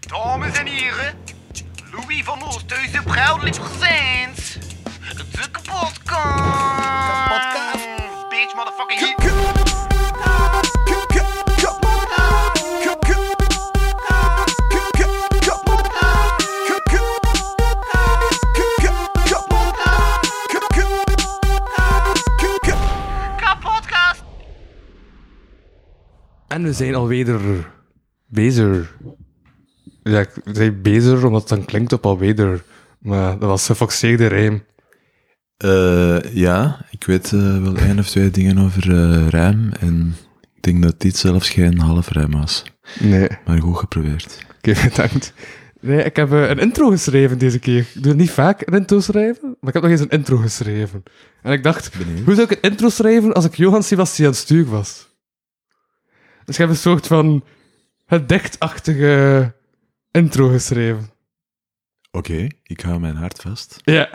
Dames en heren, Louis van Oosthuizen, proudly presents de kapotkast. Kapotkast. Bitch, motherfucking K- hit. k- k- k- kapotkast. K- k- k- k- kapotkast. K- k- k- k- kapotkast. K- k- k- k- Kapotkast. En we zijn alweer bezig. Ja, ik zei bezig omdat het dan klinkt op alweer. Maar dat was een gefaxeerde rijm. Eh, ja, ik weet eh, wel één of twee dingen over eh rijm. En ik denk dat dit zelfs geen half rijm was. Nee, oké, Maar goed geprobeerd. bedankt. Nee, ik heb eh, een intro geschreven deze keer. Ik doe niet vaak een intro schrijven, maar ik heb nog eens een intro geschreven. En ik dacht, Benieuwd. hoe zou ik een intro schrijven als ik Johan Sebastian Stuur was? Dus ik heb een soort van het dichtachtige intro geschreven. Oké, ik hou mijn hart vast. Ja.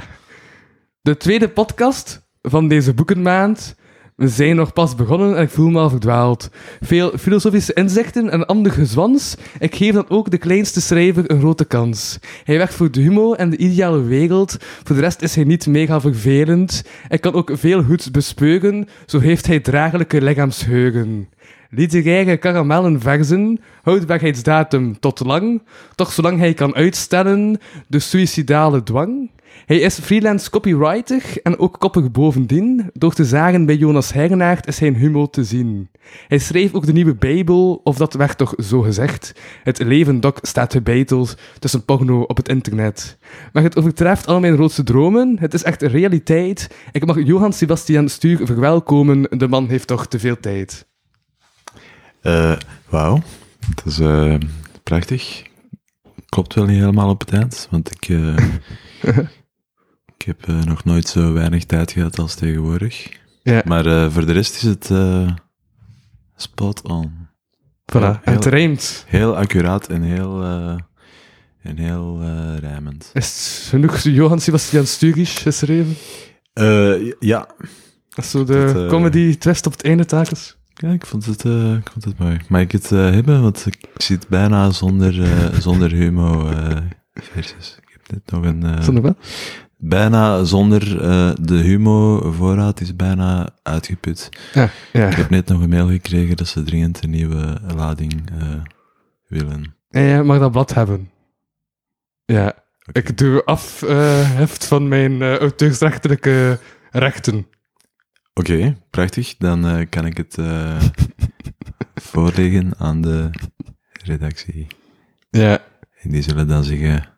De tweede podcast van deze boekenmaand. We zijn nog pas begonnen en ik voel me al verdwaald. Veel filosofische inzichten en ander gezwans. Ik geef dan ook de kleinste schrijver een grote kans. Hij werkt voor de humor en de ideale wereld. Voor de rest is hij niet mega vervelend. Hij kan ook veel goeds bespeuren. Zo heeft hij draaglijke lichaamsheugen. Literaire karamellen verzen, houdbaarheidsdatum tot lang, toch zolang hij kan uitstellen, de suïcidale dwang. Hij is freelance copywriter en ook koppig bovendien. Door te zagen bij Jonas Hernaert is zijn humor te zien. Hij schreef ook de nieuwe Bijbel, of dat werd toch zo gezegd. Het leven doc staat gebeiteld tussen porno op het internet. Maar het overtreft al mijn roodste dromen. Het is echt een realiteit. Ik mag Johan Sebastian Stuur verwelkomen. De man heeft toch te veel tijd. Eh, Wauw, dat is eh, prachtig. Klopt wel niet helemaal op het eind, want ik, eh, ik heb eh, nog nooit zo weinig tijd gehad als tegenwoordig. Ja. Maar eh, voor de rest is het eh, spot on. Voilà. En heel- het rijmt. Heel accuraat en heel, eh, en heel eh, rijmend. Is het genoeg Johan Sebastian Stuur geschreven? Eh, ja. Dat is zo de Dat, eh, comedy twist op het einde takels. ja, ik vond het, eh, ik vond het mooi. Mag ik het eh, hebben? Want ik zit bijna zonder, eh, zonder humo eh, versus. Ik heb net nog een... eh, Is dat nog wel? bijna zonder eh, de humo voorraad is bijna uitgeput. Ja. Ik ja. heb net nog een mail gekregen dat ze dringend een nieuwe lading eh, willen. Ja, jij mag dat blad hebben. Ja. Ik doe afheft van mijn eh, auteursrechtelijke rechten. Oké, prachtig. Dan eh, kan ik het eh, voorleggen aan de redactie. Ja. En die zullen dan zeggen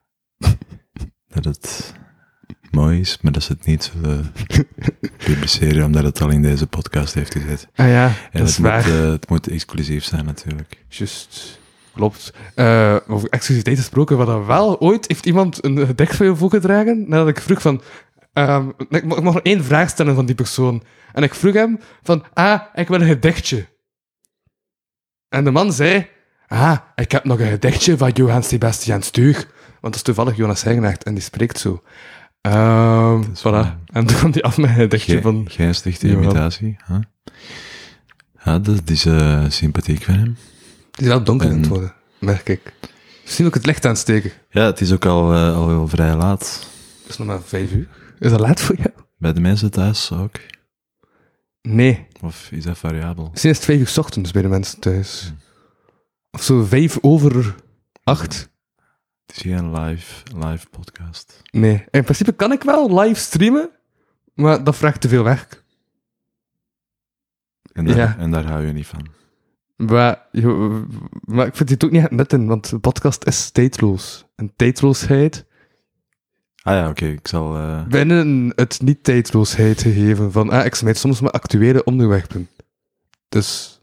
dat het mooi is, maar dat ze het niet zullen publiceren, omdat het al in deze podcast heeft gezet. Ah ja, En dat het, is waar. Moet, eh, het moet exclusief zijn natuurlijk. Juist. Klopt. Eh, over exclusiviteit gesproken, wat dan wel. Ooit heeft iemand een gedicht van je voorgedragen, nadat ik vroeg van... ehm, ik mag ik mag nog één vraag stellen van die persoon. En ik vroeg hem van, ah, ik wil een gedichtje. En de man zei, ah, ik heb nog een gedichtje van Johan Sebastian Stuur. Want dat is toevallig Jonas Hegenaert en die spreekt zo. Ehm is voilà. waar. En toen kwam hij af met een gedichtje Gij- van... Gij sticht de Jawel. imitatie. Huh? Ja, dat is eh, sympathiek van hem. Het is wel donker aan het En- worden, Mm. merk ik. Misschien ook het licht aansteken. Ja, het is ook al, eh, al heel vrij laat. Het is nog maar vijf uur. Is dat laat voor jou? Bij de mensen thuis ook. Nee. Of is dat variabel? Misschien is het vijf uur 's ochtends bij de mensen thuis. Of zo vijf over acht. Het is geen live, live podcast. Nee. In principe kan ik wel live streamen, maar dat vraagt te veel werk. En daar, Ja. en daar hou je niet van. Maar, jo- maar ik vind dit ook niet echt net in, want de podcast is tijdloos. En tijdloosheid Ah ja, oké, ik zal... eh, binnen het niet-tijdloosheid gegeven van, ah, ik smijt soms maar actuele onderwerpen. Dus,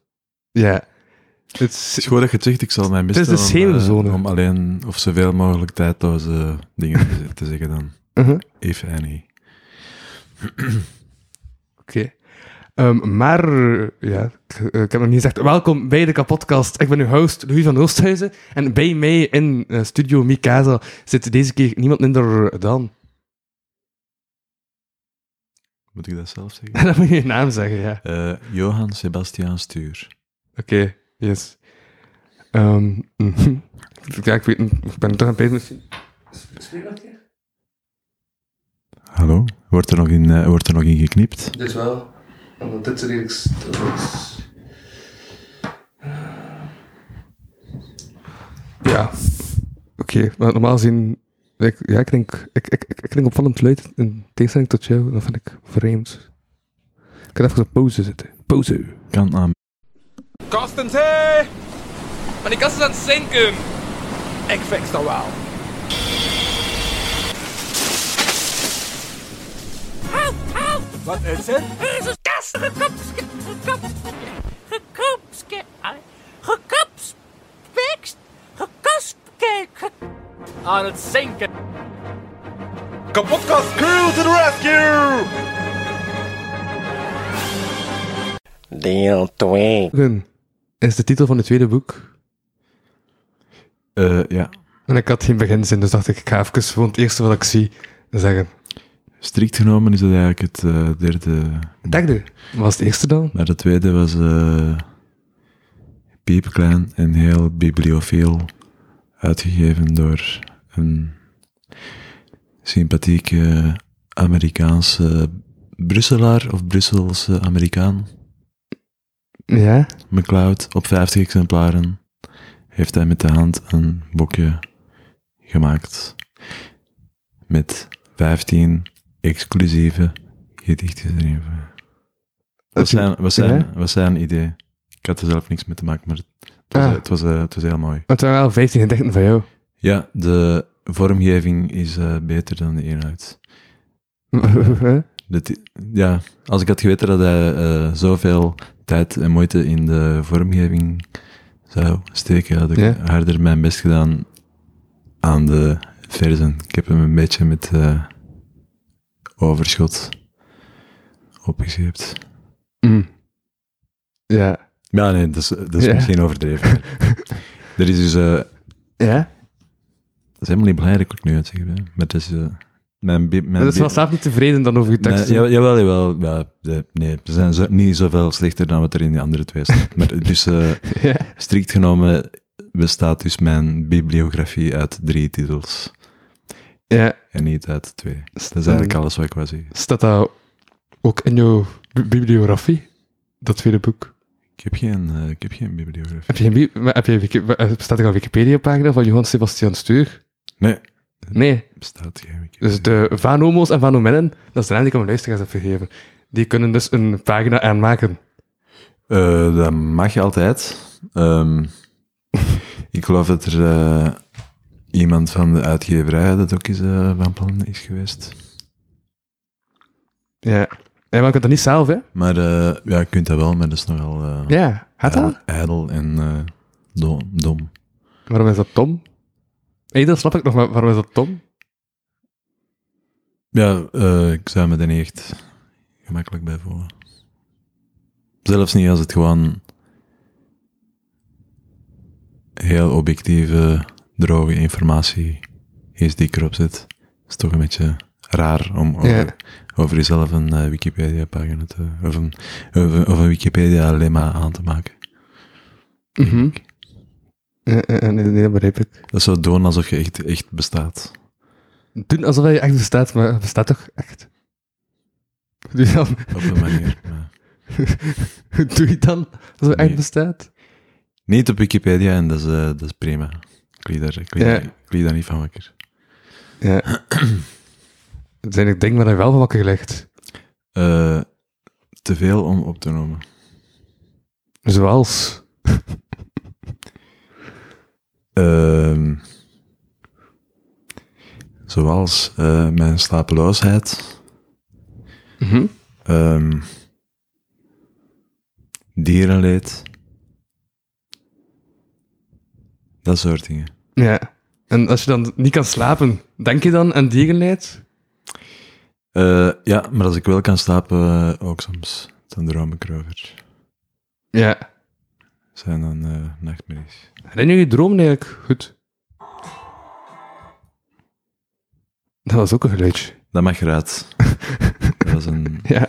ja. Het Het is is, gewoon dat je het zegt, ik zal mijn best Het is de doen om, eh, schemenzone. om alleen of zoveel mogelijk tijdloze dingen te, te zeggen dan. Mhm. If any. Oké. Ehm, maar, eh, ja, ik, eh, ik heb nog niet gezegd. Welkom bij de kapotkast. Ik ben uw host, Louis van Oosthuizen. En bij mij in eh, studio Mikasa zit deze keer niemand minder dan... Moet ik dat zelf zeggen? dat moet je je naam zeggen, ja. Eh, Johan Sebastian Stuur. Oké, yes. Ehm, mhm. ja, ik weet niet, ik ben toch aan het bezig misschien. Hallo? Wordt er nog in, eh, wordt er nog in geknipt? Dit wel. Want dit is redelijk... Ja. Oké, maar normaal gezien... Ik, ja, ik denk... Ik, ik, ik, ik klink opvallend luid in tegenstelling tot jou. Dat vind ik vreemd. Ik kan even op pauze zitten. Pauze. Kan aan. Kastens, hé! Hey! Maar die kast is aan het zinken! Ik fix dat wel. Wat is het? Jezus, kast, gekopske, gekopske, gekopske, gekopspekst, gekopske, gekopske. Aan het zinken! Kapotkast crew to the rescue! Deel 2. Gun is de titel van het tweede boek. Eh, ja. En ik had geen beginzin, dus dacht ik, ik ga even gewoon het eerste wat ik zie zeggen. Strikt genomen is dat eigenlijk het eh, derde. Derde. Wat was het eerste dan? Maar de tweede was eh piepklein en heel bibliopheel. Uitgegeven door een sympathieke Amerikaanse Brusselaar of Brusselse Amerikaan. Ja? McLeod op 50 exemplaren heeft hij met de hand een boekje gemaakt met 15 exclusieve gedichten erin. Wat zijn, wat zijn, wat zijn idee? Ik had er zelf niks mee te maken, maar het was, Ah. het was, eh, het was heel mooi. Het waren wel 15 gedichten van jou. Ja, de vormgeving is eh, beter dan de inhoud. Dat, ja, als ik had geweten dat hij eh, zoveel tijd en moeite in de vormgeving zou steken, had ik Ja. harder mijn best gedaan aan de verzen. Ik heb hem een beetje met eh, overschot opgescheept. Mm. Ja. Ja, nee, dat is, dat is Ja. misschien overdreven. er is dus... eh, Ja? dat is helemaal niet belangrijk wat ik nu aan het zeggen ben, maar het is... eh, mijn, bi- mijn Dat is bi- wel zelf niet tevreden dan over je tekst. Nee, ja, jawel, jawel. Ja, de- nee, ze zijn zo, niet zoveel slechter dan wat er in die andere twee staat. maar dus eh, Ja. strikt genomen bestaat dus mijn bibliografie uit drie titels ja. en niet uit twee. Dat is Stem. eigenlijk alles wat ik wou zeggen. Staat dat ook in jouw bi- bibliografie? Dat tweede boek. Ik heb geen, eh, ik heb geen bibliografie. Heb je, een bi- maar heb je, wiki- maar, eh, staat er een Wikipedia-pagina van Johan Sebastian Stuur? Nee, Nee. er bestaat geen Wikipedia. Dus de Van Homo's en Van Omellen, dat is de naam die ik aan mijn luisteraars heb gegeven. Die kunnen dus een pagina aanmaken. Eh, dat mag je altijd. Ehm, ik geloof dat er eh, iemand van de uitgeverij dat ook eens eh, van plan is geweest. Ja. Ja, maar je kunt dat niet zelf, hè? Maar eh, ja, je kunt dat wel, maar dat is nogal... eh, Ja. Gaat dat? Ijdel- Ijdel en eh, do- dom. Waarom is dat Tom? Hé, dat snap ik nog, maar waarom is dat Tom? Ja, eh, ik zou me er niet echt gemakkelijk bij voelen. Zelfs niet als het gewoon heel objectieve, droge informatie is die ik erop zet. is toch een beetje raar om over, Ja. over jezelf een eh, Wikipedia-pagina te... Of een, of een- of een Wikipedia-lemma aan te maken. Mhm. Eh, eh, eh, nee, nee, dat begrijp ik. Dat zou doen alsof je echt, echt bestaat. Doen alsof je echt bestaat, maar je bestaat toch echt? Doe je dan, Op een manier. maar- doe je dan alsof je echt Nee. bestaat? Niet op Wikipedia en dat is, eh, dat is prima. Ik liet daar, ik liet Ja. daar, ik liet daar niet van wakker. Ja. Het zijn er dingen waar je wel van wakker ligt. Eh, te veel om op te noemen. Zoals. Ehm, zoals eh, mijn slapeloosheid. Mhm. ehm, dierenleed. Dat soort dingen. Ja. En als je dan niet kan slapen, denk je dan aan dierenleid? Eh, ja, maar als ik wel kan slapen, eh, ook soms, dan droom ik erover. Ja. Zijn dan eh, nachtmerries. Herinner je je droom eigenlijk goed? Dat was ook een geluidje. Dat mag eruit. dat was een Ja.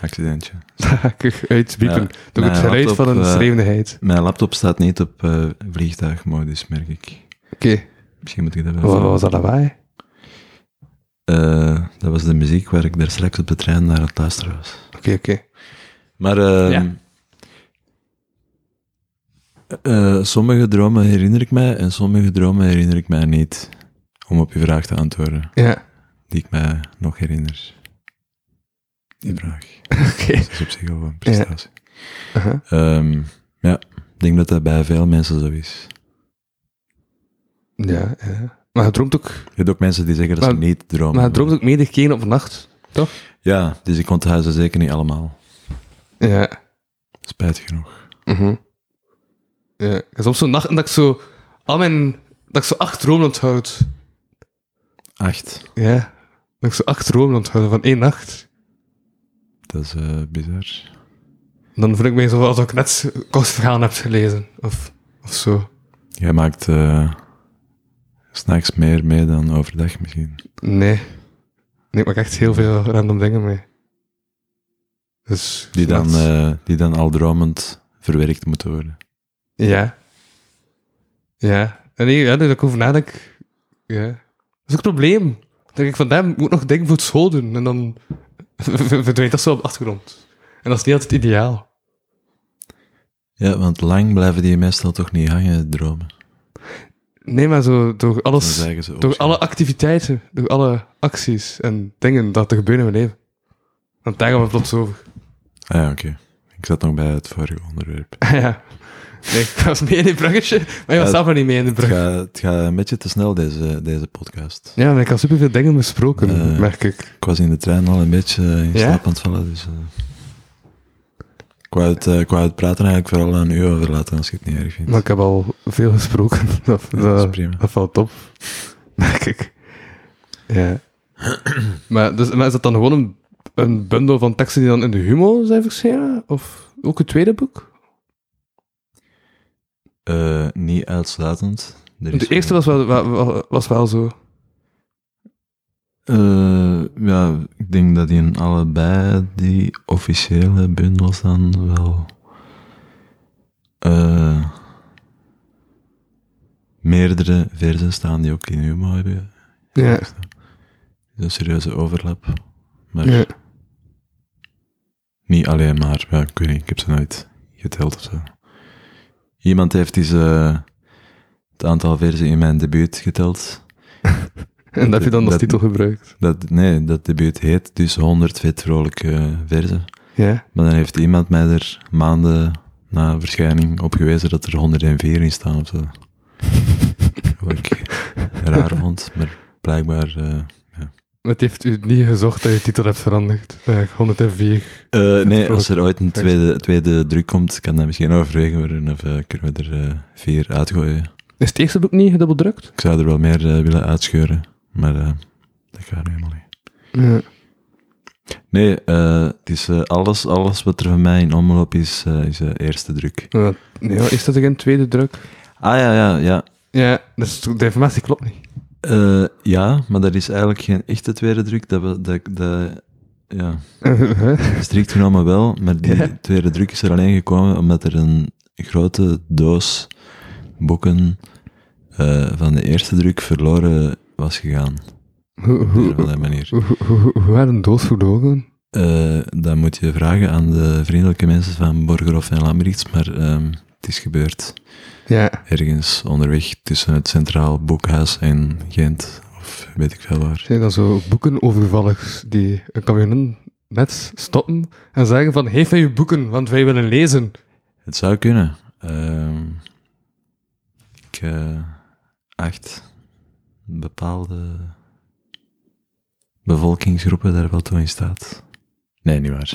accidentje. Hakkig uitspiepen. Ja, Door het mijn geluid laptop, van een eh, schreeuwende heid. Mijn laptop staat niet op eh, vliegtuigmodus, merk ik. Oké, Misschien moet ik dat wel wat wat zeggen. was dat lawaai? Eh, dat was de muziek waar ik daar straks op de trein naar aan het luisteren was. Oké, oké. Maar ehm, Ja. eh, sommige dromen herinner ik mij en sommige dromen herinner ik mij niet. Om op je vraag te antwoorden, Ja, die ik mij nog herinner. Die vraag. oké. Dat is op zich al een prestatie. Aha. Ehm, ja, ik denk dat dat bij veel mensen zo is. Ja, ja. Maar het droomt ook, Je hebt ook mensen die zeggen dat ze Maar- niet dromen. maar het droomt ook menig geen op nacht, toch? Ja, dus ik onthoud ze zeker niet allemaal. Ja. Spijtig genoeg. Mhm. Ja, ik heb soms zo'n nacht en dat ik zo al mijn, dat ik zo acht dromen onthoud. Acht. Ja. Dat ik zo acht dromen onthoud van één nacht. Dat is eh, bizar. En dan voel ik mij zo als ik net kostverhaal heb gelezen, of, of zo. Jij maakt eh, 's s'nachts meer mee dan overdag misschien. Nee. Nee, ik maak echt heel veel random dingen mee. Dus... Die dan, s'nachts- eh, die dan al dromend verwerkt moeten worden. Ja. Ja. En nee, ja, dus ik over nadenk. Ja. Dat is ook een probleem. Dan denk ik van, damn, ik moet nog dingen voor het school doen. En dan verdwijnt dat zo op de achtergrond. En dat is niet altijd ideaal. Ja, want lang blijven die meestal toch niet hangen, dromen. Nee, maar zo door Dan alles, zeggen ze ook door zo. alle activiteiten, door alle acties en dingen dat er gebeuren in mijn leven. Want daar gaan we plots over. Ah ja, oké. Ik zat nog bij het vorige onderwerp. ja. Nee, ik was mee in dit bruggetje, maar je was Ja, zelf nog niet mee in de Het brug. gaat, het gaat een beetje te snel, deze, deze podcast. Ja, maar ik had superveel dingen besproken, Eh. merk ik. Ik was in de trein al een beetje eh, in Ja? slaap aan het vallen, dus... eh, ik, wou het, eh, ik wou het praten eigenlijk vooral aan u overlaten, als je het niet erg vindt. Maar ik heb al veel gesproken. Dat, Ja, dat, dat is prima. dat valt op. Merk ik. Ja. maar, dus, maar is dat dan gewoon een, een bundel van teksten die dan in de Humo zijn verschenen? Of ook het tweede boek? Eh, niet uitsluitend. Er is De eerste wel- was wel, wa- wa- was wel zo. Eh, ja, ik denk dat in allebei die officiële bundels dan wel eh, meerdere versen staan die ook in Humo hebben. Ja. Dus Een serieuze overlap. Maar ja. niet alleen maar, ja, ik weet niet, ik heb ze nooit geteld of zo. Iemand heeft eens eh, het aantal versen in mijn debuut geteld. En dat heb je dan als Dat- titel gebruikt. Dat, nee, dat debuut heet dus 100 vet vrolijke eh, verzen. Ja. Maar dan heeft iemand mij er maanden na verschijning op gewezen dat er 104 in staan of zo. Wat ik raar vond, maar blijkbaar... eh, Het heeft u niet gezocht dat je titel hebt veranderd. Ja, 104. eh, nee, als er ooit een tweede, tweede druk komt, kan dat misschien overwegen worden of eh, kunnen we er eh, vier uitgooien. Is het eerste boek niet gedubbeldrukt? Ik zou er wel meer eh, willen uitscheuren, maar eh, dat gaat nu helemaal niet. Ja. Nee, eh, het is, eh, alles, alles wat er van mij in omloop is, eh, is eh, eerste druk. Ja, is dat geen tweede druk? Ah ja, ja, ja. Ja, dus de informatie klopt niet. Eh, ja, maar dat is eigenlijk geen echte tweede druk. Dat, we- dat, dat, ja, strikt genomen wel, maar die Ja. tweede druk is er alleen gekomen omdat er een grote doos boeken eh, van de eerste druk verloren was gegaan. Hoe, Op een hoe, of andere manier. hoe, hoe, hoe, hoe had een doos verloren? Eh, dat moet je vragen aan de vriendelijke mensen van Borgerhof en Lambrichts, maar ehm, het is gebeurd. Ja, Ergens onderweg tussen het Centraal Boekhuis en Gent, of weet ik veel waar. zijn dan zo boekenovervallers die een kamioen net stoppen en zeggen van, geef mij uw boeken, want wij willen lezen. Het zou kunnen. Ehm, ik eh, acht bepaalde bevolkingsgroepen daar wel toe in staat. Nee, niet waar.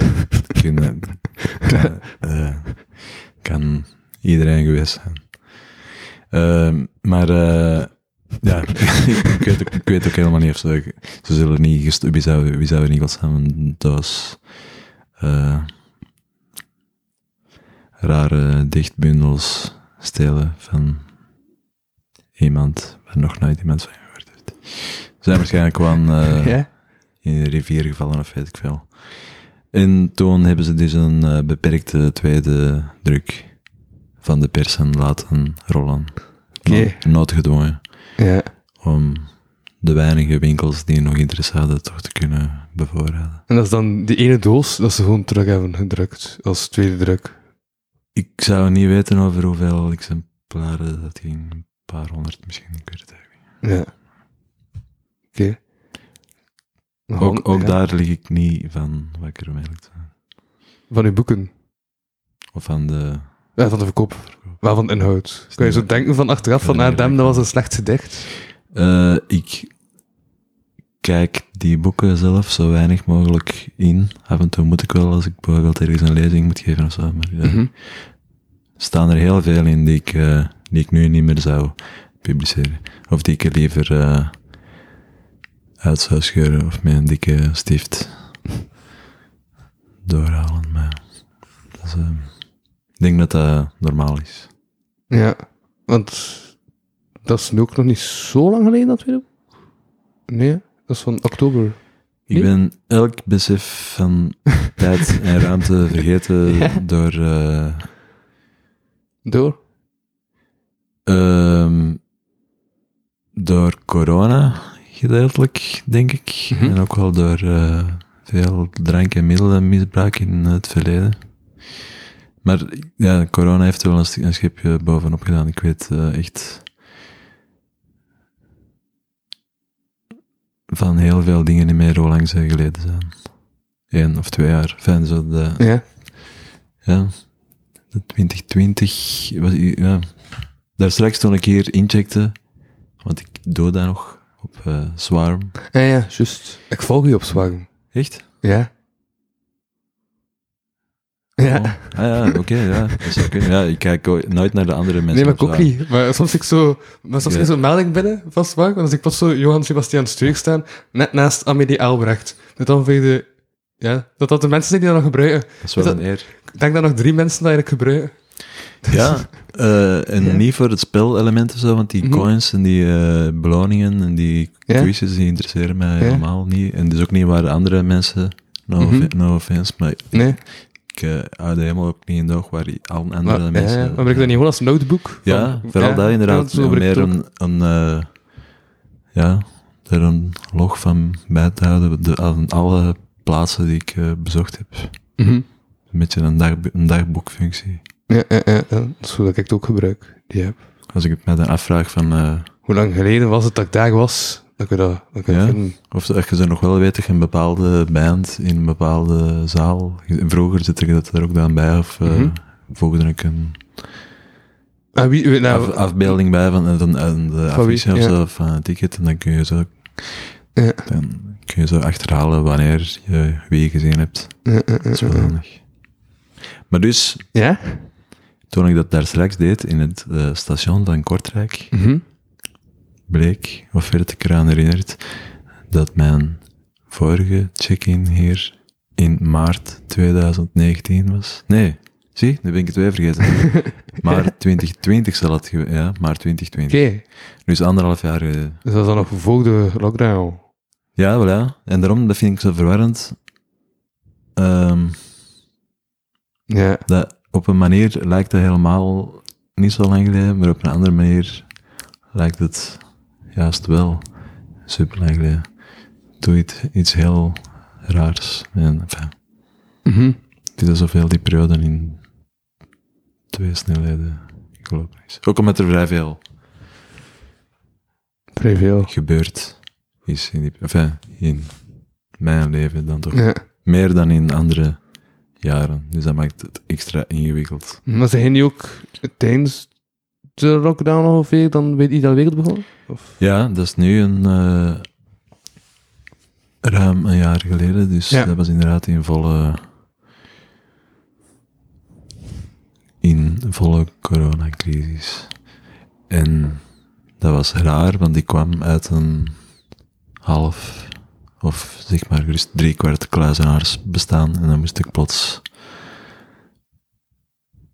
Ik kan, eh, kan, eh, kan iedereen geweest zijn. Ehm, maar eh, ja, ik, weet ook, ik weet ook helemaal niet of ze... Ze zullen niet... gest- Wie zou, wie zou er niet godsnaam een doos... eh, rare dichtbundels stelen van iemand waar nog nooit iemand van gehoord heeft. Ze zijn waarschijnlijk gewoon eh, Ja? in de rivier gevallen of weet ik veel. En toen hebben ze dus een eh, beperkte tweede druk van de persen laten rollen. Oké. No- Noodgedwongen. Ja. Om de weinige winkels die nog interesse hadden toch te kunnen bevoorraden. En dat is dan die ene doos dat ze gewoon terug hebben gedrukt, als tweede druk. Ik zou niet weten over hoeveel exemplaren dat ging. Een paar honderd misschien, ik weet het eigenlijk niet. Ja. Oké. Nog Ook, hon- ook ja. daar lig ik niet van wakker om eerlijk te zijn. Van uw boeken. Of van de... Ja, van de verkoop. Wel van de inhoud. Kun je zo denken van achteraf van, Ja, ah, nee, damn, ik- dat was een slecht gedicht. Eh, ik kijk die boeken zelf zo weinig mogelijk in. Af en toe moet ik wel, als ik bijvoorbeeld ergens een lezing moet geven of zo. Maar ja, Mhm. staan er heel veel in die ik, eh, die ik nu niet meer zou publiceren. Of die ik liever eh, uit zou scheuren of met een dikke stift doorhalen. Maar dat is, eh, ik denk dat dat normaal is. Ja. Want dat is nu ook nog niet zo lang geleden, dat tweede boek. Nee, dat is van oktober. Ik Nee? ben elk besef van tijd en ruimte vergeten door eh, Door. ehm, door corona, gedeeltelijk, denk ik. Mhm. En ook wel door eh, veel drank- en middelenmisbruik in het verleden. Maar ja, corona heeft er wel een, st- een schipje bovenop gedaan. Ik weet eh, echt van heel veel dingen niet meer hoe lang ze geleden zijn. Eén of twee jaar. Fijn, zo de, Ja. ja, de 2020 was, ja. Daar straks toen ik hier incheckte, want ik doe dat nog op eh Swarm. Ja, ja, juist. Ik volg je op Zwagen. Echt? Ja. Ja. Oh. Ah ja, oké, ja. Dat zou kunnen. Ja, ik kijk ook nooit naar de andere mensen. Nee, maar op ik ook Swarm. niet. Maar soms ik zo, maar soms Ja. krijg ik zo'n melding binnen van Zwagen, want als ik pas zo Johan Sebastian Steug staan, net naast Amélie Albrecht. Dat dan vind je de, ja, dat dat de mensen zijn die dat nog gebruiken. Dat is wel Is dat- een eer. Ik denk dat nog drie mensen dat eigenlijk gebruiken. Ja, eh, en niet voor het spelelement of zo, want die Mhm. coins en die eh, beloningen en die Ja. quizzes, die interesseren mij Ja. helemaal niet. En dus ook niet waar de andere mensen, no, Mhm. offe- no offense, maar Nee, ik eh, hou er helemaal ook niet in de oog waar die, alle andere maar, ja, ja. mensen... maar ben ik dat niet gewoon als notebook? Ja, Van- vooral daar inderdaad. zo ben ik meer het ook. een, een eh, ja, er een log van bij te houden de, aan alle plaatsen die ik eh, bezocht heb. Mhm. Een beetje een, dag, een dagboekfunctie. Ja, ja, ja, ja. Dat is hoe dat ik het ook gebruik. Die heb. Als ik het mij dan afvraag van, eh, Hoe lang geleden was het dat ik daar was, dat ik dat, dat, ik dat Ja. vinden? of dat je ze nog wel weet, dat je een bepaalde band in een bepaalde zaal, vroeger zit je dat er ook dan bij, of eh Mhm. voegde ik een Ah, wie, wie- nou, af- afbeelding bij van, eh, van, van de Van wie, affiche of ja. zo, van een ticket, en dan kun je zo, Ja. dan kun je zo achterhalen wanneer je wie je gezien hebt. eh, eh, eh, Dat is wel handig. Maar dus, Ja? toen ik dat daar straks deed in het eh, station van Kortrijk, Mhm. bleek, of werd ik eraan herinnerd, dat mijn vorige check-in hier in maart 2019 was. Nee, zie, nu ben ik het weer vergeten. Maart 2020 zal het geweest ja, maart 2020. Oké, Dus anderhalf jaar geleden. dus dat is dan nog voor de lockdown. Ja, wel ja. En daarom, dat vind ik zo verwarrend. Ehm, Ja, Dat, op een manier lijkt het helemaal niet zo lang geleden, maar op een andere manier lijkt het juist wel super lang geleden. Doe iets, iets heel raars. En, enfin, Mhm. het is alsof heel die periode in twee snelheden gelopen is. Ook omdat er vrij veel vrij veel. gebeurd is in, die, enfin, in mijn leven dan toch. Ja. Meer dan in andere jaren. Dus dat maakt het extra ingewikkeld. Maar zijn jullie ook tijdens de lockdown ongeveer dan weet je dat wereld begonnen? Of? Ja, dat is nu een, eh, ruim een jaar geleden, dus Ja. dat was inderdaad in volle, in volle coronacrisis. En dat was raar, want ik kwam uit een half of zeg maar gerust drie kwart kluizenaars bestaan en dan moest ik plots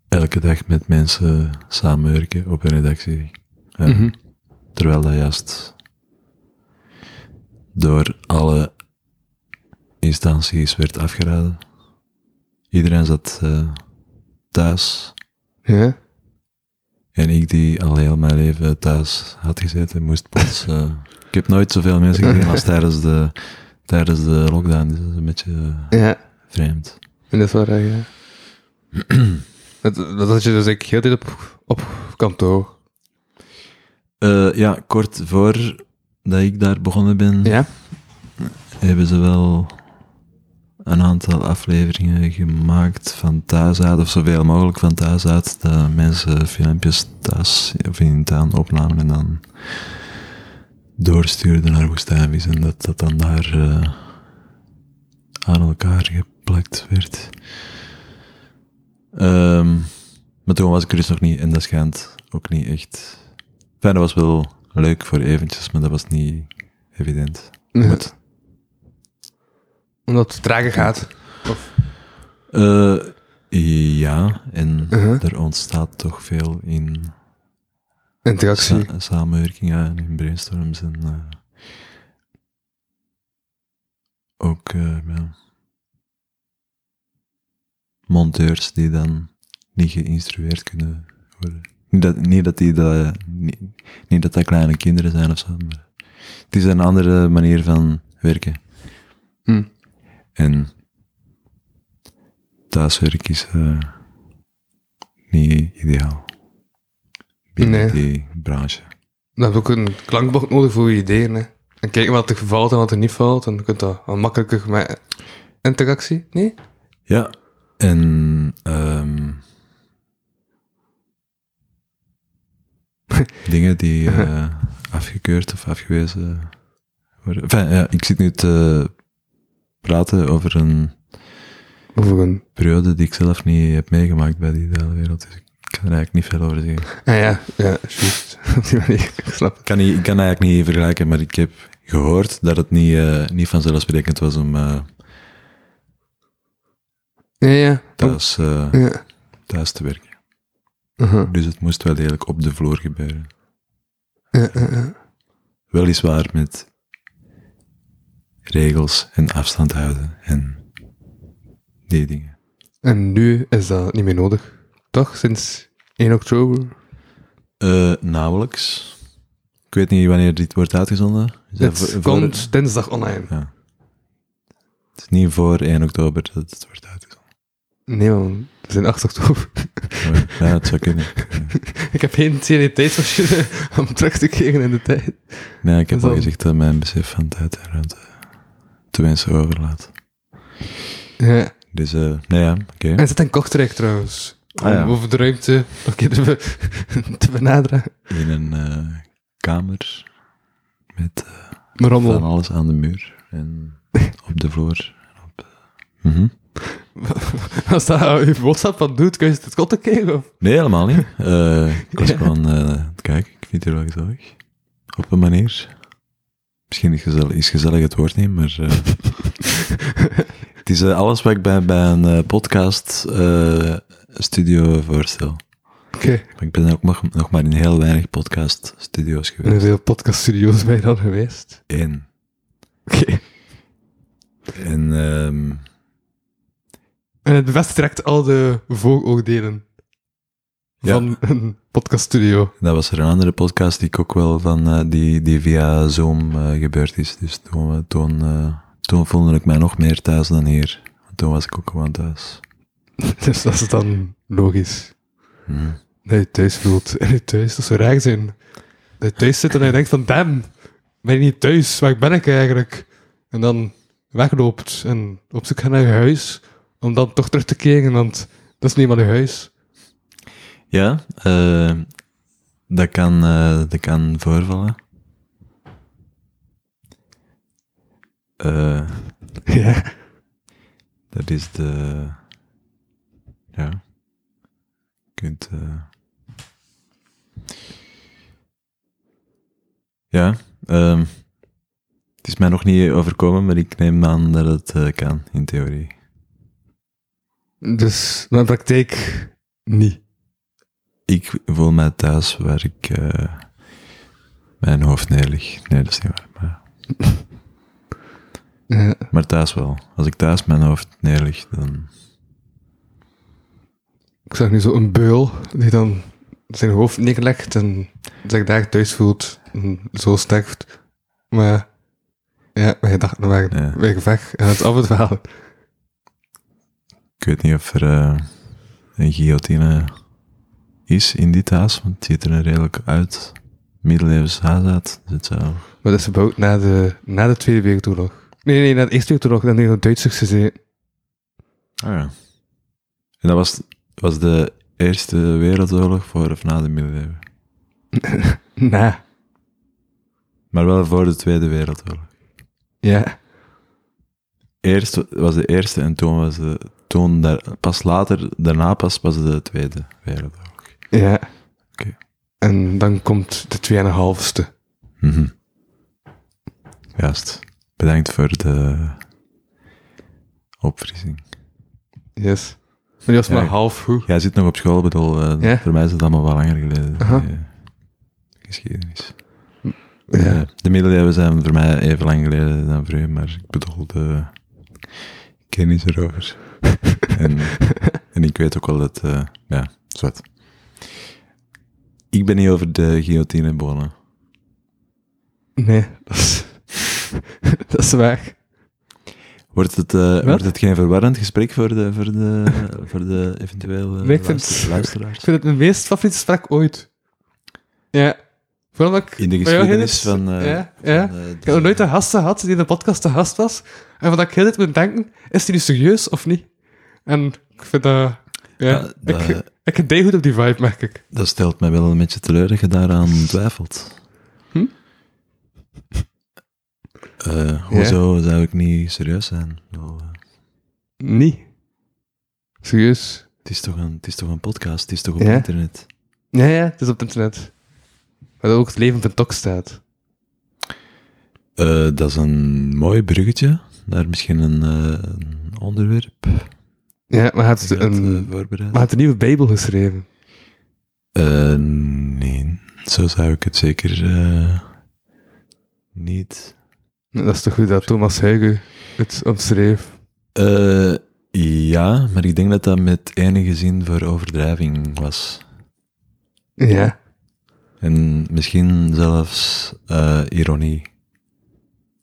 elke dag met mensen samenwerken op een redactie. Ja. Mhm. Terwijl dat juist door alle instanties werd afgeraden. Iedereen zat eh, thuis. Ja. En ik, die al heel mijn leven thuis had gezeten, moest plots... eh, ik heb nooit zoveel mensen gezien als tijdens de, tijdens de lockdown. Dus dat is een beetje eh, Ja, vreemd. en dat is waar, ja. dat, dat had je dus ik heel de tijd op, op kantoor. Eh, ja, kort voor dat ik daar begonnen ben, Ja? hebben ze wel een aantal afleveringen gemaakt van thuis uit, of zoveel mogelijk van thuis uit, dat mensen filmpjes thuis of in tuin opnamen en dan doorstuurden naar Woestijnvis en dat dat dan daar eh, aan elkaar geplakt werd. Ehm, maar toen was ik er dus nog niet en dat schijnt ook niet echt... Enfin, dat was wel leuk voor eventjes, maar dat was niet evident. Ja. Moet- Omdat het trager gaat. Eh, ja, en Uh-huh. er ontstaat toch veel in Interactie. sa- samenwerkingen en in brainstorms. En, eh, ook eh, ja, monteurs die dan niet geïnstrueerd kunnen worden. Niet dat, niet dat, die dat, eh, niet, niet dat dat kleine kinderen zijn of zo, maar het is een andere manier van werken. Hm. En thuiswerk is eh, niet ideaal. Binnen Nee. die branche. Dan heb je ook een klankbord nodig voor je ideeën. Hè. En kijken wat er valt en wat er niet valt. En dan kunt dat wat makkelijker met interactie. Nee? Ja, en ehm, dingen die eh, afgekeurd of afgewezen worden. Enfin, ja, ik zit nu te praten over een Over een... periode die ik zelf niet heb meegemaakt bij die hele wereld. Dus ik kan er eigenlijk niet veel over zeggen. Ah ja, ja, juist. Op die manier. Ik snap Ik het. kan, niet, ik kan eigenlijk niet vergelijken, maar ik heb gehoord dat het niet, eh, niet vanzelfsprekend was om eh, Ja, ja. thuis, eh, Ja. thuis te werken. Uh-huh. Dus het moest wel degelijk op de vloer gebeuren. Ja, ja, ja. Weliswaar met regels en afstand houden en die dingen. En nu is dat niet meer nodig. Toch? Sinds 1 oktober? Eh, nauwelijks. Ik weet niet wanneer dit wordt uitgezonden. Is dat Het voor- voor- komt dinsdag online. Ja. Het is niet voor 1 oktober dat het wordt uitgezonden. Nee man, het is in 8 oktober. Maar Ja, het zou kunnen. Ja. ik heb geen seriëteitsmachine om terug te keren in de tijd. Nee, ik heb En dan- al gezegd dat mijn besef van tijd en ruimte te wensen overlaat. Ja. Dus, eh, nou ja, oké. En het zit in Kortrijk trouwens. Ah, ja. Om over de ruimte nog een keer te, be- te benaderen. In een eh, kamer met eh, Maar van rommel. alles aan de muur en op de vloer. en Op, eh, mhm. Als dat je WhatsApp van doet, kun je het kotten keren? Of? Nee, helemaal niet. Eh, ik was gewoon eh, aan het kijken. Ik vind het hier wel gezellig. Op een manier. Misschien is gezellig, is gezellig het woord niet, maar... eh, het is eh, alles wat ik bij, bij een eh, podcast eh, studio voorstel. Oké. Maar ik ben ook nog, nog maar in heel weinig podcast studio's Er zijn geweest. veel podcaststudio's bij dan geweest. Eén. Oké. En ehm, En het bevestigt al de vooroordelen Ja. van een podcaststudio. dat was er een andere podcast die ik ook wel van, eh, die, die via Zoom eh, gebeurd is. Dus toen, we- toen, eh, toen voelde ik mij nog meer thuis dan hier. Want toen was ik ook gewoon thuis. Dus dat is dan logisch. Mhm. Dat je thuis voelt. En je thuis, dat zou raar zijn. Dat je thuis zit en je denkt van, damn, ben je niet thuis? Waar ben ik eigenlijk? En dan wegloopt en op zoek gaat naar je huis. Om dan toch terug te keren, want dat is niet meer je huis. Ja, eh, dat, kan, eh, dat kan voorvallen. Eh, Ja. dat is de. Ja. Je kunt. eh, ja, ehm, het is mij nog niet overkomen, maar ik neem aan dat het eh, kan, in theorie. Dus, maar in praktijk, niet. Ik voel mij thuis waar ik eh, mijn hoofd neerlig. Nee, dat is niet waar. Maar, Ja. maar thuis wel. Als ik thuis mijn hoofd neerlig, dan Ik zag nu zo'n beul die dan zijn hoofd neerlegt en zich daar thuis voelt en zo sterft. Maar ja, mijn gedachten waren Ja. weer weg en het afdwalen. Ik weet niet of er eh, een guillotine is in dit huis, want het ziet er redelijk uit. Middeleeuws huis uit. Dus het zou... Maar dat is gebouwd na de, na de Tweede Wereldoorlog. Nee, nee, na de Eerste Wereldoorlog. Dan tegen de Duitsers gezeten. Ah ja. En dat was, was de Eerste Wereldoorlog voor of na de middeleeuwen. Na. Maar wel voor de Tweede Wereldoorlog. Ja. Eerst was de Eerste en toen was de... Toen daar, pas later, daarna pas, was de Tweede Wereldoorlog. Ja. Oké. En dan komt de tweeënhalfste. Mhm. Juist. Bedankt voor de opfrissing. Yes. Maar die was Ja, maar ik- half goed. Jij zit nog op school, ik bedoel, eh, Ja. voor mij is het allemaal wel langer geleden. die, Aha. eh, geschiedenis. Ja. Eh, de middeleeuwen zijn voor mij even lang geleden dan voor u, maar ik bedoel de kennis erover. en, en ik weet ook wel dat, eh, ja, zwart. Ik ben niet over de guillotinebonen. Nee, dat is... dat is waar. Wordt het, eh, wordt het geen verwarrend gesprek voor de, voor de, voor de eventuele Nee, ik vind- luister- luisteraars? Ik vind het mijn meest favoriete sprak ooit. Ja. Vooral dat ik... In de bij jou heel geschiedenis het- van... eh, Ja, ja. van, eh, Ik heb nog nooit een gast gehad die in de podcast te gast was. En van dat ik heel dit moet denken, is die nu serieus of niet? En ik vind dat... Ja, Ja, ik, dat- ik gedij goed op die vibe, merk ik. Dat stelt mij wel een beetje teleur dat je daaraan twijfelt. Hm? Eh, hoezo zou ik niet serieus zijn? Ik bedoel, eh, Niet. Serieus. het, is toch een, het is toch een podcast, het is toch op Ja. internet? Ja, ja, het is op het internet. Waar ook het leven van Tok staat. Eh, dat is een mooi bruggetje naar misschien een, eh, een onderwerp. Ja, maar hij had Heb je dat, eh, een, maar voorbereid? hij had een nieuwe Bijbel geschreven. Eh, nee, zo zou ik het zeker eh, niet Dat is toch goed dat Thomas Huygen het omschreef. Eh, ja, maar ik denk dat dat met enige zin voor overdrijving was. Ja. En misschien zelfs eh, ironie.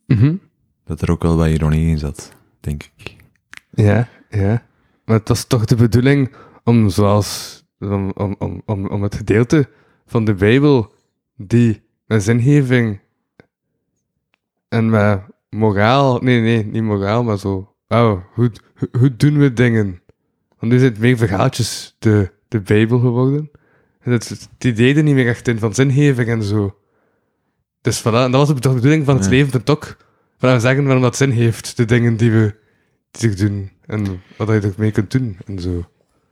Mhm. Dat er ook wel wat ironie in zat, denk ik. Ja, ja. Maar het was toch de bedoeling om, zoals, om, om, om, om, om het gedeelte van de Bijbel die met zingeving en met moraal, nee, nee, niet moraal, maar zo, oh, hoe, hoe- hoe doen we dingen? Want nu zijn het meer verhaaltjes de, de Bijbel geworden. En het, het idee er niet meer echt in van zingeving en zo. Dus voilà, en dat was ook de bedoeling van het Ja. leven van Tok. Van we zeggen waarom dat zin heeft, de dingen die we die zich doen en wat je ermee kunt doen en zo.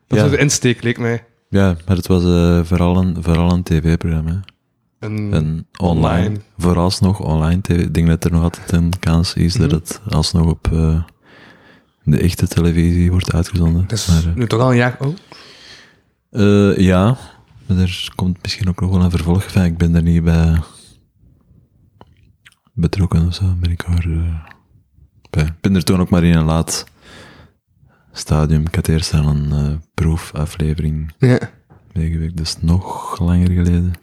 Dat Ja. was de insteek, leek mij. Ja, maar het was eh, vooral een, vooral een tv-programma. hè. En, Een online, Online. vooralsnog online tv. Ik denk dat er nog altijd een kans is Mhm. dat het alsnog op eh, de echte televisie wordt uitgezonden. dat is Maar, eh, dus nu toch al een jaar oh. oud. Eh, ja, maar er komt misschien ook nog wel een vervolg. Enfin, ik ben er niet bij betrokken of zo. Ben ik, er, eh, bij. ik ben er toen ook maar in een laat stadium. Ik had eerst aan een eh, proefaflevering Ja. meegewerkt, dus nog langer geleden.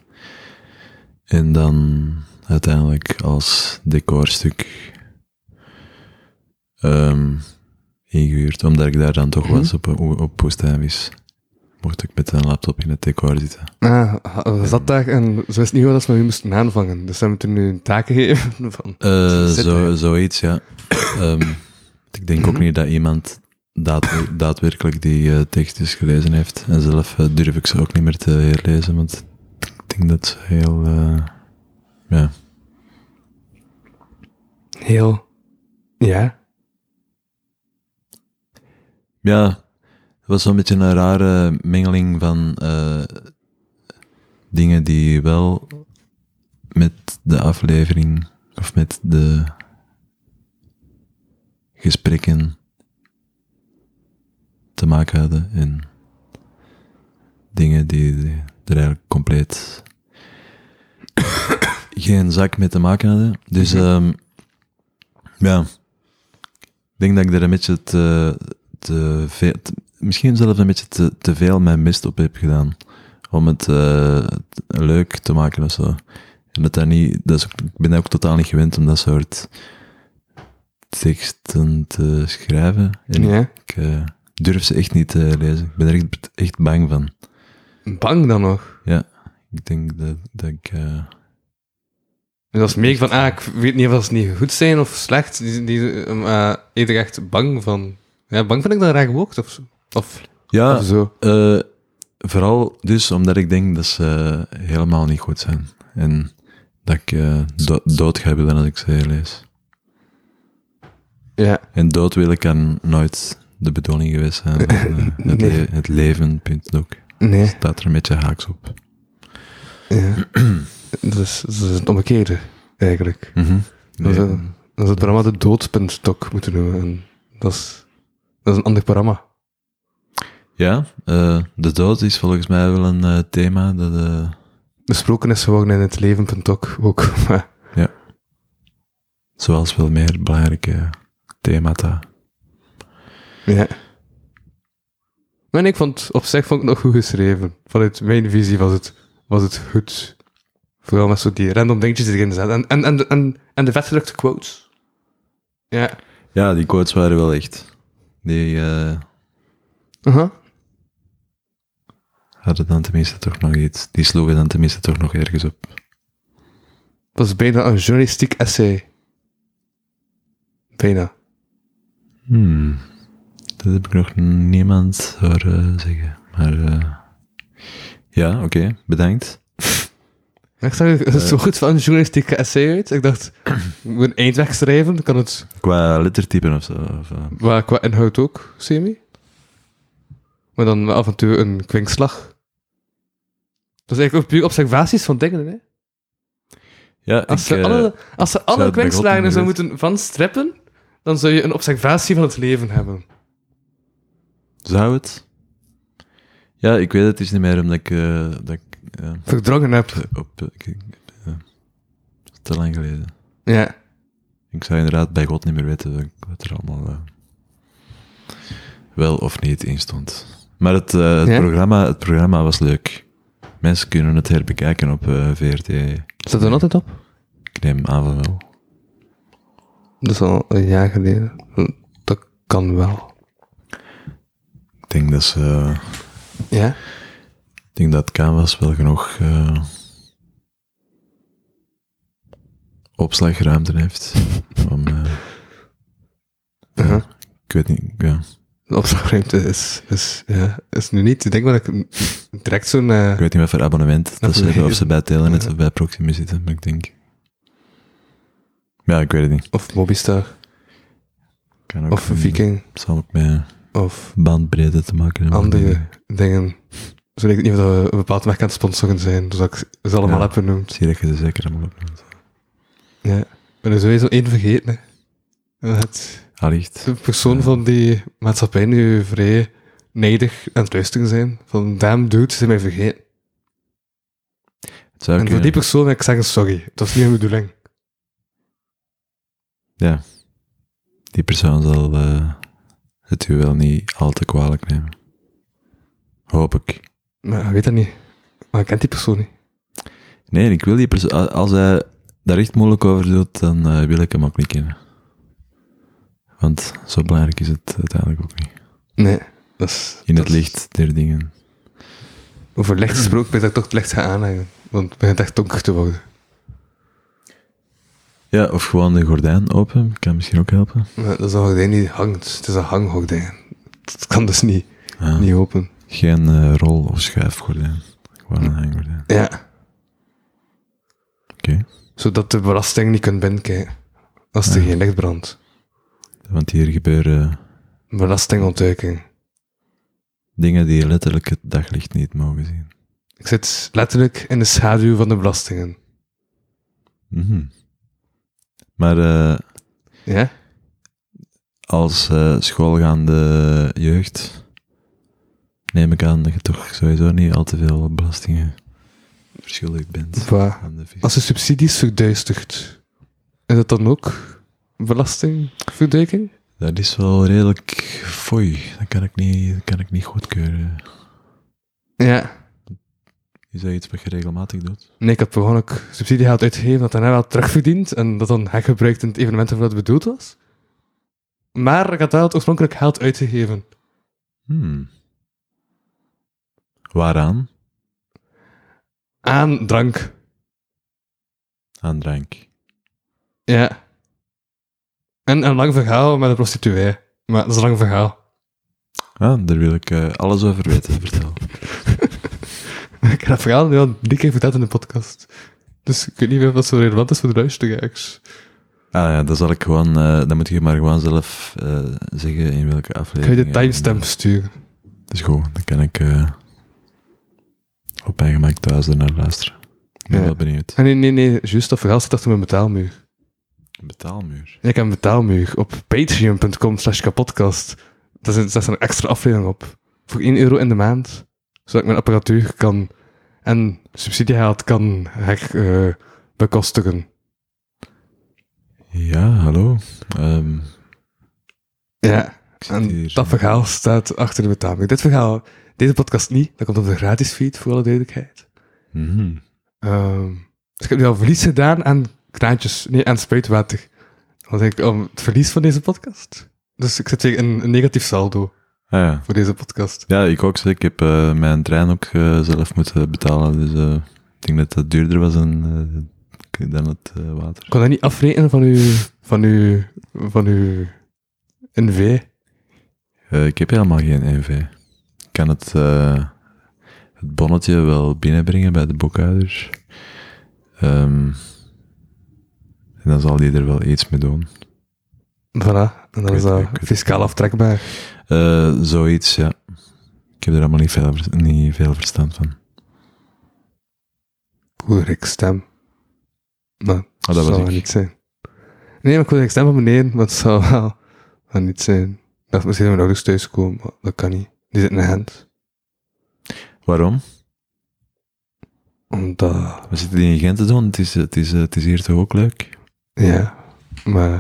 En dan uiteindelijk als decorstuk ehm, ingehuurd, omdat ik daar dan toch Mhm. was op, op Poestijnvis. Mocht ik met een laptop in het decor zitten. Ah, we zat daar en ze wist niet hoe dat ze met u moesten aanvangen. Dus ze hebben toen nu een taak gegeven van... Eh, Zit zo, er. Mhm. zoiets, ja. Ehm, ik denk ook niet dat iemand daad- daadwerkelijk die eh, tekst eens gelezen heeft. En zelf eh, durf ik ze ook niet meer te herlezen, want ik denk dat ze heel... eh, ja, Heel... Ja. Ja, het was zo'n beetje een rare mengeling van eh, dingen die wel met de aflevering of met de gesprekken te maken hadden en dingen die er eigenlijk compleet geen zak mee te maken hadden. Dus ehm, ja, ik denk dat ik er een beetje het, eh, te veel, te- misschien zelfs een beetje te, te veel mijn mist op heb gedaan. Om het eh, t- leuk te maken of zo. En dat daar niet, dat is ook- ik ben daar ook totaal niet gewend om dat soort teksten te schrijven. En Ja. ik eh, durf ze echt niet te lezen. Ik ben er echt, echt bang van. Bang dan nog. Ja, ik denk dat, dat ik... eh, Dus dat is meer van, ah, ik weet niet of dat ze niet goed zijn of slecht. Die, die, eh, maar eerder echt bang van. Ja, bang vind ik dan een raar woord of zo. Of, ja, of zo. Eh, vooral dus omdat ik denk dat ze helemaal niet goed zijn. En dat ik eh, do- dood ga willen als ik ze lees. Ja. En dood willen kan nooit de bedoeling geweest zijn. van, eh, het, Nee. le- het leven, punt ook. Nee. Staat er een beetje haaks op. Ja. dat, is, dat is het omgekeerde, eigenlijk. Mhm. Dat, is, Nee. eh, dat is het programma de doodspuntstok moeten noemen. En dat, is, dat is een ander programma. Ja, eh, de dood is volgens mij wel een eh, thema dat... eh, Besproken is gewoon in het leven.tok ook. Maar zoals veel meer belangrijke themata. Ja. Maar nee, ik vond op zich vond ik het nog goed geschreven. Vanuit mijn visie was het, was het goed. Vooral met zo die random dingetjes die erin zaten. En, en, en, de- en, en de vetgedrukte quotes. Ja. Ja, die quotes waren wel echt. Die eh, Aha. hadden dan tenminste toch nog iets. Die sloegen dan tenminste toch nog ergens op. Het was bijna een journalistiek essay. Bijna. Hmm. Dat heb ik nog niemand horen zeggen. Maar eh, ja, oké, bedankt. Ik zag het zo goed van een journalistieke essay uit. Ik dacht, ik moet een eind wegschrijven. Dan kan het Qua lettertypen of zo. Of, eh, maar qua inhoud ook, semi. Maar dan af en toe een kwinkslag. Dat is eigenlijk ook puur observaties van dingen, hè. ja, Als ik, ze eh, alle, als ze zou alle het bij God kwinkslagen niet zou weten. moeten van strippen, dan zou je een observatie van het leven hebben. zou het? Ja, ik weet het is niet meer omdat ik. eh, dat ik eh, Verdrongen heb. op, ik- ik- eh, te lang geleden. Ja. Ik zou inderdaad bij God niet meer weten wat- wat er allemaal eh, wel of niet in stond. Maar het, eh, het, Ja? programma, het programma was leuk. Mensen kunnen het herbekijken op eh, VRT. Staat er altijd op? Ik neem aan van wel. Dat is al een jaar geleden. Dat kan wel. Ik denk dat, ze, eh, Ja? ik denk dat Canvas wel genoeg eh, opslagruimte heeft. om, eh, Uh-huh. ik weet niet, ja. De opslagruimte is, is, ja, is nu niet. Ik denk wel dat ik een- direct zo'n... eh, ik weet niet wat voor abonnement dat ze hebben. Of ze bij Telenet Ja. of bij Proximus zitten, maar ik denk... Ja, ik weet het niet. of Mobistar. Kan ook Of een- Viking. Het zal ook met Of bandbreedte te maken hebben. andere Mm-hmm. dingen. Zo weet ik niet of dat we een bepaald merk aan het sponsoren zijn. Dus dat ik ze allemaal Ja. heb Ik benoemd. zie dat je ze zeker allemaal opneemt. Ja. Ik ben er sowieso één vergeten, hè. Het... Allicht. de persoon van die maatschappij nu vrij neidig aan het luisteren zijn. Van, damn dude, ze zijn mij vergeten. Het zou En voor die kunnen. persoon wil ik zeggen sorry. Dat is niet mijn bedoeling. Ja. Die persoon zal eh, het u wel niet al te kwalijk nemen. Hoop ik. Maar ik weet dat niet. Maar ik ken die persoon niet. Nee, ik wil die persoon... a- Als hij daar echt moeilijk over doet, dan eh, wil ik hem ook niet kennen. Want zo belangrijk is het uiteindelijk ook niet. Nee. Dat is, In het dat is- licht der dingen. Over licht gesproken ben ik dat ik toch het licht gaan aanhangen. Want het begint echt donker te worden. Ja, of gewoon de gordijn open. Kan misschien ook helpen. Maar dat is een gordijn die hangt. Het is een hanghordijn. Dat kan dus niet, Ah, niet open. Geen eh, rol- of schuifgordijn. Gewoon een hanggordijn. Ja. Oké. Zodat de belasting niet kunt binnenkijken. Als er Ja. geen licht brandt. Want hier gebeuren Belastingontduiking. dingen die letterlijk het daglicht niet mogen zien. Ik zit letterlijk in de schaduw van de belastingen. Mhm. Maar eh, Ja? als eh, schoolgaande jeugd neem ik aan dat je toch sowieso niet al te veel belastingen verschuldigd bent. Bah. Aan de vis- Als de subsidies verduistert, is dat dan ook belastingverduiking? Dat is wel redelijk fooi. Dat kan ik niet, dat kan ik niet goedkeuren. Ja. Is dat iets wat je regelmatig doet? Nee, ik heb gewoon ook subsidiegeld uitgegeven dat hij net wel terugverdient en dat dan hergebruikt in het evenement waarvoor het bedoeld was. Maar ik had wel het oorspronkelijk geld uitgegeven. Hmm. Waaraan? Aan drank. Aan drank. Ja. En een lang verhaal met een prostituee. Maar dat is een lang verhaal. Ah, daar wil ik eh, alles over weten. Vertel. Ik heb dat verhaal nu al drie keer verteld in de podcast. Dus ik weet niet meer of dat zo relevant is voor de luisteraars. Ah ja, dan zal ik gewoon... eh, dan moet je maar gewoon zelf eh, zeggen in welke Ik ga aflevering. je de timestamp sturen. Dat is goed. Dan kan ik eh, op mijn gemak thuis ernaar luisteren. Ik ben Ja. wel benieuwd. Ah, nee, nee, nee. Juist, dat verhaal staat achter mijn betaalmuur. Betaalmuur. Ja, ik heb een betaalmuur op patreon.com slash kapodcast. Daar zit- daar staat een extra aflevering op. Voor 1 euro in de maand. Zodat ik mijn apparatuur kan en subsidiehaald kan her, eh, bekostigen. Ja, hallo. Ehm, Ja. ik zit En hier. dat verhaal staat achter de betaalmuur. Dit verhaal, deze podcast niet. Dat komt op de gratis feed, voor alle duidelijkheid. Mhm. Ehm, dus ik heb nu al verlies gedaan aan kraantjes, nee, aan spuitwater. Want ik om het verlies van deze podcast. Dus ik zit weer in een negatief saldo Ah, ja. voor deze podcast. ja, ik ook. zeg. Ik heb eh, mijn trein ook eh, zelf moeten betalen. Dus eh, ik denk dat dat duurder was dan, eh, dan het eh, water. Ik kon dat niet afrekenen van uw, van uw, van uw NV. Eh, ik heb helemaal geen NV. Ik kan het, eh, het bonnetje wel binnenbrengen bij de boekhouder. Ehm, en dan zal die er wel iets mee doen. Voilà, en dan is weet het, dat ik weet het. fiscaal aftrekbaar. Eh, zoiets, ja. Ik heb er allemaal niet veel, niet veel verstand van. Koerik stem. Maar Ah, dat was zou ik. wel niet zijn. Nee, maar koerik stem van beneden, want het zou wel, wel niet zijn. Ik dacht misschien dat mijn ouders thuiskomen, maar dat kan niet. Die zitten in Gent. Waarom? Omdat... We zitten hier in Gent te doen. Het is, het is, het is hier toch ook leuk? Ja, maar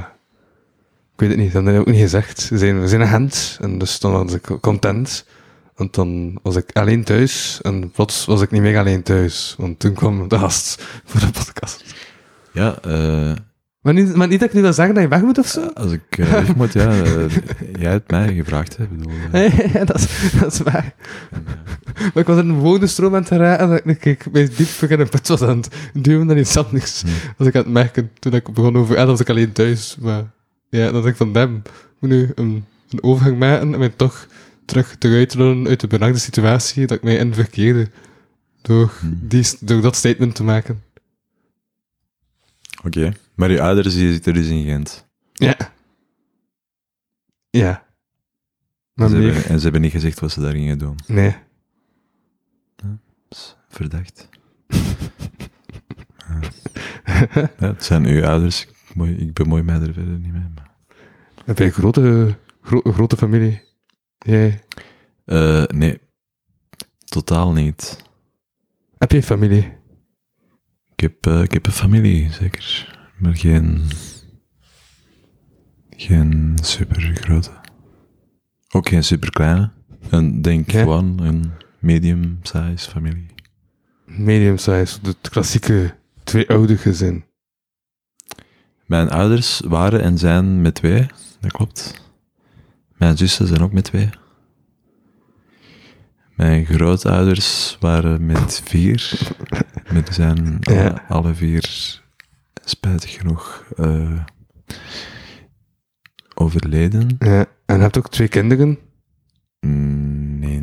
ik weet het niet. Dat heb ik ook niet gezegd. Ze zijn, we zijn een hand en dus dan was ik content. Want dan was ik alleen thuis en plots was ik niet meer alleen thuis. Want toen kwam de gast voor de podcast. Ja, eh, Maar niet, maar niet dat ik nu wil zeggen dat je weg moet of zo. als ik eh, weg moet, ja, eh, jij hebt mij gevraagd. Hè, Ik bedoel, eh, Nee, dat is, dat is waar. Maar ik was in een woordenstroom aan het geraken en ik, ik ben diep in een put was aan het duwen en iets anders. Als ik aan het merken, toen ik begon over... En dan was ik alleen thuis, maar... Ja, dan dacht ik van, damn, ik moet nu een, een overgang maken en mij toch terug eruit rollen uit de benarde situatie dat ik mij in verkeerde. Door, die, door dat statement te maken. Oké, maar je ouders die zitten dus in Gent. Ja. Ja. Maar Ze meer- hebben, en ze hebben niet gezegd wat ze daar gingen doen. Nee. Dat is Verdacht. ja. Ja, het zijn uw ouders. Ik, mooi, ik bemoei mij er verder niet mee. maar- Heb jij een grote, gro- grote familie? Jij... Eh, nee, totaal niet. Heb je familie? Ik heb, eh, ik heb een familie, zeker. Maar geen. Geen supergrote. Ook geen superkleine. Een, denk Ja. gewoon een medium size familie. Medium size, het klassieke twee-oude gezin. Mijn ouders waren en zijn met twee, dat klopt. Mijn zussen zijn ook met twee. Mijn grootouders waren met vier. Met zijn alle, Ja. alle vier, spijtig genoeg, eh, overleden. Ja. En hebt ook twee kinderen? Mm, Nee,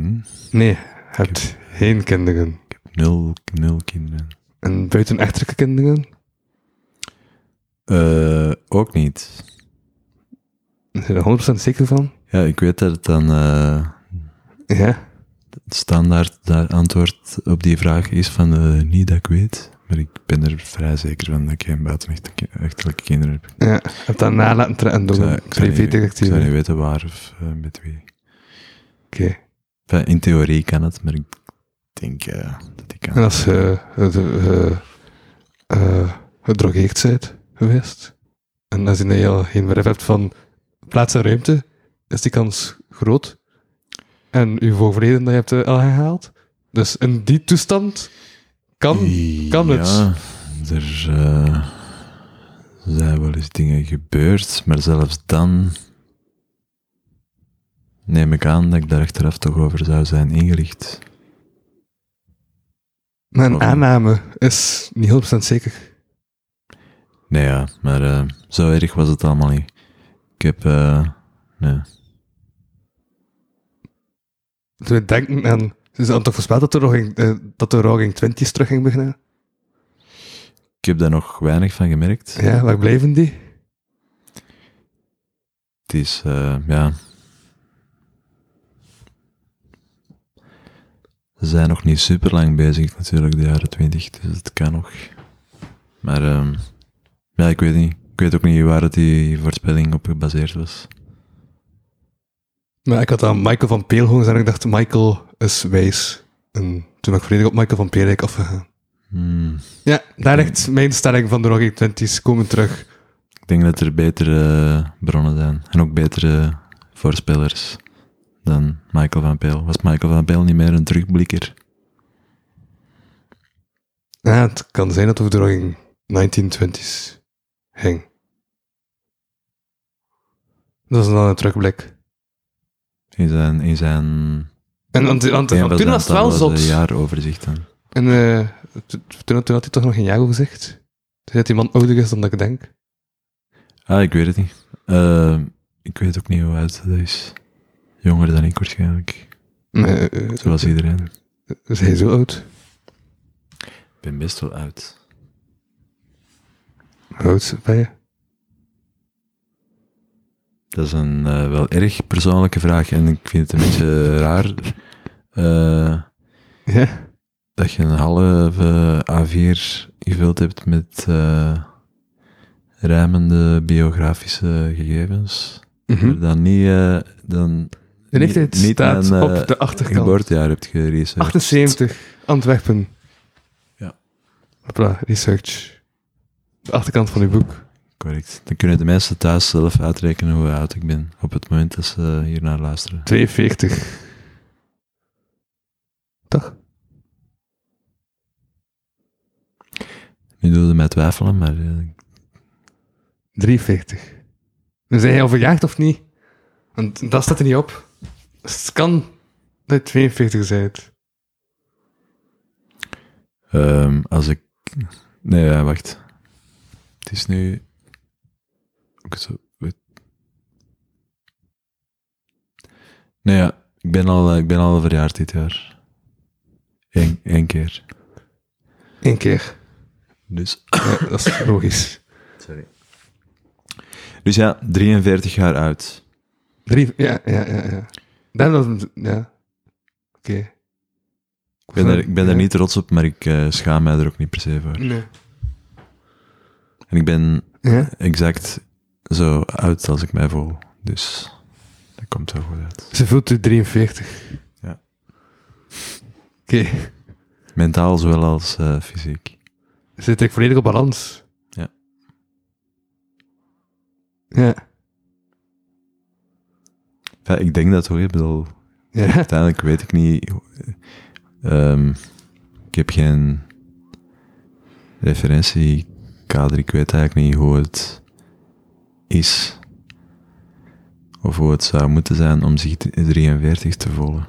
Nee, hebt geen kinderen. ik heb nul, nul kinderen. En buitenechtelijke kinderen? Eh, ook niet. Daar zijn er 100% zeker van? Ja, ik weet dat het dan... eh, Ja. Het standaard daar antwoord op die vraag is van eh, niet dat ik weet, maar ik ben er vrij zeker van dat ik geen buitenechtelijke kinderen heb. Ik ja. Hebt dat nalaten trekken door zou- een ik zou niet- Ik privédirectief? zou niet Oké. weten waar of eh, met wie. Enfin, in theorie kan het, maar ik denk eh, dat ik En kan. als je eh, eh, nou eh, eh, gedrogeerd bent geweest, en als je een heel geen meer hebt van plaats en ruimte, is die kans groot. En uw voorverleden dat je hebt eh, al gehaald. Dus in die toestand kan, kan het. Ja, er eh, zijn wel eens dingen gebeurd, maar zelfs dan neem ik aan dat ik daar achteraf toch over zou zijn ingelicht. Mijn Waarom? aanname is niet 100% zeker. Nee, ja, maar eh, zo erg was het allemaal niet. Ik heb... eh, nee. Toen we denken aan... Ze hadden toch voorspeld dat de Roging, eh, dat de Roging 20's terug ging beginnen? Ik heb daar nog weinig van gemerkt. Ja, waar blijven die? Het is, eh, ja... Ze zijn nog niet super lang bezig natuurlijk, de jaren twintig, dus het kan nog. Maar ehm, ja, ik weet niet. Ik weet ook niet waar het die voorspelling op gebaseerd was. Maar ik had aan Michael van Peel gehoord en ik dacht, Michael is wijs. En toen ben ik volledig op Michael van Peelrijk afgegaan. Hmm. Ja, daar ligt mijn stelling van de Rocky 20's komen terug. Ik denk dat er betere bronnen zijn en ook betere voorspellers dan Michael van Peel. Was Michael van Peel niet meer een terugblikker? Ja, het kan zijn dat het over de Rocky 1920's ging. Dat is dan een terugblik. In zijn... In zijn En want, want, Ja, want dat toen was het wel aantal zot. eh, jaaroverzicht dan. En eh, t- t- toen, toen had hij toch nog een jago gezegd. Toen zei dat die man ouder is dan dat ik denk. Ah, ik weet het niet. Eh, ik weet ook niet hoe oud dat is. Jonger dan ik waarschijnlijk. Eh, eh, Zoals iedereen. is hij zo oud? Ik ben best wel oud. Hoe oud ben je? Dat is een eh, wel erg persoonlijke vraag en ik vind het een beetje raar eh, Ja. dat je een halve A4 gevuld hebt met eh rijmende biografische gegevens. Maar dan niet, eh, dan Mhm. De leeftijd niet- niet staat mijn, eh, op de achterkant. geboortejaar hebt geresearched. 78, Antwerpen. Ja. Hopla, research. De achterkant van uw boek. Correct. Dan kunnen de mensen thuis zelf uitrekenen hoe oud ik ben op het moment dat ze hier naar luisteren. 42. Toch? Nu doe je mij twijfelen, maar eh, 43. Dan zijn jij al verjaagd of niet? Want dat staat er niet op. Dus het kan dat je 42 bent. ehm, als ik. Nee, ja, wacht. Het is nu. Ik zo- weet- Nee, ja, ik ben al, eh, ik ben al verjaard dit jaar. Eén één keer. Eén keer. Dus. Ja, dat is logisch. Sorry. Dus ja, 43 jaar oud. Drie, ja, ja, ja. ja. Dan dat, ja. Oké. Ik ben, er, ik ben er Ja. niet trots op, maar ik eh, schaam mij er ook niet per se voor. Nee. En ik ben Ja? exact zo oud als ik mij voel. Dus dat komt wel goed uit. Ze voelt u 43. Ja. Oké. Mentaal zowel als eh, fysiek. Zit ik volledig op balans? Ja. Ja. Enfin, ik denk dat hoor. Ik bedoel, Ja. uiteindelijk weet ik niet. hoe- ehm, ik heb geen referentiekader. Ik weet eigenlijk niet hoe het is. Of hoe het zou moeten zijn om zich 43 te voelen.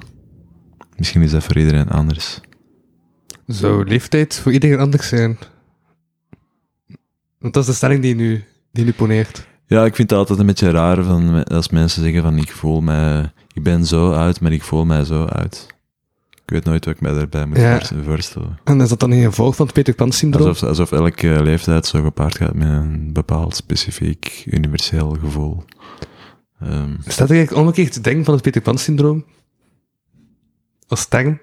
Misschien is dat voor iedereen anders. Zou leeftijd voor iedereen anders zijn? Want dat is de stelling die je nu, die je nu poneert. Ja, ik vind het altijd een beetje raar van, me- als mensen zeggen van ik voel mij, ik ben zo oud, maar ik voel mij zo oud. Ik weet nooit wat ik mij daarbij moet Ja. voor- voorstellen. En is dat dan niet een gevolg van het Peter Pan syndroom? Alsof, alsof elke eh, leeftijd zo gepaard gaat met een bepaald specifiek universeel gevoel. Ehm, Is dat eigenlijk omgekeerd te denken van het Peter Pan syndroom? Als term?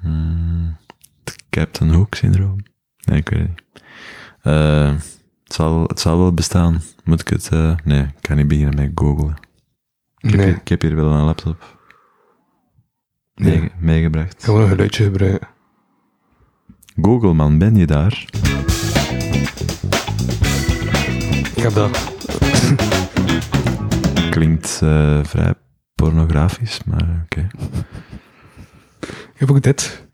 hmm, het Captain Hook syndroom? Nee, ik weet het niet. Eh, het, zal, het zal wel bestaan. Moet ik het... eh, nee, ik kan niet beginnen met googlen. Ik, heb Nee. hier- ik heb hier wel een laptop Nee. meege- meegebracht. Gewoon een geluidje gebruiken. Google man, ben je daar? Ik heb dat. Klinkt eh, vrij pornografisch, maar oké. Ik heb ook dit.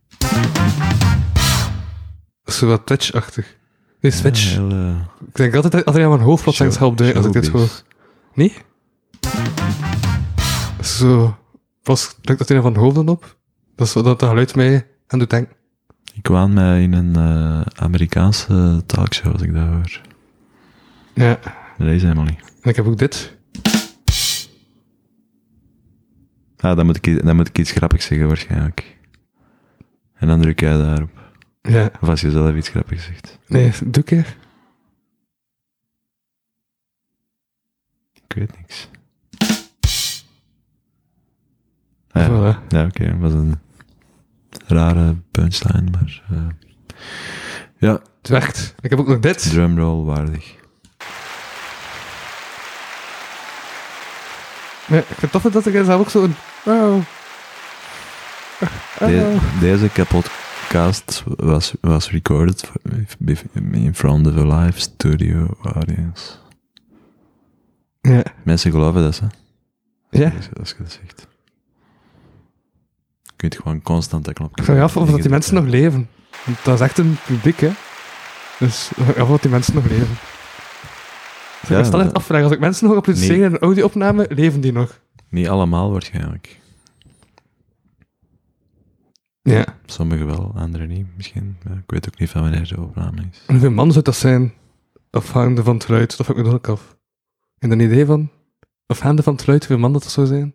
Dat is zo wat Twitch-achtig. Nee, Switch. Heel, eh, Ik denk altijd dat Adriaan mijn hoofd wat langs show- helpt als ik dit hoor. showbiz. Nee? Zo. Pas drukt dat een van het hoofd dan op. Dat is wat dat geluid mij aan doet denken. Ik kwam mij in een eh, Amerikaanse talkshow als ik dat hoor. Ja. Deze helemaal niet. En ik heb ook dit. Ah, dan moet, ik, i- dan moet ik iets grappigs zeggen waarschijnlijk. En dan druk jij daarop. Ja. Of als je zelf iets grappigs zegt. Nee, doe ik hier. Ik weet niks. Ah, ja, Voilà. ja oké. was een rare punchline, maar... eh, ja, Het werkt. Ik heb ook nog dit. drumroll waardig. Ja, ik vind het tof dat ik zelf ook zo'n... Wow. De- deze kapotcast was, was recorded for- in front of a live studio audience. Ja. Mensen geloven dat, hè? Ja. Als je- Als je dat zegt. Je kunt gewoon constant dat knopje... Ik vraag me af of dat die ingedrukt mensen nog leven. Want dat is echt een publiek, hè. Dus ik vraag me af of die mensen nog leven. Dus Ja, ik me stel echt dat- afvragen. Als ik mensen nog applaudisseren Nee. in een audio-opname, leven die nog? Niet allemaal waarschijnlijk. Ja. Sommigen wel, anderen niet misschien. Ja, ik weet ook niet van wanneer de opname is. En hoeveel man zou dat zijn? Afhangende van het geluid. Dat vind ik me dan ook af. En een idee van? Afhangende van het geluid, hoeveel man dat, dat zou zijn?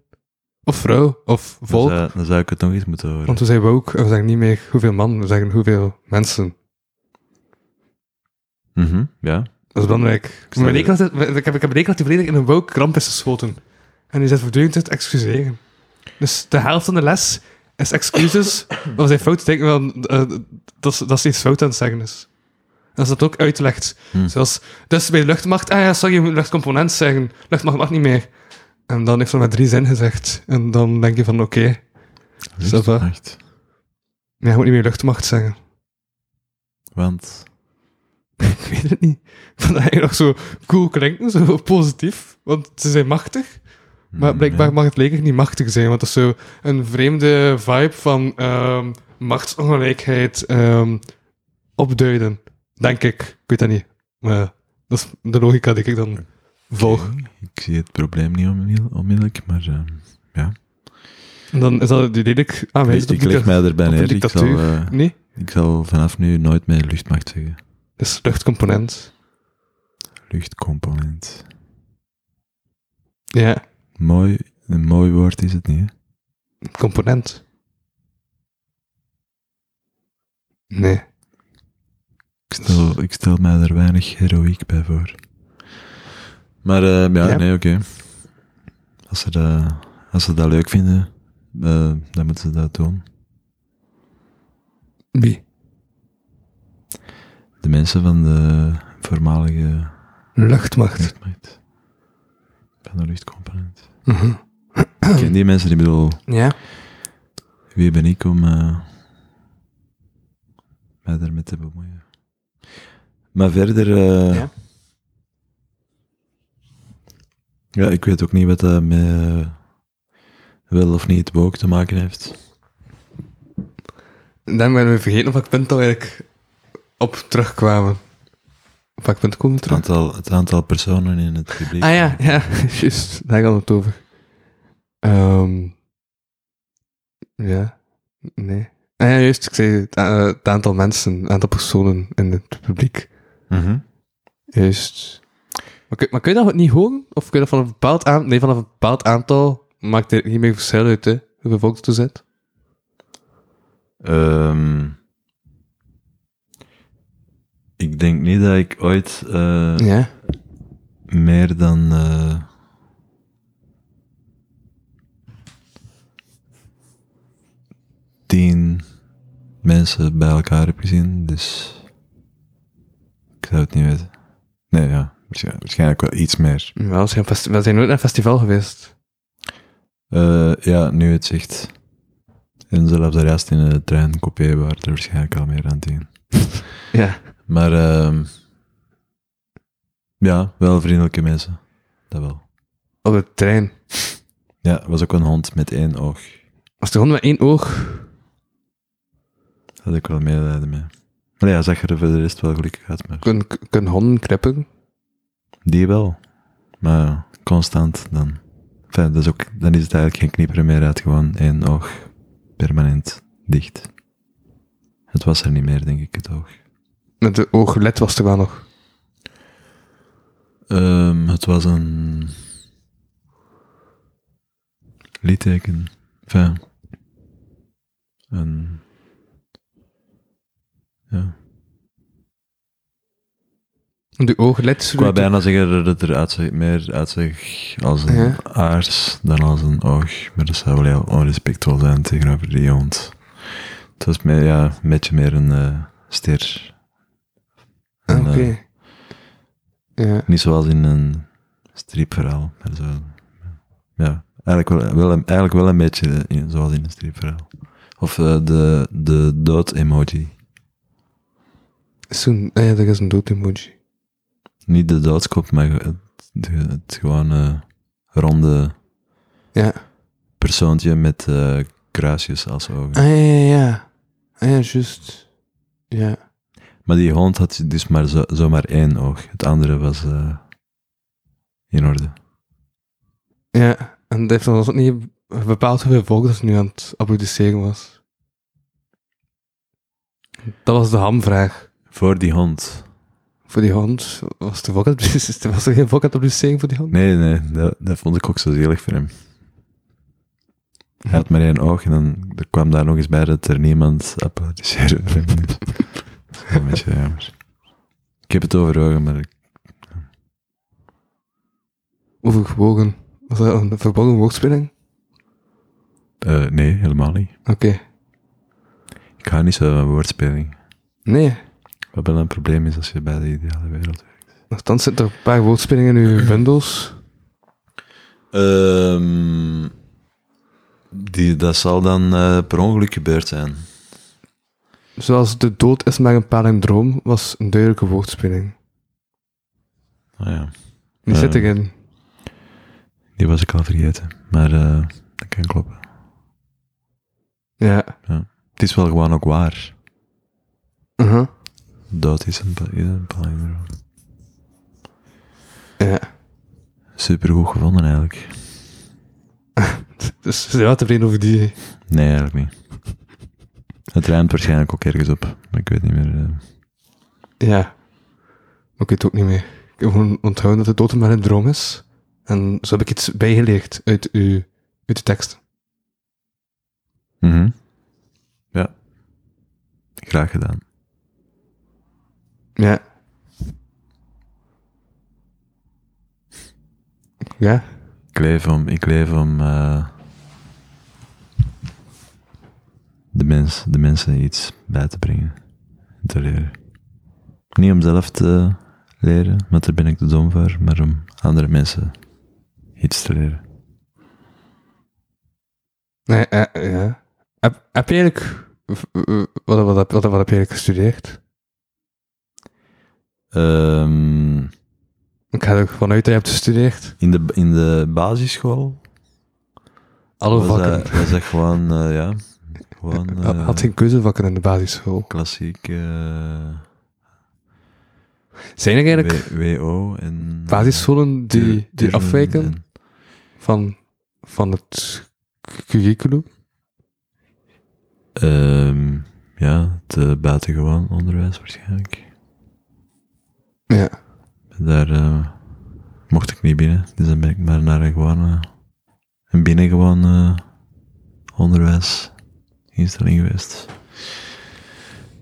Of vrouw, of Dan volk. zou, dan zou ik het nog eens moeten horen. Want we zijn ook, en we zeggen niet meer hoeveel man, we zeggen hoeveel mensen. Oh. Mhm, ja. Dat is belangrijk. snap Mijn het. rekening had- Ik heb, ik heb rekening dat die volledig in een woke kramp is geschoten. En die zit voortdurend te excuseren. Dus de helft van de les is excuses. Of zijn fout denken van eh, dat, ze- dat ze iets fout aan het zeggen is. En ze dat ook uitlegt. Zoals, dus bij de luchtmacht, ah ja, sorry, je moet luchtcomponent zeggen. Luchtmacht mag niet meer. En dan heeft ze maar drie zin gezegd. En dan denk je van, oké, Ça va. Echt. nee, je moet niet meer luchtmacht zeggen. Want... Ik weet het niet. Ik vond dat eigenlijk nog zo cool klinken, zo positief. Want ze zijn machtig. Maar mm, blijkbaar ja. mag het leger niet machtig zijn. Want dat is zo een vreemde vibe van ehm, machtsongelijkheid ehm, opduiden. Denk ik. Ik weet dat niet. Maar dat is de logica die ik dan volg. Oké, Ik zie het probleem niet onmiddell- onmiddellijk, maar... ehm, En dan is dat die lelijk aanwezig. ik op die leg mij erbij op de neer. Ik zal, dictatuur. eh, Nee, ik zal vanaf nu nooit meer luchtmacht zeggen. dat is luchtcomponent. Luchtcomponent. Ja, Mooi, een mooi woord is het niet, hè? component. Nee. Ik stel, ik stel mij er weinig heroïek bij voor. Maar eh, ja, Ja. nee, oké. Als, ze dat- als ze dat leuk vinden, eh, dan moeten ze dat doen. Wie? De mensen van de voormalige Luchtmacht. luchtmacht. Van de luchtcomponent. Mhm. Ik ken die mensen, die bedoel, Ja. wie ben ik om eh, mij daarmee te bemoeien. Maar verder... eh, Ja. Ja, ik weet ook niet wat dat met eh, wel of niet woke te maken heeft. En dan werden we vergeten op welk punt dat we eigenlijk op terugkwamen. Op welk punt komen we Het terug? aantal, het aantal personen in het publiek. Ah ja, ja, juist. Daar gaan we het over. Ehm, ja, nee. Ah ja, juist. Ik zei het, a- het aantal mensen, het aantal personen in het publiek. Mhm. Juist. Maar kun, maar kun je dat niet horen? Of kun je dat van een bepaald aantal... Nee, vanaf een bepaald aantal maakt het niet meer verschil uit, hè? Hoeveel volk er zit. Ehm, ik denk niet dat ik ooit eh, Ja. meer dan. eh, tien mensen bij elkaar heb gezien, dus. Ik zou het niet weten. Nee, ja, waarsch- waarschijnlijk wel iets meer. Wel, we zijn, festi- we zijn nooit naar een festival geweest. Eh, ja, nu het zicht. En zelfs de rest in de trein, coupé, waren er waarschijnlijk al meer dan tien. Ja. Maar ehm, ja, wel vriendelijke mensen. Dat wel. Op de trein. Ja, er was ook een hond met één oog. Als de hond met één oog. Daar had ik wel medelijden mee. Maar ja, zag er voor de rest wel gelukkig uit. Maar Kunnen kun honden kreppen? die wel. Maar constant dan. Enfin, dat is ook, dan is het eigenlijk geen knieperen meer uit. Gewoon één oog. Permanent. Dicht. Het was er niet meer, denk ik, het oog. Met de ooglet was er wel nog. Ehm, het was een liedteken. Enfin, een... Ja. De ooglet. Ik wou bijna zeggen dat het eruit zag, meer uitzag als een Ja. aars dan als een oog. Maar dat zou wel heel onrespectvol zijn tegenover die hond. Het was meer, ja, een beetje meer een eh ster. Ah, Een, Oké. eh, Ja. Niet zoals in een stripverhaal. Maar zo. Ja, eigenlijk wel, wel, een- eigenlijk wel een beetje eh, in- zoals in een stripverhaal. Of eh, de, de dood-emoji. Zo'n, ah ja, dat is een dood emoji. Niet de doodskop, maar het, het, het gewoon eh, ronde Ja. persoontje met eh, kruisjes als ogen. Ah ja, ja, ja. Ah ja, juist. Ja. Maar die hond had dus maar zo, zomaar één oog. Het andere was eh, in orde. Ja. En dat heeft dan ook niet bepaald hoeveel vogels het nu aan het applaudisseren was. Dat was de hamvraag. Voor die hond. Voor die hond was, de vogel, was er geen vogel aan het applaudisseren voor die hond. Nee, nee, dat, dat vond ik ook zo zielig voor hem. Hij had maar één oog en dan er kwam daar nog eens bij dat er niemand applaudisseerde voor hem. Dus dat is wel een beetje jammer. Ik heb het overwogen, maar ik- Overgewogen. Was dat een verborgen woordspeling? eh, nee, helemaal niet. Oké. Ik hou niet zo van woordspeling. Nee. Wat wel een probleem is als je bij de ideale wereld werkt. Nochtans zitten er een paar woordspelingen in uw bundels. Ehm, die, dat zal dan eh, per ongeluk gebeurd zijn. Zoals de dood is maar een palindroom, was een duidelijke woordspeling. Ah ja, Die Ja. zit erin. die was ik al vergeten. Maar eh, dat kan kloppen. Ja. Het is wel gewoon ook waar. Uh-huh. Dood is een, pla- is een palindroom. Ja. Supergoed gevonden eigenlijk. Dus ze zijn wel tevreden over die. Nee, eigenlijk niet. Het ruimt waarschijnlijk ook ergens op. Maar ik weet niet meer. eh. Ja. Maar ik weet het ook niet meer. Ik heb gewoon onthouden dat de dood maar een droom is. En zo heb ik iets bijgeleerd uit uw, uit uw tekst. Mhm. Ja. Graag gedaan. Ja. Ja. Ik leef om, ik leef om eh, de, mens, de mensen iets bij te brengen. en Te leren. Niet om zelf te leren, want daar ben ik te dom voor, maar om andere mensen iets te leren. Nee, eh, ja. Heb, heb je eigenlijk... v- eh, Wat, wat, wat, wat heb je eigenlijk gestudeerd? Ehm, Ik ga er vanuit dat je hebt gestudeerd. in, de, in de basisschool Alle was vakken. dat, was dat gewoon, eh, ja, gewoon Oh, Had- eh, Had geen keuzevakken in de basisschool. klassiek eh, Zijn er eigenlijk W- WO en... eh, basisscholen die, tur- die turnen afwijken en- van, van het cu- curriculum? Ehm, ja, het eh, buitengewoon onderwijs waarschijnlijk. Ja. Daar eh, mocht ik niet binnen, dus dan ben ik maar naar een gewoon eh, een binnengewoon eh, onderwijsinstelling geweest.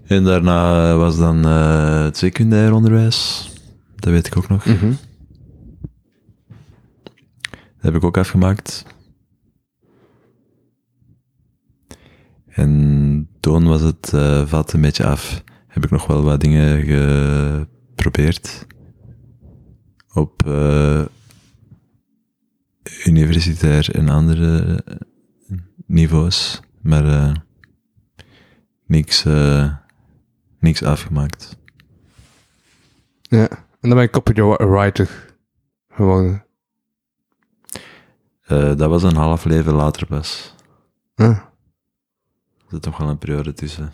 En daarna was dan eh, het secundair onderwijs, dat weet ik ook nog. Dat heb ik ook afgemaakt. En toen was het eh, vat een beetje af. Heb ik nog wel wat dingen geprobeerd. Op eh, universitair en andere eh, niveaus. Maar eh, niks, eh, niks afgemaakt. ja. En dan ben ik copywriter geworden. Eh, dat was een half leven later pas. Huh. Er zit toch wel een periode tussen.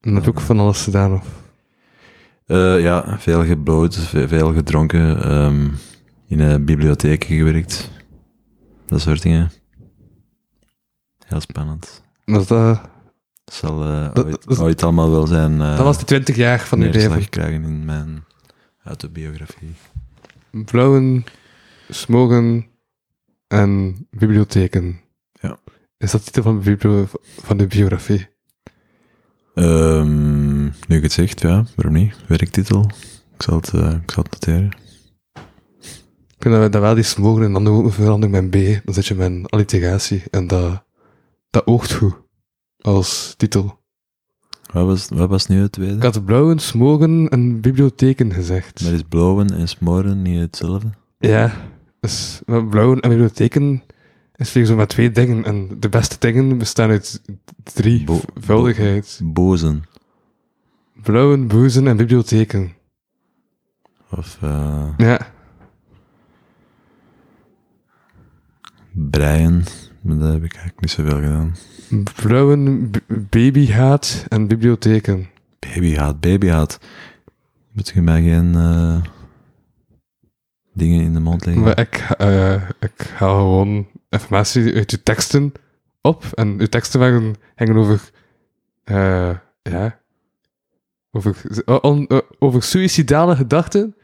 En dat heb ik van alles gedaan. Of... Eh, ja, veel gebloot, ve- veel gedronken, ehm, in een bibliotheek gewerkt. Dat soort dingen. Heel spannend. Dat, eh, Het zal eh, Dat- ooit, dat- ooit allemaal wel zijn eh, dat was de 20 jaar van uw neerslag leven. krijgen in mijn autobiografie. Vrouwen, smogen en bibliotheken. Ja. Is dat de titel van de, bibli- van de biografie? Ehm, nu ik het zegt, ja, waarom niet? Werktitel. Ik zal het, eh, ik zal het noteren. Ik vind dat we dat wel die smogen en dan doen we ook een verandering met een B. Dan zet je mijn alliteratie en dat, dat oogt goed als titel. Wat was, wat was nu het tweede? Ik had blauwen, smogen en bibliotheken gezegd. Maar is blowen en smoren niet hetzelfde? Ja, dus maar blauwen en bibliotheken is weer zo maar twee dingen. En de beste dingen bestaan uit drie Bo- voudigheid. Bozen. Blauwen, boezen en bibliotheken. Of eh Ja, breien. Maar dat heb ik eigenlijk niet zoveel gedaan. blauwen, b- babyhaat en bibliotheken. Babyhaat, babyhaat. Moet je mij geen eh, dingen in de mond leggen? Maar ik, eh, ik haal gewoon informatie uit je teksten op. En uw teksten waren, hangen over... eh, ja... Over, eh, on- eh, over suïcidale gedachten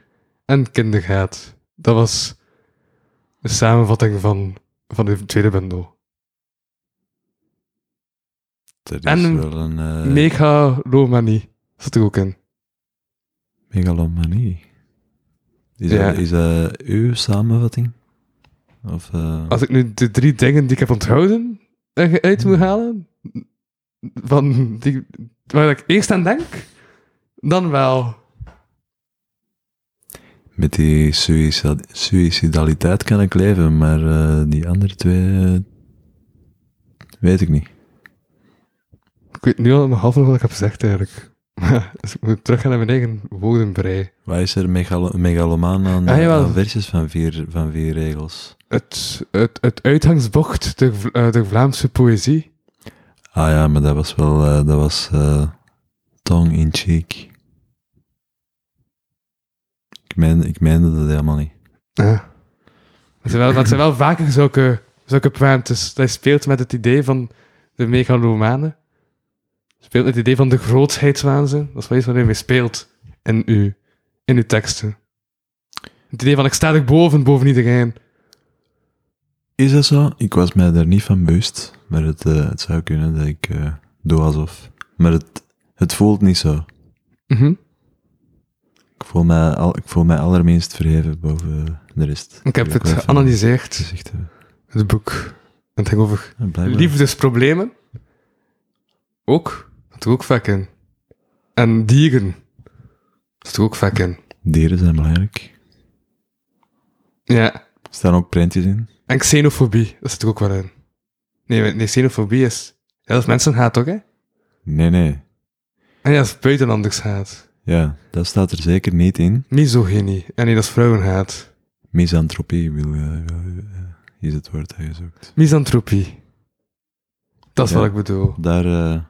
en kindergaat. Dat was de samenvatting van, van de tweede bundel. Dat is en- wel een eh, Megalomanie zat er ook in. megalomanie. Is, Ja. dat, is dat uw samenvatting? Of, eh, Als ik nu de drie dingen die ik heb onthouden eh, uit moet halen, van die, waar ik eerst aan denk, dan wel. Met die suïcida- suïcidaliteit kan ik leven, maar eh, die andere twee eh, weet ik niet. Ik weet nu al mijn half nog wat ik heb gezegd eigenlijk. dus ik moet teruggaan naar mijn eigen woordenbrei. Waar is er megalo megalomaan aan, Ah, jawel. aan versjes van vier, van vier regels? Het, het, het uitgangsbocht der, Vla- eh, der Vlaamse poëzie. Ah ja, maar dat was wel, eh, dat was eh, tongue in cheek. Ik, meen, ik meende dat helemaal niet. Ja. Dat zijn wel, dat zijn wel vaker zulke, zulke poëntes. Dat speelt met het idee van de megalomanen. Speelt met het idee van de grootheidswaanzin. Dat is wel iets waar je mee speelt in uw, in uw teksten. Het idee van ik sta er boven, boven iedereen. Is dat zo? Ik was mij daar niet van bewust, maar het, eh, het zou kunnen dat ik eh, doe alsof. Maar het, het voelt niet zo. Mhm. Ik voel mij, al, ik voel mij allerminst verheven boven de rest. Ik heb Wil het wel even geanalyseerd, gezegd hebben. het boek. En het ging over eh, Ja, blijkbaar. liefdesproblemen. Ook. Dat er ook vaak in. En dieren. Dat er ook vaak in. Dieren zijn belangrijk. Ja. Er staan ook printjes in. En xenofobie. Dat zit er ook wel in. Nee, nee xenofobie is... Ja, dat is mensenhaat toch, hè? Nee, nee. En ja, dat is buitenlandershaat. Ja, dat staat er zeker niet in. Misogynie. En nee, dat is vrouwenhaat. Misantropie wil, eh, wil- eh, is het woord dat je zoekt. Misantropie. Dat is Ja. wat ik bedoel. Daar, eh,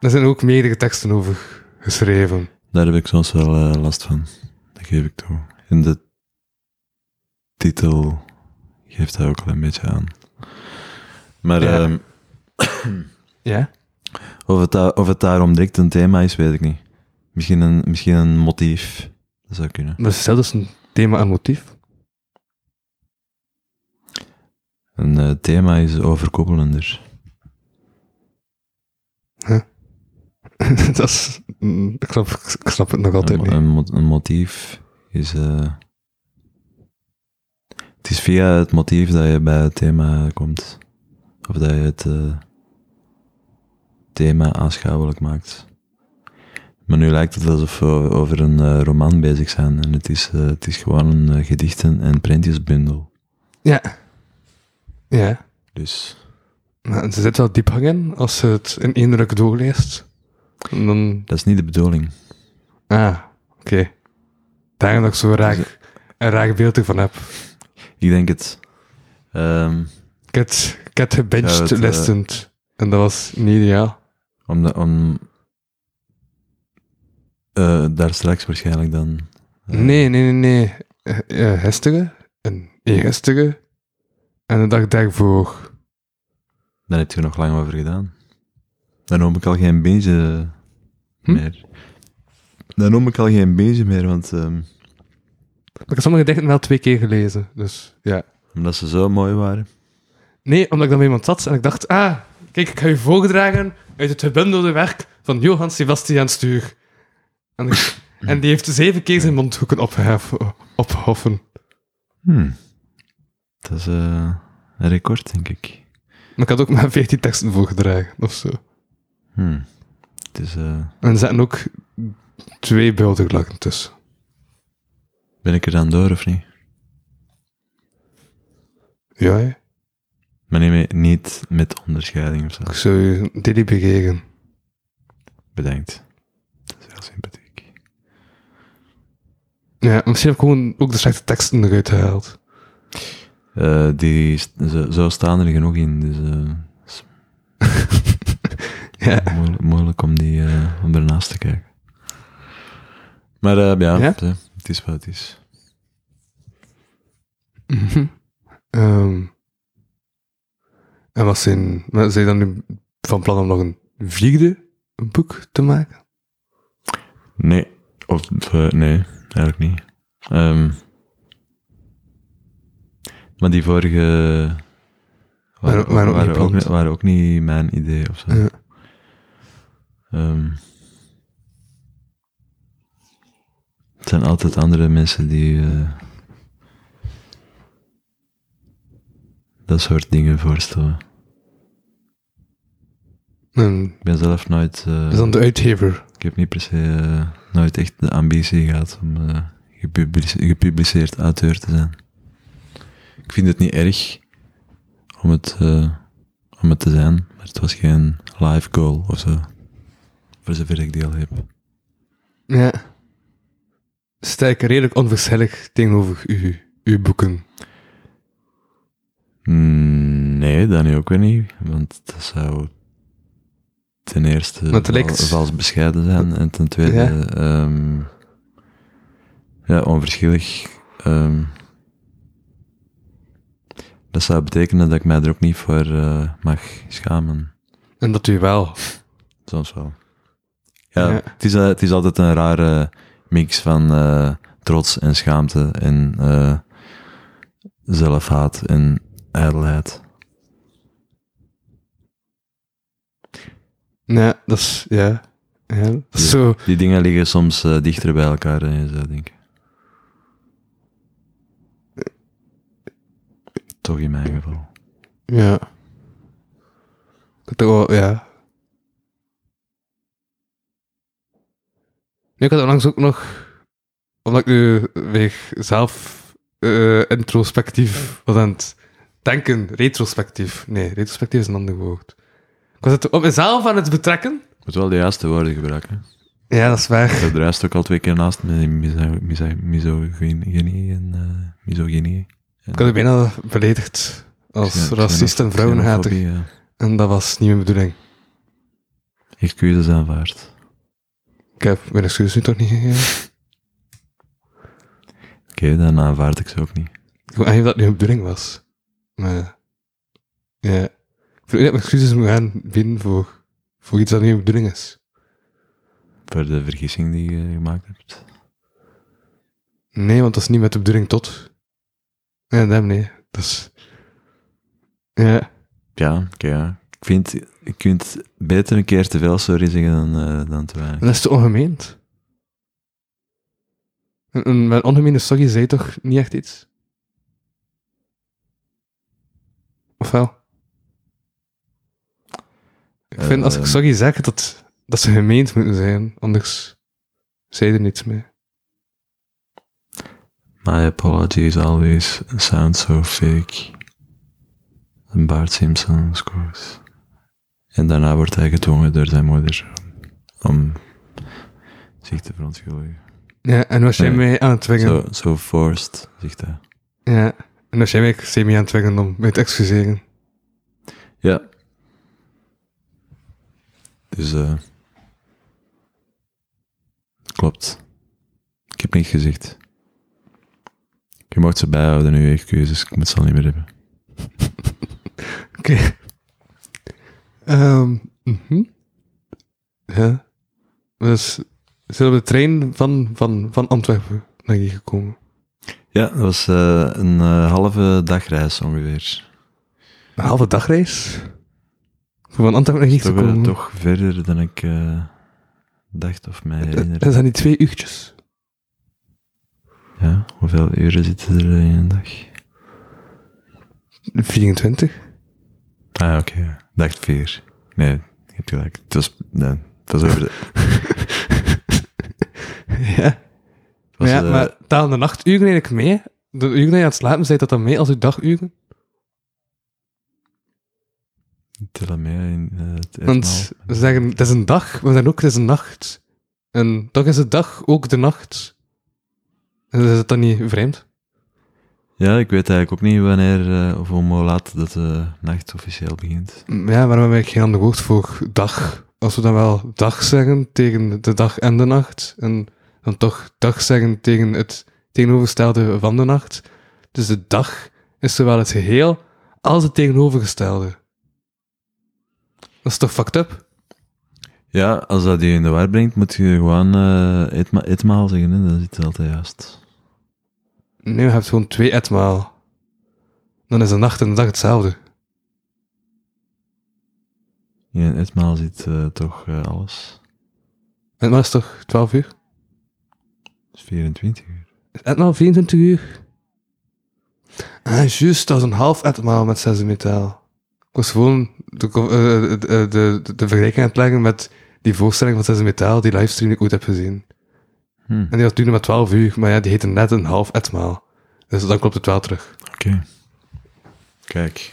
Daar zijn ook meerdere teksten over geschreven. daar heb ik soms wel eh, last van. Dat geef ik toe. En de titel geeft daar ook wel een beetje aan. Maar Ja. ehm, Ja? of, het daar, of het daarom direct een thema is, weet ik niet. Misschien een, misschien een motief. Dat zou kunnen. Dat is zelfs een thema en motief. Een eh, thema is overkoepelender. dat is... mm, Ik snap, ik snap het nog altijd Een, niet. een, mo- een motief is. eh, het is via het motief dat je bij het thema komt. Of dat je het eh, thema aanschouwelijk maakt. Maar nu lijkt het alsof we over een eh, roman bezig zijn. En het is, eh, het is gewoon een eh, gedichten- en printjesbundel. Ja. Ja. Dus Maar ze zit wel diep hangen als ze het in één ruk doorleest. En dan... dat is niet de bedoeling. Ah, oké. Daarom dat ik zo raak, een raak beeld ervan heb. Ik denk het. Ehm, Ik had, ik had Ja, gebenched het, eh, listened. En dat was niet ideaal. om de- om eh, daar straks waarschijnlijk dan. eh, Nee, nee, nee, nee. Eh, eh, Gisteren. En eergisteren. En de dag daarvoor. Daar heb je er nog lang over gedaan. Dan noem ik al geen beentje Hm? meer. Dan noem ik al geen beentje meer, want ehm, Maar ik heb sommige gedichten wel twee keer gelezen. Dus ja. omdat ze zo mooi waren. Nee, omdat ik dan bij iemand zat en ik dacht, ah, kijk, ik ga u voordragen uit het gebundelde werk van Johann Sebastian Stuur. En, ik- en die heeft zeven keer zijn mondhoeken opgeheffen- opgehoffen. Hm. Dat is eh, een record, denk ik. Maar ik had ook maar veertien teksten voorgedragen, of zo. Hm. Het is, eh, En er zaten ook twee builderlakken tussen. ben ik er dan door of niet? Ja, hè? Maar nee, nee, niet met onderscheiding of zo. ik zou je delibereren. Bedankt. Dat is heel sympathiek. Ja, misschien heb ik gewoon ook de slechte teksten eruit gehaald. Eh, die st- zo, zo staan er genoeg in, dus eh, is Ja. moeilijk, moeilijk om, die, eh, om ernaast te kijken. Maar eh, ja, Ja? eh, het is wat het is. Mhm. Ehm, en wat zijn, maar zijn je dan nu van plan om nog een vierde boek te maken? Nee, of eh, nee, eigenlijk niet. Ehm, maar die vorige Waren- ook- waren ook niet waren, ook, gepland. waren ook niet mijn idee of zo. Ja. Ehm, het zijn altijd andere mensen die eh, dat soort dingen voorstellen. En Ik ben zelf nooit. eh, is dan de uitgever. Ik heb niet per se eh, nooit echt de ambitie gehad om eh, gepublice- gepubliceerd auteur te zijn. Ik vind het niet erg om het, eh, om het te zijn, maar het was geen life goal of zo. Voor zover ik die al heb. Ja. Sta ik redelijk onverschillig tegenover u, uw boeken. Mm, Nee, dat nu ook weer niet, want dat zou ten eerste Maar het val- lijkt- vals bescheiden zijn en ten tweede Ja. ehm, ja, onverschillig. ehm. dat zou betekenen dat ik mij er ook niet voor eh, mag schamen. En dat u wel. Soms wel. Ja, Ja. Het, is, eh, het is altijd een rare mix van eh, trots en schaamte en eh, zelfhaat en ijdelheid. Ja, dat is, ja. ja. Dat is Ja. zo. Die dingen liggen soms eh, dichter bij elkaar dan je zou denken. Toch in mijn geval. Ja. Ik had er wel, ja. Nu, ik had onlangs ook nog, omdat ik nu weer zelf eh, introspectief was aan het denken, retrospectief. Nee, retrospectief is een ander woord. Ik was het op mezelf aan het betrekken. Ik moet wel de juiste woorden gebruiken. Ja, dat is waar. Ik heb de rest ook al twee keer naast me in miso- miso- misogynie en eh misogynie. Ik had u bijna beledigd als Xeno- racist en xenofobie, vrouwenhater. ja. En dat was niet mijn bedoeling. Excuses aanvaard. Ik heb mijn excuses nu toch niet gegeven. Oké, dan aanvaard ik ze ook niet. Ik wil aangeven dat het nu een bedoeling was. Maar, ja. Ik vind ook niet dat ik excuses moet gaan bieden voor, voor iets dat niet mijn bedoeling is. Voor de vergissing die je gemaakt hebt. Nee, want dat is niet met de bedoeling tot. Ja, daarom nee. Dat is... Ja. Ja, oké. ja. Ik vind, je kunt beter een keer te veel sorry zeggen dan, eh, dan te weinig. Dat is te ongemeend. Een, een, een ongemeende sorry zei toch niet echt iets? Of wel? Ik vind als ik Ehm. sorry zeg, dat, dat ze gemeend moeten zijn. Anders zei er niets mee. My apologies always sound so fake. Een Bart Simpson, of course. En daarna wordt hij gedwongen door zijn moeder om zich te verontschuldigen. Ja, en was jij Nee. mij aan het dwingen? Zo so, forced, zegt hij. Ja. En dan zijn wij semi aan het dwingen om mij te excuseren. Ja. Dus, eh. Klopt. Ik heb niks gezegd. Je mag ze bijhouden nu, je keuzes. Ik moet ze al niet meer hebben. Oké. Ehm, mhm. Ja. Dus we zijn op de trein van, van, van Antwerpen naar hier gekomen. Ja, dat was eh, een eh, halve dagreis ongeveer. Een halve dagreis? Voor van Antwerpen naar hier te Toch, eh, komen. toch verder dan ik eh, dacht of mij herinner. Eh, Dat zijn die twee uurtjes. Ja, hoeveel uren zitten er in een dag? 24. Ah, oké. ja. Dag vier. Nee, je hebt gelijk. Het was, nee, het was over de... Ja. het was, ja, eh, maar talen de nachturen eigenlijk mee? De uren die je aan het slapen zei dat dan mee als uw daguren? Tel mee in eh, het etmaal. Want ze zeggen, het is een dag, maar ze zeggen ook, het is een nacht. En toch is de dag ook de nacht. En is het dan niet vreemd? Ja, ik weet eigenlijk ook niet wanneer eh, of om hoe laat dat de nacht officieel begint. Ja, waarom hebben we eigenlijk geen ander woord voor dag? Als we dan wel dag zeggen tegen de dag en de nacht, en dan toch dag zeggen tegen het tegenovergestelde van de nacht. Dus de dag is zowel het geheel als het tegenovergestelde. Dat is toch fucked up? Ja, als dat je in de war brengt, moet je gewoon eh etma etmaal zeggen. Hè? Dat zit altijd juist. Nee, je hebt gewoon twee etmaal. Dan is de nacht en de dag hetzelfde. In een etmaal zit eh, toch eh, alles. Het maar is toch 12 uur? Dat is 24 uur. Etmaal 24 nou, uur? Ah, juist, dat is een half etmaal met 6 metaal. Ik was gewoon de, co- eh, eh, eh, de, de, de vergelijking aan het leggen met die voorstelling van 6 metaal, die livestream die ik ooit heb gezien. Hm. En die was duurde maar 12 uur, maar ja, die heette net een half etmaal. Dus dan klopt het wel terug. Oké. Kijk,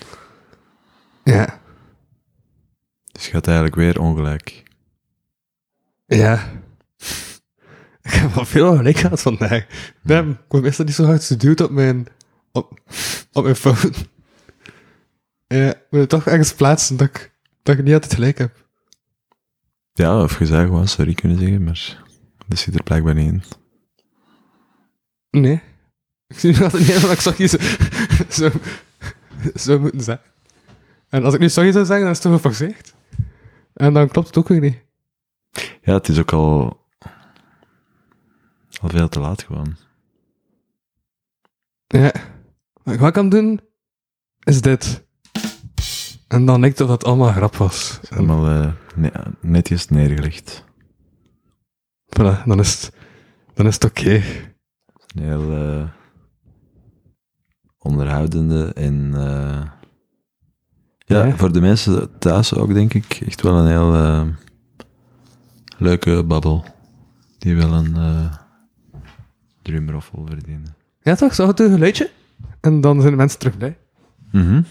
Ja. dus je gaat eigenlijk weer ongelijk. Ja. Ik heb al veel gelijk gehad vandaag. Damn, ik word meestal niet zo hard geduwd op mijn, op, op mijn phone. Ja, ik moet het toch ergens plaatsen dat ik, dat ik niet altijd gelijk heb. Ja, of je zou gewoon sorry kunnen zeggen, maar dat zit er blijkbaar niet in. Nee. Ik zie nu altijd niet wat ik sorry zo, zo, zo moeten zeggen. En als ik nu sorry zou zeggen, dan is het toch geforceerd. En dan klopt het ook weer niet. Ja, het is ook al, al veel te laat gewoon. Ja. Wat ik wel kan doen, is dit. En dan denk ik dat dat allemaal een grap was. En- Helemaal eh, ne- netjes neergelegd. Voilà, dan is het, dan is het oké. Een heel eh, onderhoudende en... eh, ja, Ja. voor de mensen thuis ook, denk ik, echt wel een heel eh, leuke babbel. Die wel een eh drumroffel verdienen. Ja toch, zou het een geluidje? En dan zijn de mensen terug blij. Mhm.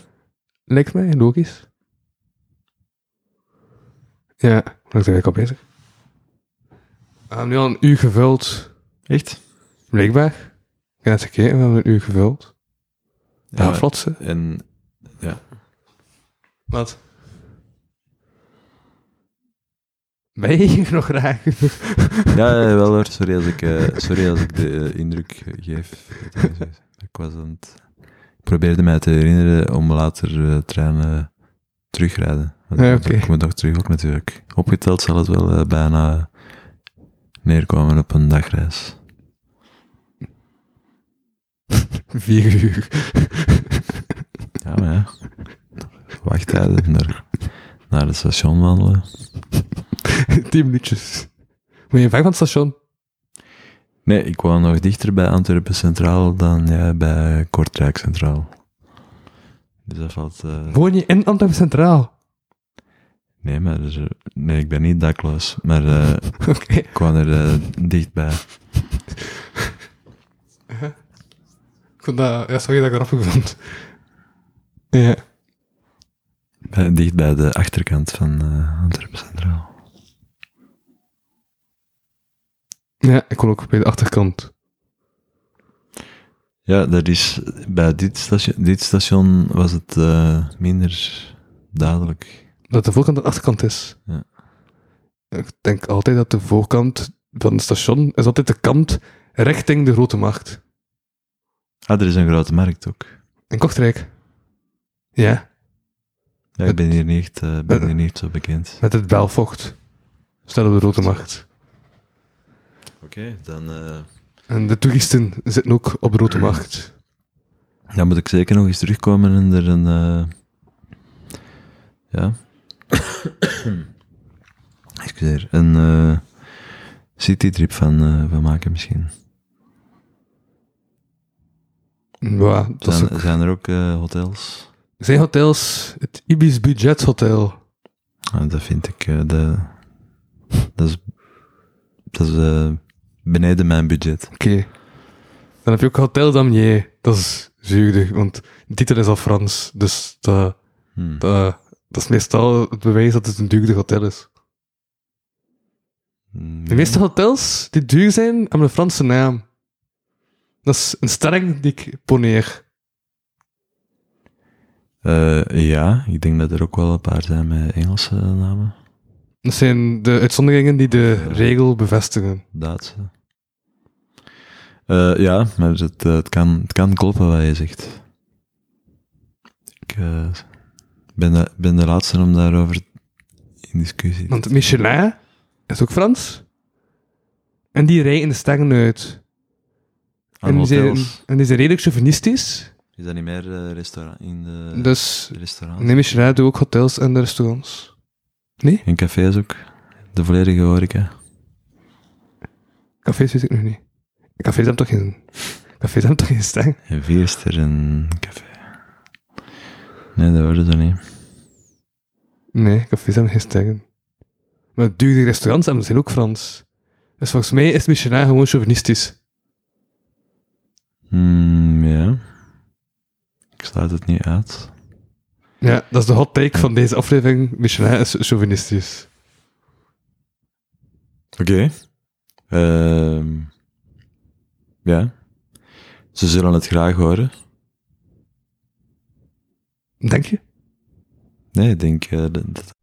Lijkt mij logisch. Ja, daar zijn we al bezig. We hebben nu al een uur gevuld. Echt? Blijkbaar. Ik heb net gekeken, we hebben een uur gevuld. Ja, Ja, vlot ze. en ja, Wat? Ben je hier nog graag? Ja, ja, wel hoor. Sorry als ik, eh, sorry als ik de eh, indruk eh, geef. Ik was aan het... Ik probeerde mij te herinneren om later eh, treinen terugrijden. Want Ja, ik moet- oké. Ik moet nog terug ook natuurlijk. Opgeteld zal het wel eh, bijna neerkomen op een dagreis. Vier uur. Ja, maar ja. Wachttijden naar, naar het station wandelen. Tien minuutjes. Moet je weg van het station? Nee, ik woon nog dichter bij Antwerpen Centraal dan jij bij Kortrijk Centraal. Dus dat valt... eh, Woon je in Antwerpen Centraal? Nee, maar er is- nee, ik ben niet dakloos, maar eh, Oké. ik kwam er eh, dichtbij. Ik vond dat, ja, sorry dat ik dat grappig vond. Ja. Bij- eh, Dicht bij de achterkant van eh Antwerpen Centraal. ja, ik kon ook bij de achterkant. Ja, dat is, bij dit station, dit station was het eh, minder duidelijk. Dat de voorkant aan de achterkant is. Ja. Ik denk altijd dat de voorkant van het station is altijd de kant richting de grote markt. Ah, er is een grote markt ook. In Kortrijk. Ja, Ja, ik ben hier niet, echt, eh, ben hier niet zo bekend. met het Belvocht. Stel op de grote markt. Oké, dan, eh, En de toeristen zitten ook op de grote markt. dan moet ik zeker nog eens terugkomen en er een... eh, ja. Excuseer. Een eh, citytrip van, eh, van maken misschien. Ja, dat is Zijn, ook- zijn er ook eh, hotels? Zijn hotels, het Ibis Budget Hotel. Ah, dat vind ik... eh, de, dat is, dat is eh, beneden mijn budget. Oké. Dan heb je ook Hotel Damier. Dat is zuurder, want de titel is al Frans. Dus dat, Hmm. dat, dat is meestal het bewijs dat het een duurder hotel is. Mm. De meeste hotels die duur zijn, hebben een Franse naam. Dat is een stelling die ik poneer. Eh, ja, ik denk dat er ook wel een paar zijn met Engelse namen. Dat zijn de uitzonderingen die de regel bevestigen. Duitse. Eh, ja, maar het, eh, het, kan, het kan kloppen wat je zegt. Ik eh, ben, de, ben de laatste om daarover in discussie te Want Michelin is ook Frans. En die rijden de sterren uit. Aan en, die zijn, hotels. en die zijn redelijk chauvinistisch. Is dat niet meer eh, restaurant in de Dus restaurant? neem Michelin doet ook hotels en restaurants. In cafés ook. De volledige horeca. Cafés weet ik nog niet. Cafés hebben toch geen... Cafés hebben toch geen sterren? En vier sterren café. Nee, dat worden ze niet. Nee, cafés hebben geen sterren. Maar duurde restaurants hebben zijn ook Frans. Dus volgens mij is Michelin gewoon chauvinistisch. Hmm, ja. Ik sluit het niet uit. Ja, dat is de hot take van deze aflevering. Michelin is chauvinistisch. Oké. Ehm, ja. Ze zullen het graag horen. Denk je? Nee, ik denk eh, dat, dat-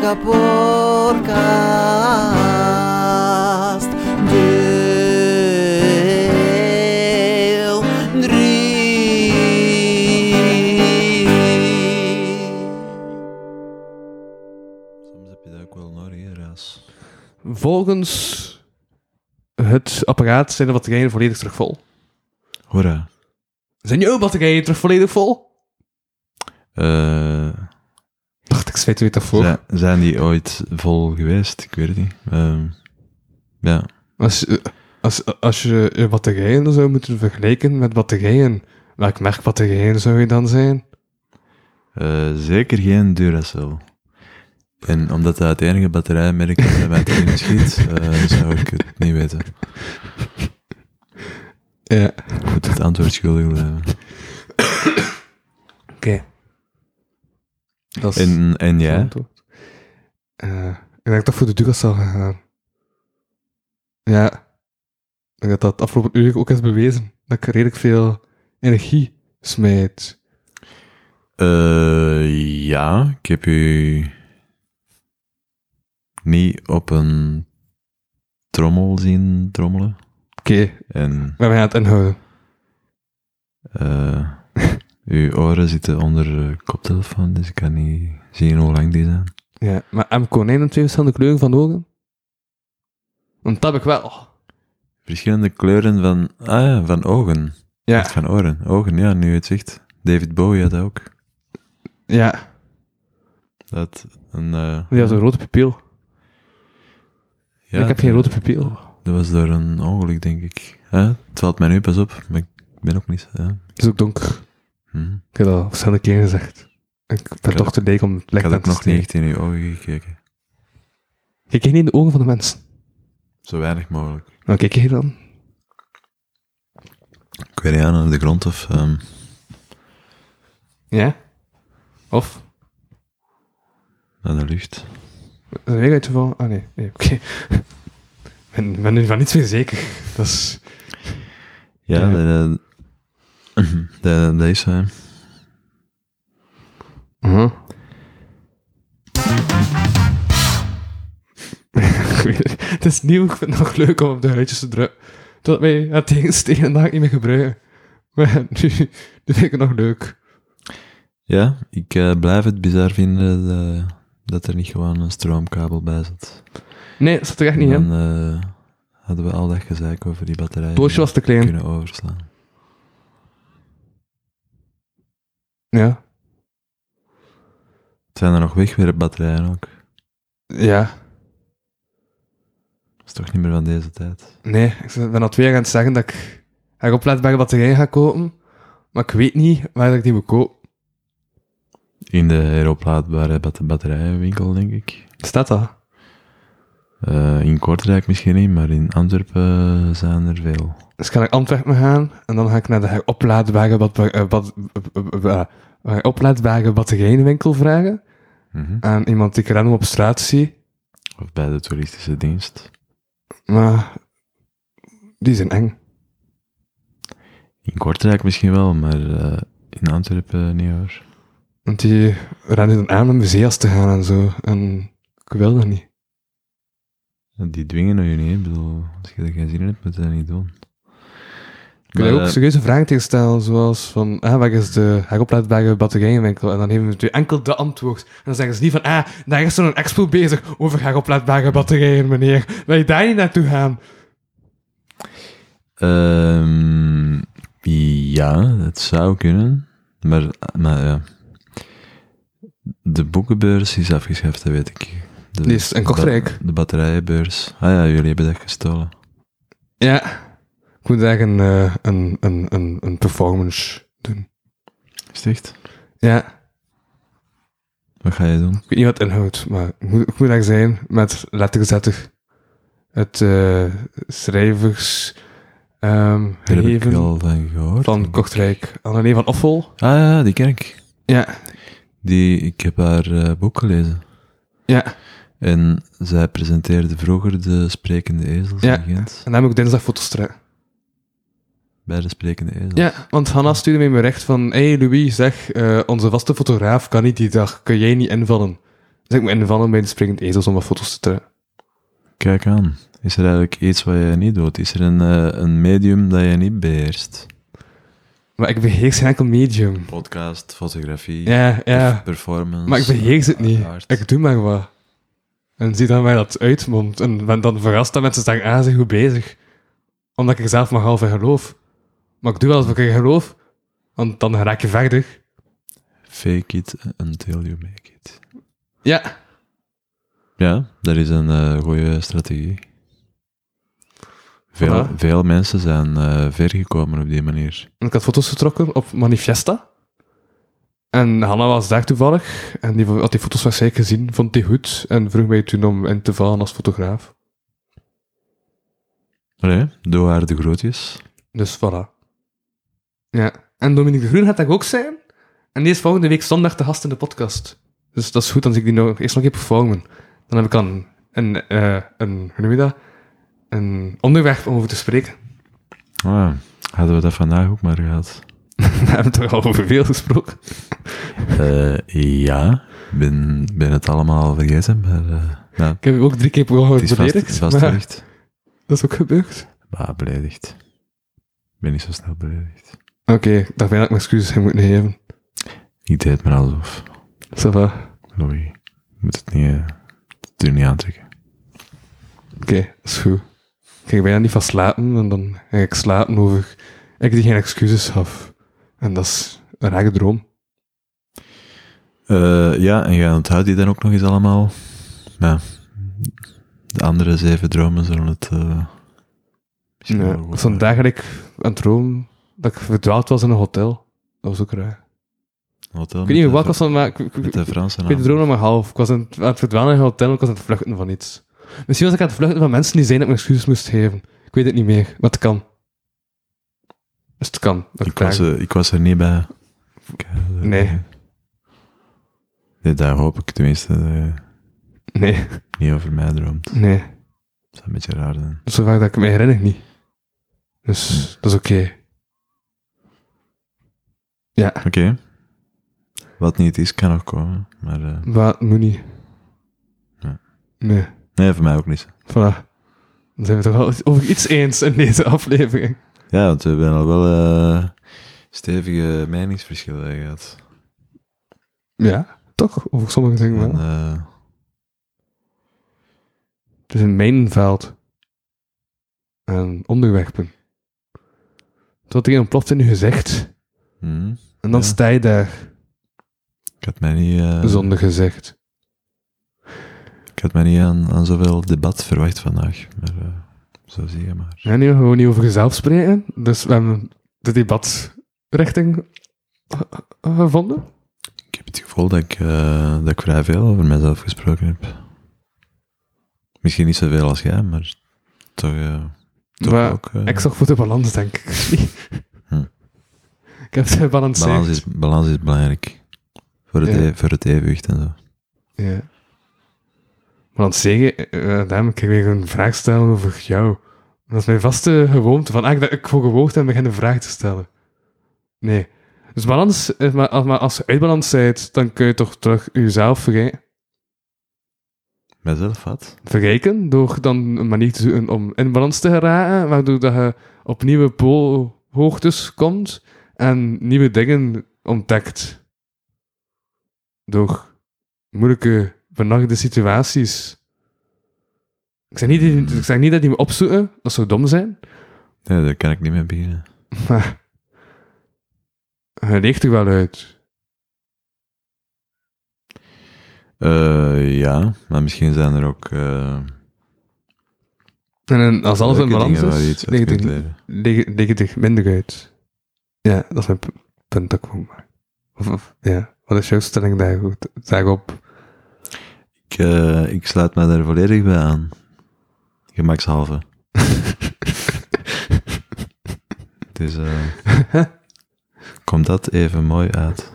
De podcast deel drie. Soms heb je dat ook wel nodig, hè, Raas. Volgens het apparaat zijn de batterijen volledig terug vol. Hoera. Zijn jouw batterijen terug volledig vol? Eh, Dacht ik, zweet u het daarvoor. zijn, zijn die ooit vol geweest? Ik weet het niet. Ehm, ja. Als, je- als, als je je batterijen zou moeten vergelijken met batterijen, welk merk batterijen zou je dan zijn? Eh, zeker geen Duracell. En omdat dat het enige batterijmerk is dat mij tegen schiet, eh, zou ik het niet weten. Ja. Ik moet het antwoord schuldig blijven. Oké. Dat is En, en het jij? antwoord. Eh, ik denk toch voor de Duracell gegaan. Ja. Ik denk dat dat het afgelopen uur ook is bewezen. Dat ik redelijk veel energie smijt. Eh, ja, ik heb u niet op een trommel zien trommelen. Oké, En maar we gaan het inhouden. eh, uw oren zitten onder de koptelefoon, dus ik kan niet zien hoe lang die zijn. Ja, maar hebben konijnen twee verschillende kleuren van ogen? Want dat heb ik wel. Verschillende kleuren van, ah ja, van ogen. Ja. Niet Van oren. Ogen, ja, nu je het zegt. David Bowie had dat ook. Ja, Dat een, eh, die had een rode pupil. ja, ik heb geen rode pupil. Dat was door een ongeluk, denk ik. Hè? het valt mij nu pas op, maar ik ben ook niet... Ja. Het is ook donker. Hm. Ik heb dat al verschillende keren gezegd. Ik ben Ik toch had- te leeg om het Ik lekker had ook te nog niet steken. echt in uw ogen gekeken. Kijk je niet in de ogen van de mensen. Zo weinig mogelijk. Nou, kijk je dan. Ik weet niet aan, aan de grond of... ehm, Ja? Of? naar de lucht. Is er weer uitgevallen? Ah, nee. nee Oké. ben, ben nu van niets meer zeker. Dat is... Ja, dat, dat, dat is eh, zo. hè. Ik weet het. het is nieuw, ik vind het nog leuk om op de huidjes te drukken. Tot mij het tegenstenen dat ik niet meer gebruiken. Maar nu, nu vind ik het nog leuk. Ja, ik eh, blijf het bizar vinden eh, dat er niet gewoon een stroomkabel bij zat. Nee, dat zat er echt niet in. Dan eh, hadden we al dat gezeik over die batterij Het doosje was te klein. kunnen overslaan. Ja. Het zijn er nog wegwerpbatterijen ook. Ja. Dat is toch niet meer van deze tijd. Nee, ik ben al twee jaar aan het zeggen dat ik een opladbare batterij ga kopen. Maar ik weet niet waar ik die moet kopen. In de heroplaadbare bat- batterijenwinkel, denk ik. Staat dat? Eh, in Kortrijk misschien niet, maar in Antwerpen eh, zijn er veel. Dus kan ik Antwerpen gaan en dan ga ik naar de heroplaadbare, bat, eh, bat, eh, eh, eh, heroplaadbare batterijenwinkel vragen. Mhm. Aan iemand die ik random op straat zie. Of bij de toeristische dienst. Maar die zijn eng. In Kortrijk misschien wel, maar eh, in Antwerpen niet hoor. Want die raden dan aan om de zeeas te gaan en zo. En ik wil dat niet. Die dwingen je niet, hè. ik bedoel, als je er geen zin in hebt, moet je dat niet doen. Ik wil Maar, je ook eh, serieuze vragen tegenstellen, zoals van, ah, waar is de heroplaadbare batterijenwinkel? En dan geven ze natuurlijk enkel de antwoord. En dan zeggen ze niet van, ah, daar is zo'n expo bezig over heroplaadbare batterijen, meneer. Wil je daar niet naartoe gaan? ehm, ja, het zou kunnen, maar, eh, maar ja. De boekenbeurs is afgeschaft, dat weet ik. De, Die is in Kortrijk. De, ba- de batterijenbeurs. Ah ja, jullie hebben dat gestolen. Ja. Ik moet eigenlijk een, eh, een, een, een, een performance doen. Is het echt? Ja. Wat ga je doen? Ik weet niet wat het inhoudt, maar ik moet, ik moet daar zijn met letterzetter. Het eh, schrijvers... ehm Daar heb ik gegeven al van gehoord. van Kortrijk. Annelie van Offel. Ah ja, die ken ik. Ja. Die, ik heb haar eh, boek gelezen. Ja. En zij presenteerde vroeger de Sprekende Ezels Ja. in Gent. En dan heb ik dinsdag foto's terug. Bij de Sprekende Ezels. Ja, want Hanna stuurde mij een bericht van... hey Louis, zeg, eh, onze vaste fotograaf kan niet die dag. Kun jij niet invallen? Dus ik moet invallen bij de Springend Ezels om wat foto's te trekken. Kijk aan. Is er eigenlijk iets wat jij niet doet? Is er een, eh, een medium dat jij niet beheerst? Maar ik beheers geen enkel medium. Podcast, fotografie, Ja, ja. perf- performance. Maar ik beheers het niet. art. Ik doe maar wat. En zie dan waar dat uitmondt. En ben dan verrast dat mensen zeggen, ah, ze zijn goed bezig. Omdat ik er zelf maar half in geloof. Maar ik doe wel alsof ik in geloof. Want dan raak je verder. Fake it until you make it. Ja. Ja, dat is een eh, goede strategie. Veel, Voilà. veel mensen zijn eh, ver gekomen op die manier. En ik had foto's getrokken op Manifesta. En Hanna was daar toevallig. En die had die foto's waarschijnlijk gezien, vond die goed. En vroeg mij toen om in te vallen als fotograaf. Allee, doe haar de groetjes. Dus voilà. Ja. En Dominique de Groen gaat daar ook zijn. En die is volgende week zondag te gast in de podcast. Dus dat is goed, dan zie ik die nog, eerst nog even performen. Dan heb ik dan een, eh, een, hoe noem je dat? Een onderwerp om over te spreken. Ah, hadden we dat vandaag ook maar gehad? We hebben het er al over veel gesproken. Eh, ja, ik ben, ben het allemaal al vergeten, maar eh, nou, Ik heb u ook drie keer per ongeluk het is vast, beledigd. het is vast maar terecht. dat is ook gebeurd. Maar beledigd. Ik ben niet zo snel beledigd. Oké, daar ben ik mijn excuses in moeten geven. Ik deed maar alsof. Ça va. Oké, Louis, je moet het niet, eh, het er niet aantrekken. dat is goed. Ik ging bijna niet van slapen en dan ging ik slapen over ik die geen excuses gaf. En dat is een rare droom. Eh, ja, en jij onthoudt die dan ook nog eens allemaal. Ja, de andere zeven dromen zullen het... eh, misschien Ja, wel goed vandaag had ik een droom dat ik verdwaald was in een hotel. Dat was ook raar. een hotel Ik weet met niet de- wat was van, maar ik, ik, ik- Met de Franse ik weet naam. de droom nog maar half. Ik was aan het, aan het verdwalen in een hotel en ik was aan het vluchten van iets. Misschien was ik aan het vluchten van mensen die zeiden dat ik mijn excuses moest geven. Ik weet het niet meer, maar het kan. Dus het kan. Dat Ik was, eh, ik was er niet bij. Ik, eh, Nee. Nee, daar hoop ik tenminste dat je Nee, eh, niet over mij droomt. nee. zou een beetje raar zijn. Zo vaak Dus dat ik me herinner niet. Dus dat is oké. Ja, Oké. Wat niet is, kan nog komen. Maar eh, wat moet niet. Ja. Nee, nee, voor mij ook niet. voilà. Dan zijn we toch wel over iets eens in deze aflevering. Ja, want we hebben al wel eh, stevige meningsverschillen gehad. Ja, toch? Over sommige dingen En, wel. eh, Het is een mijnenveld. En onderwerpen. Tot iemand ploft in je gezicht. hm, En dan Ja. sta je daar, ik had mij niet, eh, zonder gezicht. ik had mij niet aan, aan zoveel debat verwacht vandaag. Maar eh, zo zie je maar. We gaan hier gewoon niet over jezelf spreken. Dus we hebben de debatrichting eh, eh, gevonden. Ik heb het gevoel dat ik, eh, dat ik vrij veel over mezelf gesproken heb. Misschien niet zoveel als jij, maar toch, eh, toch Maar ook. eh, ik zag voor de balans, denk ik. Hm. Ik heb ze gebalanceerd. balans, is, balans is belangrijk. Voor het, Ja. e- voor het evenwicht en zo. Ja. Maar aan het zeggen, eh, daarom kan ik weer een vraag stellen over jou. Dat is mijn vaste gewoonte, van ah, dat ik voor gewoogd en begin een vraag te stellen. Nee. Dus balans, is maar, als- maar als je uit balans bent, dan kun je toch terug jezelf verrij- Mezelf wat? verrijken, door dan een manier te zoeken om in balans te geraken, waardoor dat je op nieuwe poolhoogtes komt en nieuwe dingen ontdekt. Door moeilijke, benarde situaties. Ik zeg, niet, Hmm. ik zeg niet dat die me opzoeken, dat zou dom zijn, Nee, daar kan ik niet mee beginnen. maar je leeft er wel uit. Eh, ja, maar misschien zijn er ook. eh, En dan, als alles in leuke balans dingen waar je is, iets uit ligt kunt er, leren. lig- ligt er minder uit. Ja, dat is mijn p- punt dat ik wil maken. Of, of, ja, wat is jouw stelling daar, daarop? Ik, eh, ik sluit mij daar volledig bij aan. Gemakshalve. Het is. eh, komt dat even mooi uit?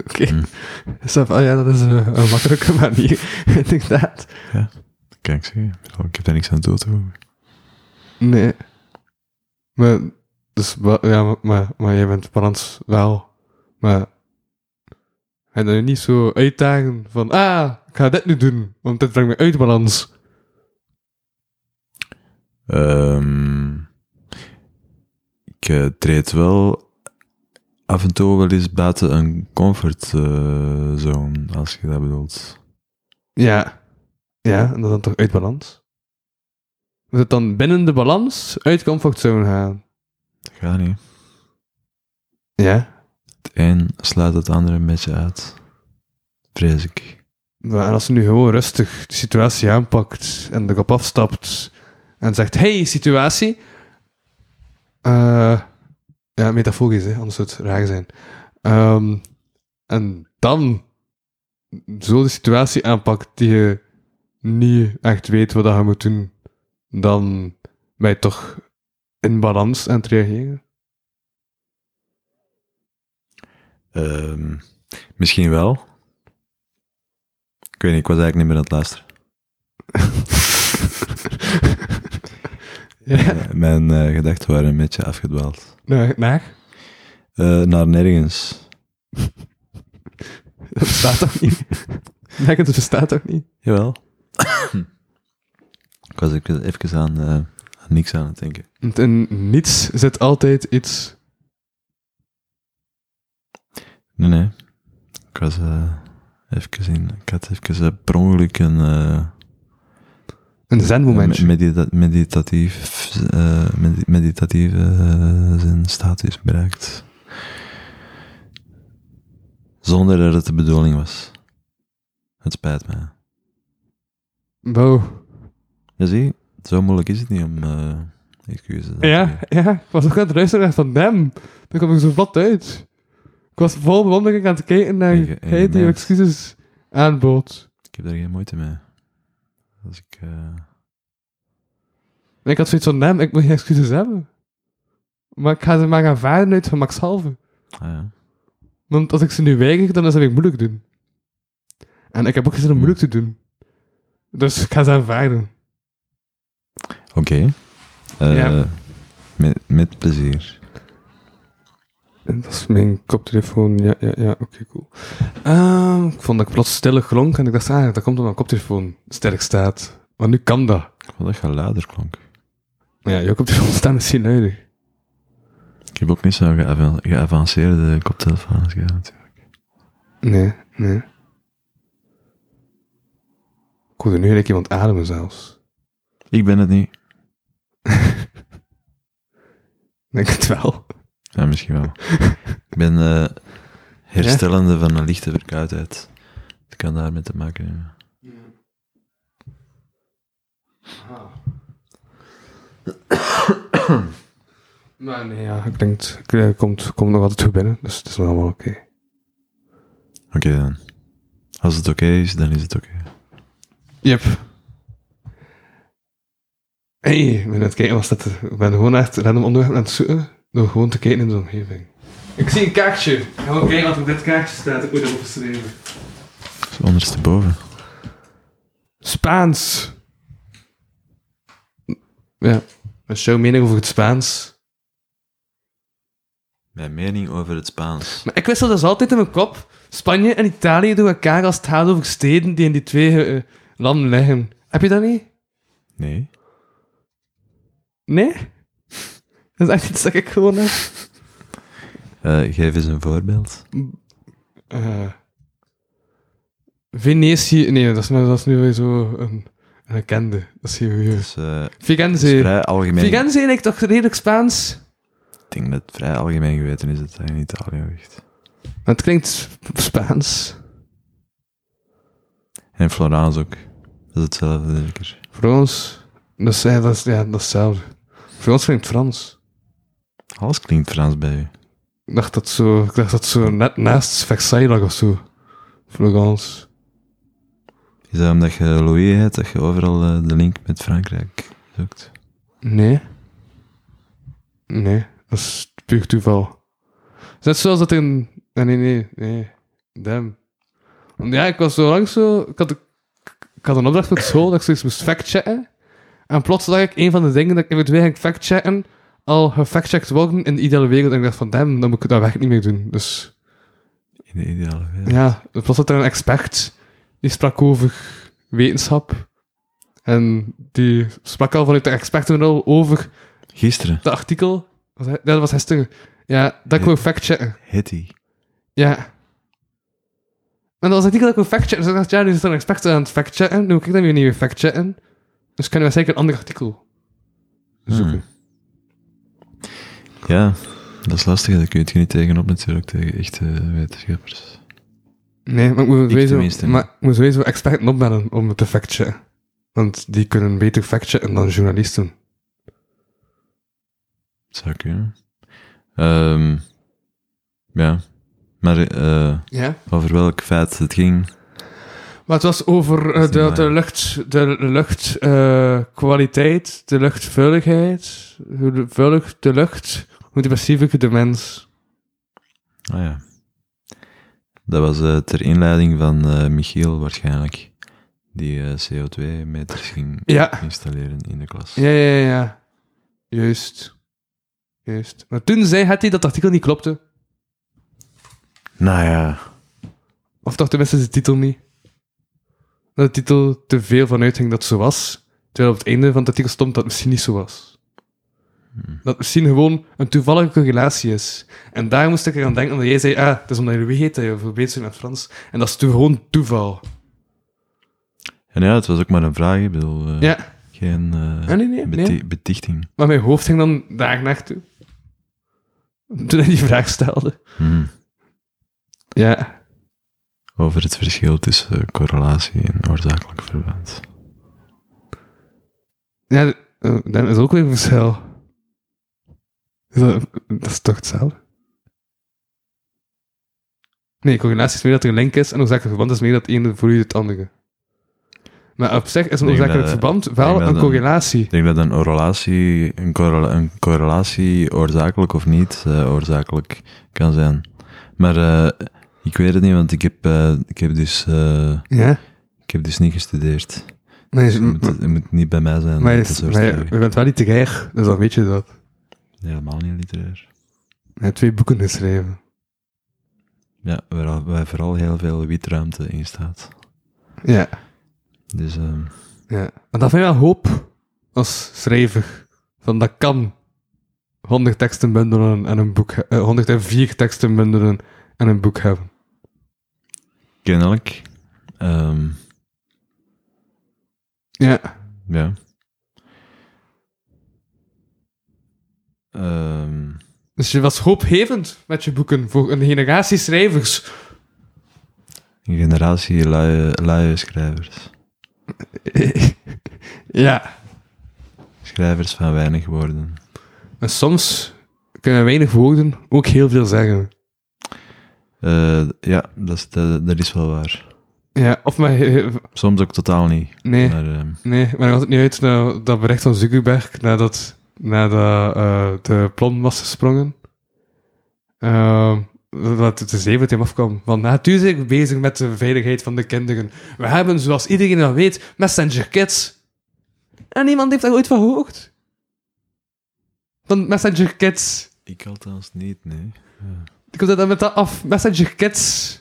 Oké. Is dat- oh ja, dat is een, een makkelijke manier, inderdaad. Kan ik zeggen? Ik bedoel, Ik heb daar niks aan toe te voegen. Nee. Maar, dus, wa- ja, maar, maar, maar jij bent balans wel. Maar, en dan niet zo uitdagen van, ah, ik ga dit nu doen, want dit brengt me uit balans. Ehm, ik eh, treed wel af en toe wel eens buiten een comfortzone, eh, als je dat bedoelt. Ja. Ja, en dat dan toch uit balans? Moet het dan binnen de balans uit comfortzone gaan? Dat gaat niet. Ja. Het een sluit het andere een beetje uit. Vrees ik. Maar en als ze nu gewoon rustig de situatie aanpakt en erop afstapt en zegt, hey, situatie. Eh, ja, metaforisch, hè, anders zou het raar zijn. Ehm, en dan zo de situatie aanpakt die je niet echt weet wat je moet doen, dan ben je toch in balans aan het reageren. Ehm, misschien wel. Ik weet niet, ik was eigenlijk niet meer aan het luisteren. Ja, Eh, Mijn eh, gedachten waren een beetje afgedwaald. naar, naar. Eh, naar nergens. Dat bestaat toch niet? Nee, dat bestaat toch niet? Jawel. ik was ook even aan, eh, aan niks aan het denken. Want in niets zit altijd iets. Nee, nee. Ik was eh, even in... Ik had even eh, per ongeluk een... eh, Een zen-momentje. Een medita- meditatief, eh, medi- meditatieve eh, zijn status bereikt. Zonder dat het de bedoeling was. Het spijt me. Wow. Je ziet, zo moeilijk is het niet om eh excuses aan te Ja, bieden. ja, ik was ook aan het luisteren naar van hem. Dan kwam ik zo vlot uit. Ik was vol bewondering aan het kijken naar En ge- en hij die gemerkt. excuses aanbood. Ik heb daar geen moeite mee. Als ik... eh, En ik had zoiets van hem, ik moet geen excuses hebben. Maar ik ga ze maar gaan varen uit van Max Halve. ah ja. Want als ik ze nu weiger, dan is dat weer moeilijk doen. En ik heb ook geen zin om moeilijk te doen. Dus ik ga ze aanvaarden. Oké. Eh, Ja. met, met plezier. En Dat is mijn koptelefoon. Ja, ja, ja. Oké, cool. Ehm, ik vond dat ik plots stille klonk en ik dacht, ah, dat komt omdat mijn koptelefoon sterk staat. Want nu kan dat. Ik vond dat je luider klonk. Maar ja, jouw koptelefoon staat misschien luider. Ik heb ook niet zo'n geava- geavanceerde koptelefoon als jij natuurlijk. Nee, nee. Ik hoorde nu gelijk iemand ademen zelfs. Ik ben het niet. Ik Denk het wel. Ja, misschien wel. ik ben eh, herstellende van een lichte verkoudheid. Het kan daarmee te maken hebben. Maar nee, ja, ik denk, het- ik, eh, komt, komt nog altijd goed binnen, dus het is nog allemaal oké. Oké dan. Als het oké is, dan is het oké. Yep. Hé, hey, ik ben aan het kijken, was dat, ik ben gewoon echt random onderwerp aan het zoeken, door gewoon te kijken in de omgeving. Ik zie een kaartje. Ik ga gewoon kijken wat op dit kaartje staat, ik moet dat opschrijven. Dus ondersteboven. Spaans. Ja, wat is jouw mening over het Spaans? Mijn mening over het Spaans. Maar ik wissel dus altijd in mijn kop. Spanje en Italië door elkaar als het gaat over steden die in die twee eh, landen liggen. Heb je dat niet? Nee. Nee? Dat is echt iets dat ik gewoon heb. Eh, geef eens een voorbeeld. Eh, Venetië... Nee, dat is, nou- dat is nu weer zo een, een bekende. Dat is hier Het weer... is, eh, het is Firenze. vrij algemeen. Firenze lijkt toch redelijk Spaans? Ik denk dat het vrij algemeen geweten is dat hij in Italië ligt. Maar het klinkt Sp- Spaans. En Florence ook. Dat is hetzelfde iedere keer. Voor ons... Dat is, ja, dat is, ja, dat is hetzelfde. Voor ons klinkt Frans. Alles klinkt Frans bij u. Ik dacht dat zo, ik dacht dat zo net naast Versailles lag of zo. Florence. Is dat omdat je Louis hebt, dat je overal eh, de link met Frankrijk zoekt? Nee. Nee, dat is puur toeval. Het is Net zoals dat er een... Ah, Nee, nee, nee. nee. Damn. Want ja, ik was zo lang zo... Ik had, ik had een opdracht voor de school dat ik zoiets moest factchecken. En plots zag ik een van de dingen dat ik eventueel ging factchecken al gefactcheckt worden in de ideale wereld. En ik dacht van, damn, dan moet ik dat werk niet meer doen. Dus In de ideale wereld. ja, plots had er een expert die sprak over wetenschap. En die sprak al vanuit de expertenrol over Gisteren, dat artikel. Was hij- nee, dat was gisteren. Ja, dat ik Ja. wou factchecken. Hetty. Ja. En dat was het artikel dat ik wou factchecken. Dus ik dacht, ja, nu zit er een expert aan het factchecken. Nu moet ik dan weer niet meer factchecken. Dus kunnen we zeker een ander artikel Hmm. zoeken. Ja, dat is lastig. Daar kun je het niet tegenop natuurlijk, tegen echte eh, wetenschappers. Nee, maar ik moet Ik tenminste sowieso, niet. maar ik moet sowieso experten opbellen om het te factchecken. Want die kunnen beter factchecken dan journalisten. Zou kunnen. Ehm, ja, maar eh, Ja. over welk feit het ging, Maar het was over eh, Dat is niet de, waar. de lucht, de luchtkwaliteit, de luchtvuiligheid, hoe de- vuilig de lucht, hoe depressief de mens. Ah ja. Dat was eh, ter inleiding van eh, Michiel waarschijnlijk, die eh, CO2-meters ging Ja. installeren in de klas. Ja, ja, ja, ja. Juist. Juist. Maar toen zei Hattie dat het artikel niet klopte. Nou ja, Of toch tenminste de titel niet. Dat de titel te veel vanuit ging dat het zo was. Terwijl op het einde van het artikel stond dat het misschien niet zo was. Dat het misschien gewoon een toevallige correlatie is. En daar moest ik eraan denken, omdat jij zei, ah, het is omdat je Louis heet dat je verbeet bent met Frans. En dat is toe- gewoon toeval. En ja, het was ook maar een vraag. Ik bedoel, eh, Ja, geen eh, Ah, nee, nee, beti- nee. betichting. maar mijn hoofd ging dan daar naartoe. Toen hij die vraag stelde. Mhm. Ja. Over het verschil tussen eh, correlatie en oorzakelijk verband. Ja, d- eh, dan is ook weer een verschil. Is dat, dat is toch hetzelfde? Nee, correlatie is meer dat er een link is en oorzakelijk verband is meer dat het ene voedt het andere. Maar op zich is een Ik denk oorzakelijk dat- verband ik denk wel dat een een- correlatie. Ik denk dat een, relatie, een, correla- een correlatie, oorzakelijk of niet, eh, oorzakelijk kan zijn. Maar eh, ik weet het niet, want ik heb, eh, ik heb, dus, eh, Ja? ik heb dus niet gestudeerd. Maar je, Je moet, je moet niet bij mij zijn. maar om je, te surfen. maar je- je bent wel literair, dus dan weet je dat. Nee, helemaal niet literair. Je hebt twee boeken geschreven. Ja, waar, waar vooral heel veel witruimte in staat. Ja. Dus ehm, ja. En dat vind ik wel hoop als schrijver. Van dat kan 100 teksten bundelen en een boek he- eh, 104 teksten bundelen en een boek hebben. kennelijk. ehm, Ja. ja. Ehm, Dus je was hoopgevend met je boeken voor een generatie schrijvers. een generatie luie, luie schrijvers. ja. Schrijvers van weinig woorden. En soms kunnen weinig woorden ook heel veel zeggen. Eh, ja, dat is, dat, dat is wel waar. Ja, of maar... Soms ook totaal niet. Nee. Maar, ehm, Nee, maar dan had het niet uit naar dat bericht van Zuckerberg nadat, nadat eh, de plan was gesprongen. Ehm, dat het de 17 afkwam. Van natuurlijk bezig met de veiligheid van de kinderen. We hebben, zoals iedereen dat weet, Messenger Kids. En niemand heeft daar ooit van gehoord. Van Messenger Kids. ik althans niet, nee. Ik kom dat met dat af. Messenger Kids.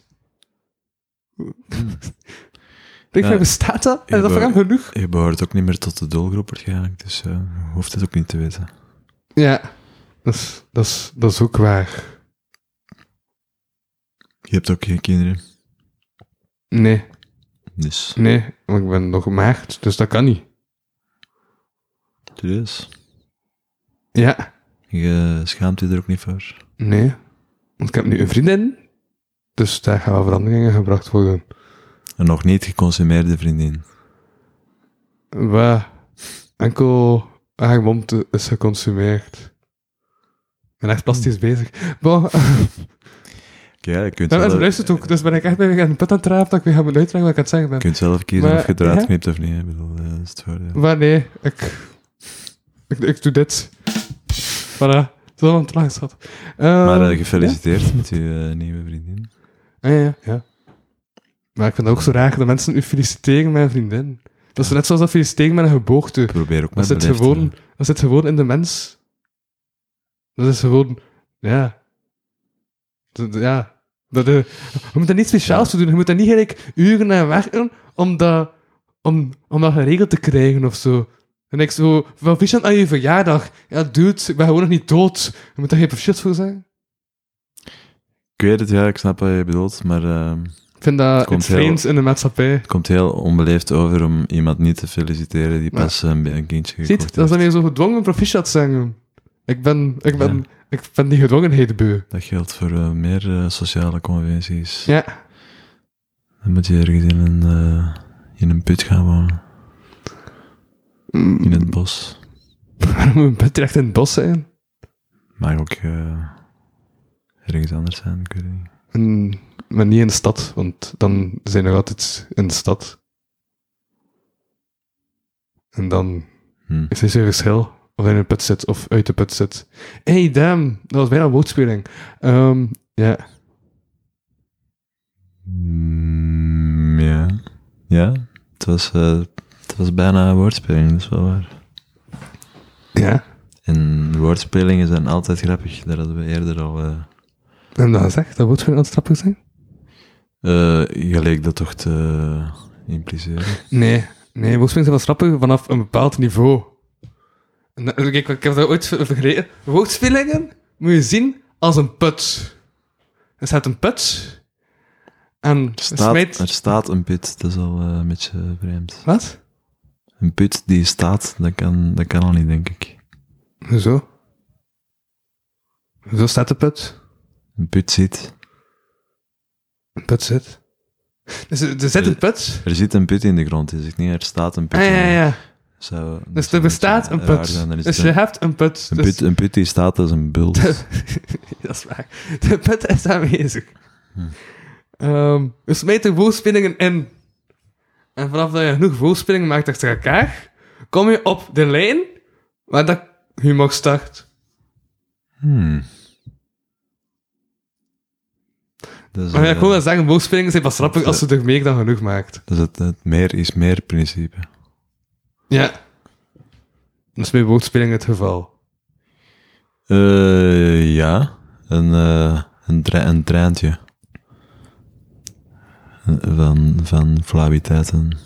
Ik Hmm. Ja. denk, bestaat dat? Is dat Ja, voor hem genoeg? Je behoort ook niet meer tot de doelgroep waarschijnlijk, dus eh, je hoeft het ook niet te weten. Ja, dat is, dat is, dat is ook waar. Je hebt ook geen kinderen. Nee, Dus, nee, want ik ben nog maagd, dus dat kan niet. serieus. Ja, Je schaamt je er ook niet voor. nee. Want ik heb nu een vriendin, dus daar gaan wel veranderingen gebracht worden. Een nog niet geconsumeerde vriendin. Waar enkel haar mond is geconsumeerd. Ik ben echt plastisch bezig. Bon, Ja, je kunt, ja, ze zelf, luistert ook, dus ben ik echt bij aan de put aan het rapen dat ik weer ga moeten uitleggen wat ik aan het zeggen ben. je kunt zelf kiezen Maar, of je ja. eruit knipt of niet. hè. Ik bedoel, eh, dat is het voordeel. Maar nee, ik, ik, ik doe dit. Voilà, zodat het langs had. Ehm, Maar eh, gefeliciteerd met je eh, nieuwe vriendin. Ja, ja, ja. Maar ik vind het ook zo raar dat mensen u feliciteren met een vriendin. Dat is net zoals dat feliciteren met een geboorte. Probeer ook Dat maar zit, beleefd eh, te gewoon, zijn. dat zit gewoon in de mens. Dat is gewoon... Ja. Dat, ja. Dat, eh, je moet daar niets speciaals voor doen. Je moet daar niet gelijk uren aan werken om dat, om, om dat geregeld te krijgen of zo. En ik zo... Proficiat aan je verjaardag. Ja, dude, ik ben gewoon nog niet dood. Je moet daar geen proficiat voor zijn. Ik weet het, ja, ik snap wat je bedoelt, maar ehm, Ik vind dat Komt iets vreemds in de maatschappij. het komt heel onbeleefd over om iemand niet te feliciteren die Maar- pas eh, een, een kindje gekocht Ziet, dat is heeft. dan weer zo gedwongen proficiat zeggen. Ik ben, ik ben, Ja. ik ben die gedwongenheid beu. Dat geldt voor eh, meer eh, sociale conventies. Ja. Dan moet je ergens in een, eh, in een put gaan wonen. Mm. In het bos. Waarom moet een bed echt in het bos zijn? Mag ook eh, ergens anders zijn, ik weet het niet. En, maar niet in de stad, want dan zijn er altijd in de stad. En dan Hm. is er zo'n verschil. Of hij in een put zit, of uit de put zit. Hey, damn. Dat was bijna een woordspeling. Ehm, ja. Mm, ja. Ja, het was, eh, het was bijna een woordspeling, dat is wel waar. Ja. En woordspelingen zijn altijd grappig, daar hadden we eerder al... eh En dat gezegd, dat woordspeling aan het trappen zijn? eh, gelijk dat toch te eh, impliceren. Nee, nee, woordspeling zijn wel grappig vanaf een bepaald niveau. En dat- Kijk, ik heb dat ooit ver- vergeleken. Woordspelingen moet je zien als een put. Er staat een put en Er staat, smijt... er staat een put, dat is al eh, een beetje vreemd. Wat? Een put die staat, dat kan, dat kan al niet, denk ik. Zo. Zo staat de put. Een put zit. Een put zit. Dus er er zit een put. Er zit een put in de grond, is het niet? Er staat een put. Ah, in de ja, grond. ja. Zou- dat Dus zou er een bestaat beetje een raar zijn, put. dan is Dus het je een, hebt een put. een, Dus- put, een put die staat als een bult. dat is waar. De put is aanwezig. Ehm, we smijten woordspeelingen in. En vanaf dat je genoeg woordspeelingen maakt achter elkaar, kom je op de lijn waar dat humor start. Hmm. Dat is, Maar ja, eh, ik wil Dus wel zeggen, woordspeelingen zijn pas grappig als je er meer dan genoeg maakt. dat is het, het meer is meer principe. Ja. Dat is bij woordspeling het geval. Eh, ja, een, eh, een, dra- een treintje. Van, van flauwiteiten.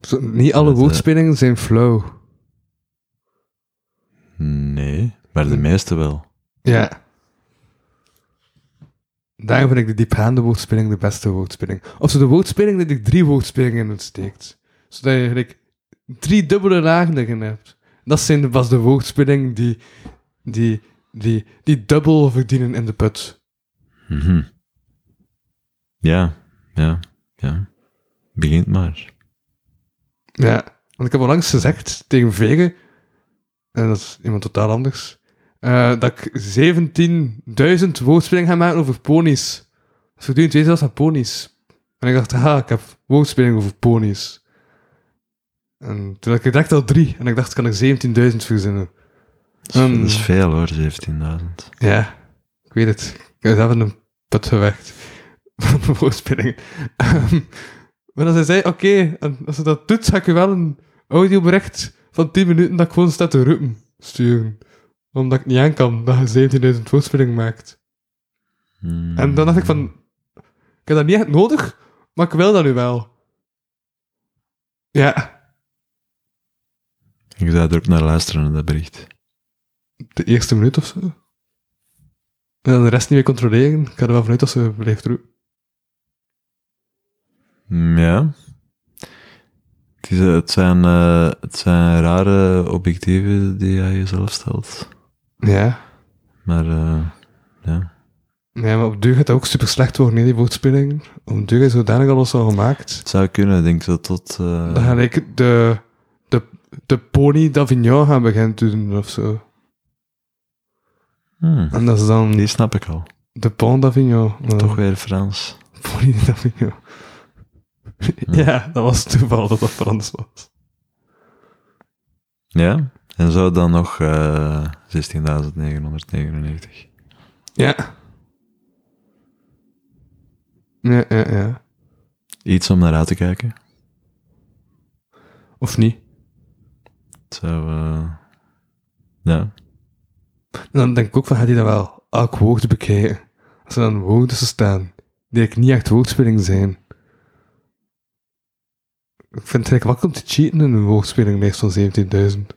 Zo, Niet alle Dat, eh, woordspelingen zijn flow. Nee, maar de meeste wel. Ja. Daarom vind ik de diepgaande woordspeling de beste woordspeling. Of zo de woordspeling dat ik drie woordspelingen in steekt. Zodat je eigenlijk drie dubbele lagen erin hebt. Dat zijn de- pas de woordspelingen die, die, die, die dubbel verdienen in de put. Mhm. Ja, ja, ja. Begint maar. Ja. Want ik heb al langs gezegd tegen Vegen, en dat is iemand totaal anders, eh, dat ik 17.000 woordspelingen ga maken over ponies. Dus voortdurend wees zelfs aan ponies. En ik dacht, ha, ik heb woordspelingen over ponies. En toen had ik direct al drie, en ik dacht, kan ik 17.000 verzinnen. Dat Hmm. is veel hoor, 17.000. Ja, ik weet het. Ik heb zelf in een put gewerkt. Van woordspelingen. Ehm, maar als hij zei, oké, en als ze dat doet, ga ik je wel een audiobericht van 10 minuten dat ik gewoon sta te roepen sturen. Omdat ik niet aan kan dat je 17.000 woordspelingen maakt. Hmm. En dan dacht ik van, ik heb dat niet echt nodig, maar ik wil dat nu wel. Ja, Ik zou er ook naar luisteren, naar dat bericht. de eerste minuut of zo. En dan de rest niet meer controleren. Ik ga er wel vanuit dat ze blijft roepen. Mm, Ja. Het, is, eh, het, zijn, eh, het zijn rare objectieven die jij jezelf stelt. Ja. Maar eh, ja. Nee, maar op duur gaat dat ook super slecht worden, nee, die woordspeling. Op duur is zodanig alles al gemaakt. het zou kunnen, ik denk dat tot. eh, Dan ga ik de, de, de pony d'Avignon gaan beginnen te doen of zo. hmm, En dat is dan die snap ik al. de pont d'Avignon. maar Toch weer Frans. Pony d'Avignon. ja, dat was toeval dat dat Frans was. Ja. En zo dan nog eh 16.999. Ja. Ja, ja, ja. Iets om naar uit te kijken. Of niet? Het zou. eh, ja. En dan denk ik ook van, gaat hij dat wel elk woord bekijken? Als er dan woorden tussen staan, die ik niet echt woordspeling zijn. Ik vind het eigenlijk makkelijk om te cheaten in een woordspelinglijst van 17.000.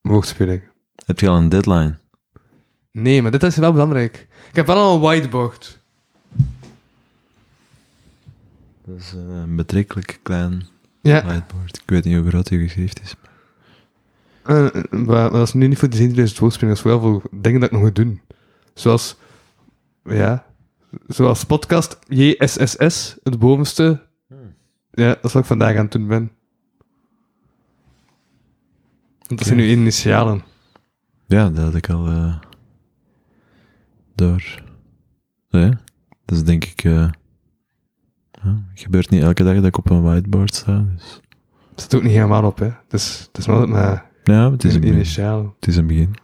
Woordspeling. Heb je al een deadline? Nee, maar dit is wel belangrijk. Ik heb wel al een whiteboard. Dat is eh, een betrekkelijk klein Ja, whiteboard. Ik weet niet hoe groot je geschrift is. eh, eh, maar, maar dat is nu niet voor die 17.000 woordspelingen, dat is vooral voor dingen dat ik nog moet doen. Zoals, ja, zoals podcast JSSS, het bovenste. Hmm. Ja, dat is wat ik vandaag aan het doen ben. Want dat zijn nu initialen. Ja, dat had ik al eh, door. Zo, ja. Dat is denk ik. eh, ja, het gebeurt niet elke dag dat ik op een whiteboard sta. Dus. Het staat ook niet helemaal op, hè. Dus het is maar, maar Ja, het is, een een begin. initialen. het is een begin.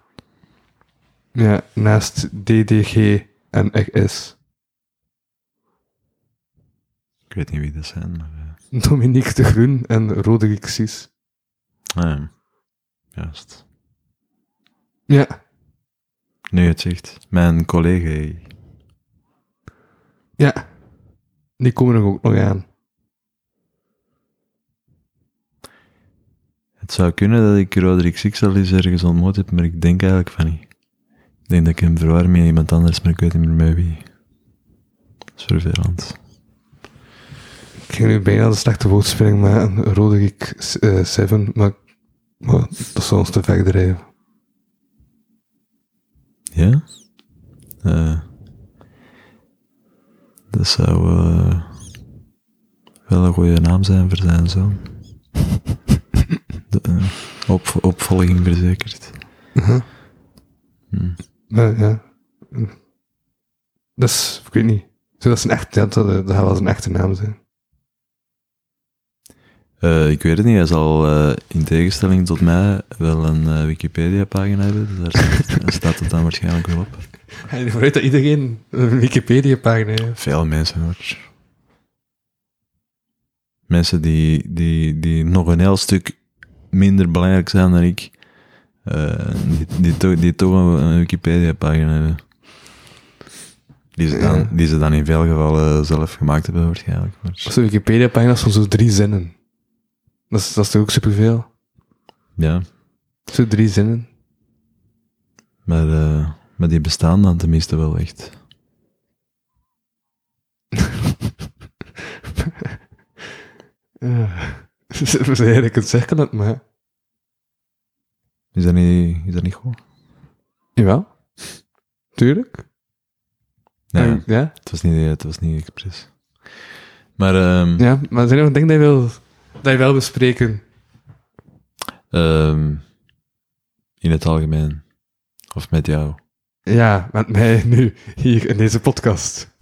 Ja, naast DDG en RS. Ik weet niet wie dat zijn, maar. eh, Dominique de Groen en Roderick Cies. ah, ja. Juist. Ja, Nu je het zegt, mijn collega. ja. Die komen er ook nog aan. Het zou kunnen dat ik Roderick Six al eens ergens ontmoet heb, maar ik denk eigenlijk van niet. Ik denk dat ik hem verwar met iemand anders, maar ik weet niet meer met wie. Dat is vervelend. Ik ging nu bijna de slechte woordspeling maken. Rode ik 7, maar, maar dat zou ons te ver drijven. Ja? Eh, dat zou eh, wel een goede naam zijn voor zijn zoon. De, eh, op, opvolging verzekerd. Uh-huh. Hm. Ja, ja. Dus, ik weet niet. Zou dat, zijn echt, ja, dat, eh, dat gaat wel zijn echte naam zijn. Eh, ik weet het niet, hij zal eh, in tegenstelling tot mij wel een eh, Wikipedia-pagina hebben. Dus daar staat, staat het dan waarschijnlijk wel op. Ga je ervan uit dat iedereen een Wikipedia-pagina heeft? Veel mensen hoor. mensen die, die, die nog een heel stuk minder belangrijk zijn dan ik, eh, die, die, toch, die toch een, een Wikipedia-pagina hebben. Die ze, dan, die ze dan in veel gevallen zelf gemaakt hebben, waarschijnlijk. Maar, Zo'n Wikipedia-pagina is van zo'n drie zinnen. Dat is, dat is toch ook superveel? ja, Zo'n drie zinnen. maar, eh, maar die bestaan dan tenminste wel echt. Ja. We zijn eigenlijk het zeggen, dat, maar... Is dat niet, is dat niet goed? Jawel. Tuurlijk. Nee, Ja, ja, het, was niet, het was niet expres. Maar ehm, ja, maar er zijn nog dingen dat je, wil, dat je wel bespreken. ehm, in het algemeen, of met jou. Ja, met mij nu, hier in deze podcast.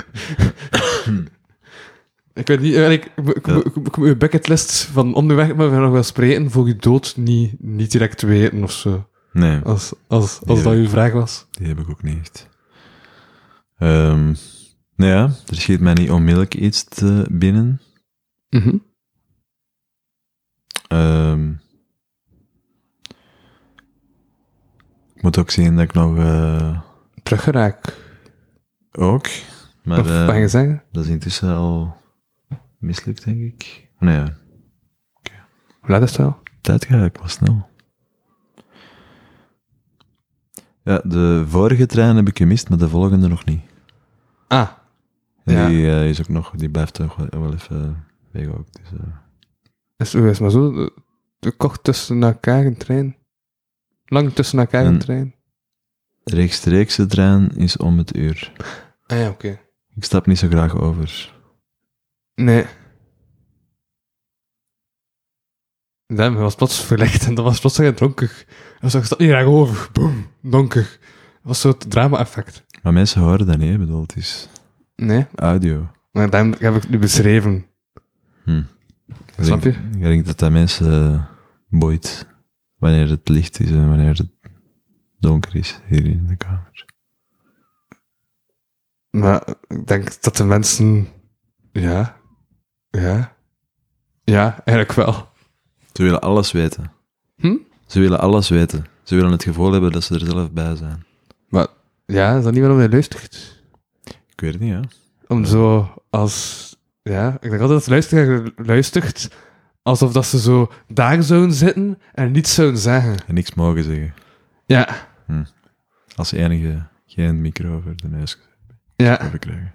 ik weet niet, eh, ik, ik, ik, Ja. ik, ik moet je bucketlist van onderweg, maar we gaan nog wel spreken voor je dood niet, niet direct weten of zo. Nee, Als, als, als Ja. dat uw vraag was. die heb ik ook niet echt. Ehm, nou ja, er schiet mij niet onmiddellijk iets te binnen. Mhm. Ehm, ik moet ook zien dat ik nog... eh, Teruggeraakt. ook, maar... Of eh, wat je zeggen? Dat is intussen al mislukt, denk ik. Nee, ja, Hoe laat is het wel? tijd gaat eigenlijk wel snel. Ja, de vorige trein heb ik gemist, maar de volgende nog niet. Ah, En Ja. Die, eh, is ook nog, die blijft toch wel, wel even weg ook. Dus, eh, is, is Dus, maar zo. de- de Kort tussen elkaar een trein. Lang tussen elkaar een En- trein. de rechtstreekse trein is om het uur. Ah ja, oké. Ik stap niet zo graag over. Nee. Damn, hij was plots verlicht en dan was plots weer donker. Hij zag dat niet graag over. Boom, donker. Dat was zo'n drama-effect. Maar mensen horen dat niet, hè, bedoel, het is Nee, audio. maar daarom heb ik het nu beschreven. Hm. Snap je? Ik denk, ik denk dat dat mensen eh, boeit wanneer het licht is en wanneer het donker is hier in de kamer. Maar ik denk dat de mensen... Ja. Ja. Ja, eigenlijk wel. Ze willen alles weten. Hm? Ze willen alles weten. Ze willen het gevoel hebben dat ze er zelf bij zijn. Maar ja, is dat niet waarom je luistert? Ik weet het niet, ja. Om zo als... Ja, ik denk altijd dat de luisteraar luistert alsof dat ze zo daar zouden zitten en niets zouden zeggen. En niks mogen zeggen. Ja, Als enige geen micro over de neus ja. hebben krijgen.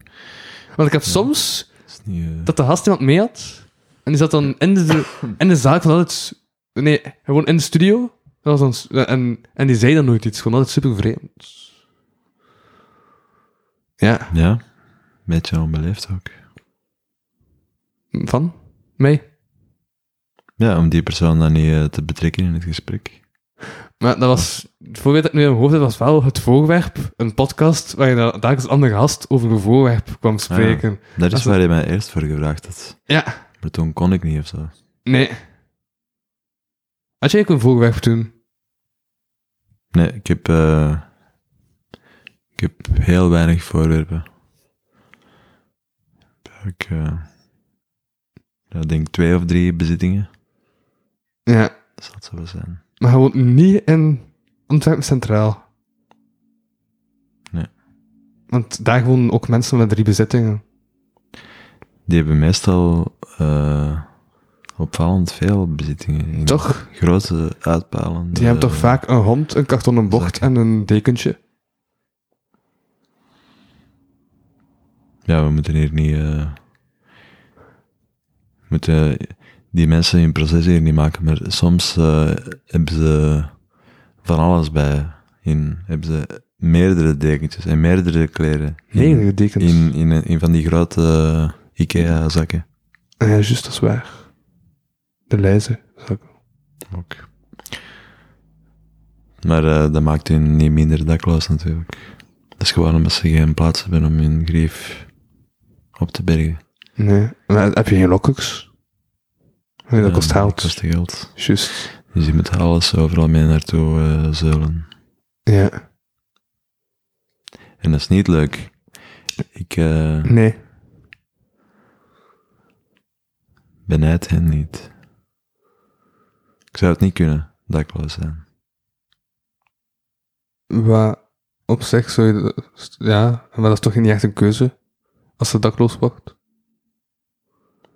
Want ik heb soms Dat is niet... eh, dat de gast iemand mee had en die zat dan in de, in de zaal van altijd... Nee, gewoon in de studio. Dat was dan, en, en die zei dan nooit iets. Gewoon altijd super vreemd. Ja, Ja. Een beetje onbeleefd ook. van mij. Ja, om die persoon dan niet eh, te betrekken in het gesprek. Maar dat was, het voorbeeld dat ik nu in mijn hoofd heb, was wel het voorwerp, een podcast, waar je dan telkens een andere gast over een voorwerp kwam Ah, spreken. Dat Als is het- waar je mij eerst voor gevraagd had. Ja, Maar toen kon ik niet of zo. nee. Had jij ook een voorwerp toen? Nee, ik heb, eh, ik heb heel weinig voorwerpen. Ik eh, ja, ik denk twee of drie bezittingen. Ja. Dat zal het zo wel zijn. Maar hij woont niet in Antwerpen Centraal. Nee. Want daar wonen ook mensen met drie bezittingen. Die hebben meestal eh, opvallend veel bezittingen. In Toch? Grote uitpalen. Eh, Die hebben toch vaak een hond, een kartonnen bocht en een dekentje. Ja, we moeten hier niet... eh, we moeten die mensen in proces hier niet maken, maar soms eh, hebben ze van alles bij in. Hebben ze meerdere dekentjes en meerdere kleren. In- Meerdere dekens. In, in, in van die grote eh, IKEA-zakken. Ah Ja, juist, dat is waar. De lijzen. zou ik- Ook. Maar eh, dat maakt hun niet minder dakloos natuurlijk. Dat is gewoon omdat ze geen plaats hebben om hun grief op te bergen. Nee. Maar heb je geen lokkers? Nee, dat Eh, kost dat geld. kost geld. Juist. Dus je moet alles overal mee naartoe eh, zeulen. Ja. En dat is niet leuk. Ik eh, Nee. Benijd hen niet. Ik zou het niet kunnen, dat ik wel eens zijn. Waar op zich zou je... dat- Ja, maar dat is toch niet echt een keuze? Als ze dakloos wordt?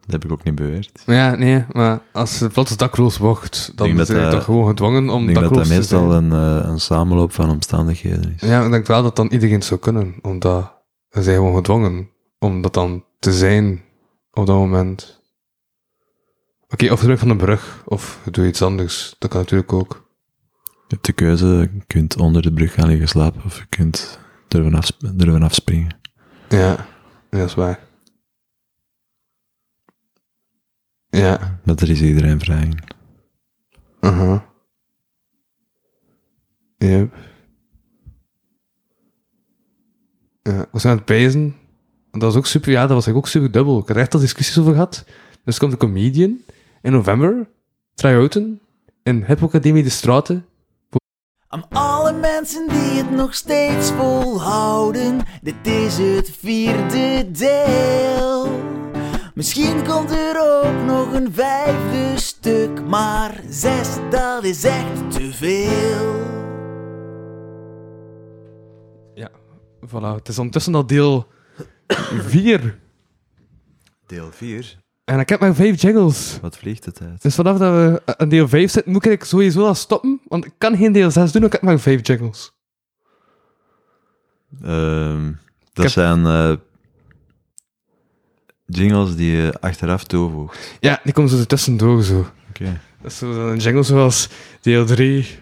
Dat heb ik ook niet beweerd. Ja, nee, maar als ze plots dakloos wordt, Ik denk dan dat zijn je dat- eh, toch gewoon gedwongen om Ik denk dat dakloos dat te zijn. meestal een, eh, een samenloop van omstandigheden is. Ja, ik denk wel dat dan iedereen zou kunnen, omdat ze zijn gewoon gedwongen om dat dan te zijn op dat moment. Oké, of terug van de brug, of je doet iets anders. Dat kan natuurlijk ook. Je hebt de keuze, je kunt onder de brug gaan liggen slapen of je kunt durven, afsp- durven afspringen. Ja, ja, dat is waar. Ja, Dat er is iedereen vrij. in. uh-huh. Yep. Ja, we zijn aan het pijzen. Dat was ook super, ja, dat was eigenlijk ook super dubbel. Ik had er echt al discussies over gehad. Dus komt een comedian in november, try-outen, in Hip Hop Academie de Straten. Aan alle mensen die het nog steeds volhouden, dit is het vierde deel. Misschien komt er ook nog een vijfde stuk, maar zes, dat is echt te veel. Ja, voilà. Het is ondertussen al deel 4. Deel 4. En ik heb maar vijf jingles. Wat vliegt de tijd? Dus vanaf dat we aan deel 5 zitten, moet ik sowieso al stoppen. Want ik kan geen deel 6 doen, ik heb maar vijf jingles. Ehm, dat heb- zijn eh, jingles die je achteraf toevoegt. Ja, die komen zo tussendoor zo. Oké. Dat is zo een jingle zoals deel 3,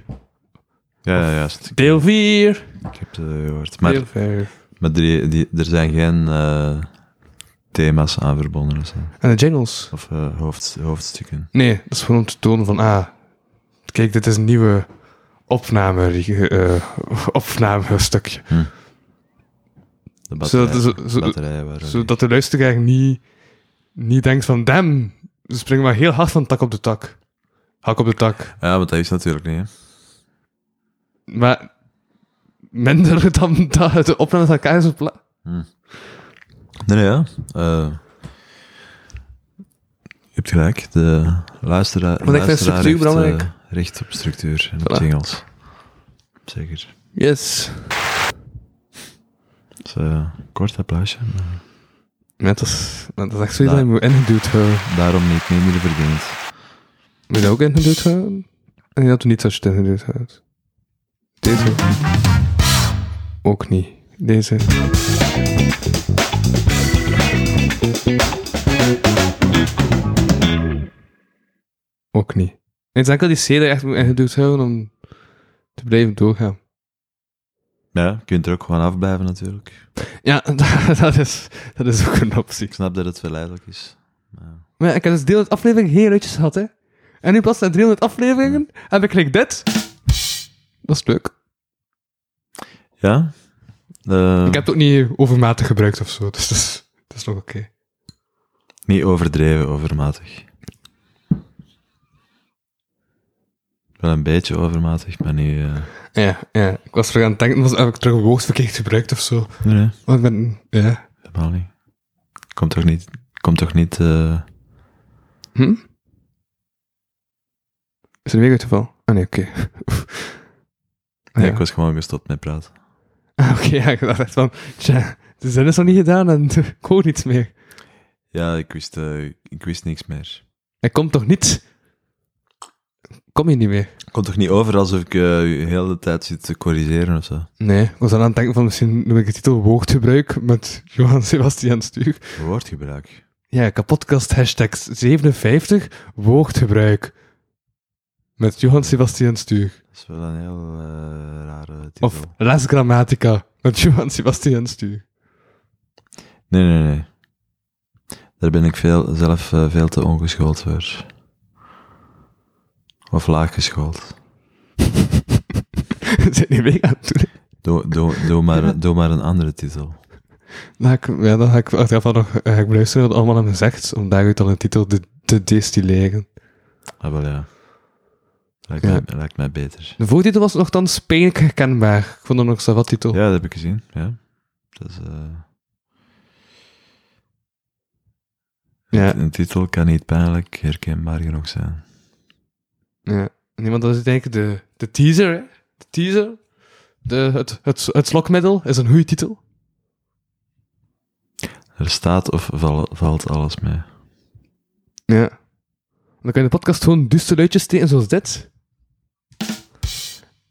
Ja, ja, juist. deel 4, Ik heb het eh, gehoord. Maar, deel 5. maar die, die, er zijn geen eh, thema's aan verbonden of, zo. En de jingles. of eh, hoofd, hoofdstukken. Nee, dat is gewoon om te tonen van, ah, kijk, dit is een nieuwe opname, eh, opnamestukje. De Zodat, batterij, zo- zo- batterij waar- zodat de luisteraar niet, niet denkt van, damn, ze springen maar heel hard van tak op de tak. Hak op de tak. Ja, want dat is natuurlijk niet. Hè. Maar minder dan dat de opnames aan elkaar zijn pla- Nee, nee, ja. Eh, je hebt gelijk. De luistera vind luisteraar structuur heeft, eh, belangrijk. recht op structuur en op Voilà. jingles. Zeker. Yes. Dus, eh, kort applausje. maar Net als, dat is echt zoiets dat Ja. je moet ingeduwd houden. Daarom niet minder verdiend. Moet je dat ook ingeduwd houden? En dat doe niet als je het ingeduwd houdt. Deze. Ook niet. Deze. Ook niet. Het is enkel die C dat je echt moet ingeduwd houden om te blijven doorgaan. Ja, je kunt er ook gewoon afblijven natuurlijk. Ja, dat is, dat is ook een optie. Ik snap dat het verleidelijk is. Maar Maar ja, ik heb dus deel uit aflevering geen uitjes gehad, hè. En nu pas na 300 afleveringen heb ik gelijk dit. Dat is leuk. Ja. Eh, Ik heb het ook niet overmatig gebruikt of zo, dus dat is, dat is nog oké. Niet overdreven, overmatig. Wel een beetje overmatig, maar niet... eh, Ja, ja, ik was er aan het denken, was, heb ik terug een woord verkeerd gebruikt of zo? Nee, nee. Want ik ben, ja. Helemaal niet. Komt toch niet... Komt toch niet... eh, Hm? Is er weer uit geval? Ah nee, oké. Nee, Ah, Ja. ik was gewoon gestopt met praten. Ah, oké, ja, ik dacht echt van, tja, de zin is nog niet gedaan en ik hoor niets meer. Ja, ik wist, eh, ik wist niks meer. Hij komt toch niet? Kom je niet meer? Ik kon toch niet over alsof ik eh, de hele tijd zit te corrigeren of zo? Nee, ik was dan aan het denken van misschien noem ik de titel woordgebruik met Johan Sebastian Stuur. Woordgebruik. Ja, kapotkast hashtag 57 woordgebruik. Met Johan Sebastian Stuur. Dat is wel een heel eh, rare titel. Of Les Grammatica met Johan Sebastian Stuur. Nee, nee, nee. Daar ben ik veel, zelf eh, veel te ongeschoold voor. Of laag geschoold. Zijn die mee aan het doen? Doe, doe, doe, maar, doe maar een andere titel. Dan ga Nou, ik, ja, dan ga ik achteraf wel nog eh, ga ik beluisteren wat allemaal hebben gezegd, om daaruit dan een titel te, te destilleren. Ah, wel ja. Lijkt, Ja. Mij, lijkt mij beter. De voortitel was nogthans pijnlijk herkenbaar. Ik vond hem nog zo'n wat titel. Ja, dat heb ik gezien. Ja. Dat is, eh, Ja. De titel kan niet pijnlijk herkenbaar genoeg zijn. Ja. Nee, want dat is denk ik de, de teaser, hè? De teaser. De, het, het, het slokmiddel is een goede titel. Er staat of val- valt alles mee. Ja. Dan kan je de podcast gewoon duiste luidjes steken zoals dit.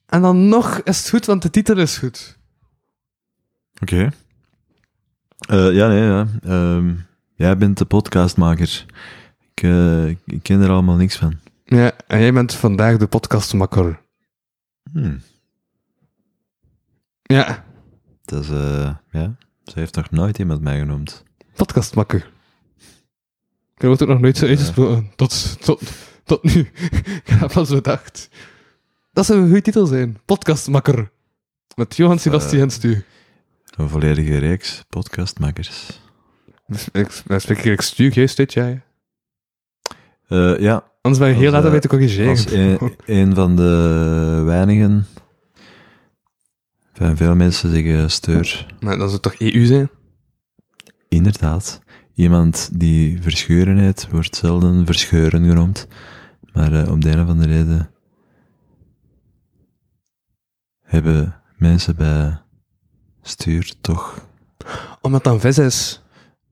En dan nog is het goed, want de titel is goed. Oké. Eh, ja, nee, ja. Ehm, jij bent de podcastmaker. Ik, eh, ik ken er allemaal niks van. Ja, en jij bent vandaag de podcastmakker. Hmm. Ja, Dat is, eh, ja. Ze heeft nog nooit iemand mij genoemd. podcastmakker. Ik heb het ook nog nooit zo uitgesproken. Tot, tot, tot nu. ik heb dat pas bedacht. Dat zou een goede titel zijn. Podcastmakker. Met Johan Sebastian Stu. Een volledige reeks podcastmakers. Ik, ik spreek ik Stu juist dit jaar. Eh, ja, Anders ben je heel Als, laat eh, aan mij te als corrigeren. een, een van de weinigen. Van veel mensen zeggen eh, steur. Maar dan zou het toch EU zijn? Inderdaad. Iemand die verscheuren heet, wordt zelden verscheuren genoemd. Maar eh, om de een of andere reden hebben mensen bij stuur toch Omdat het dan vis is.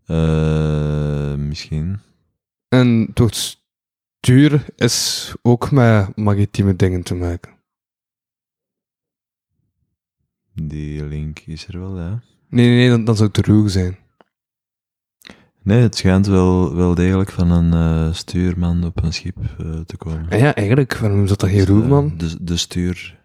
eh, misschien. En het woord stuur is ook met maritieme dingen te maken. Die link is er wel, ja. Nee, nee, nee, dan, dan zou het roeg zijn. Nee, het schijnt wel, wel degelijk van een eh, stuurman op een schip eh, te komen. En ja, eigenlijk, waarom noemen ze dat dan geen Dus, eh, roegman? De, de stuur.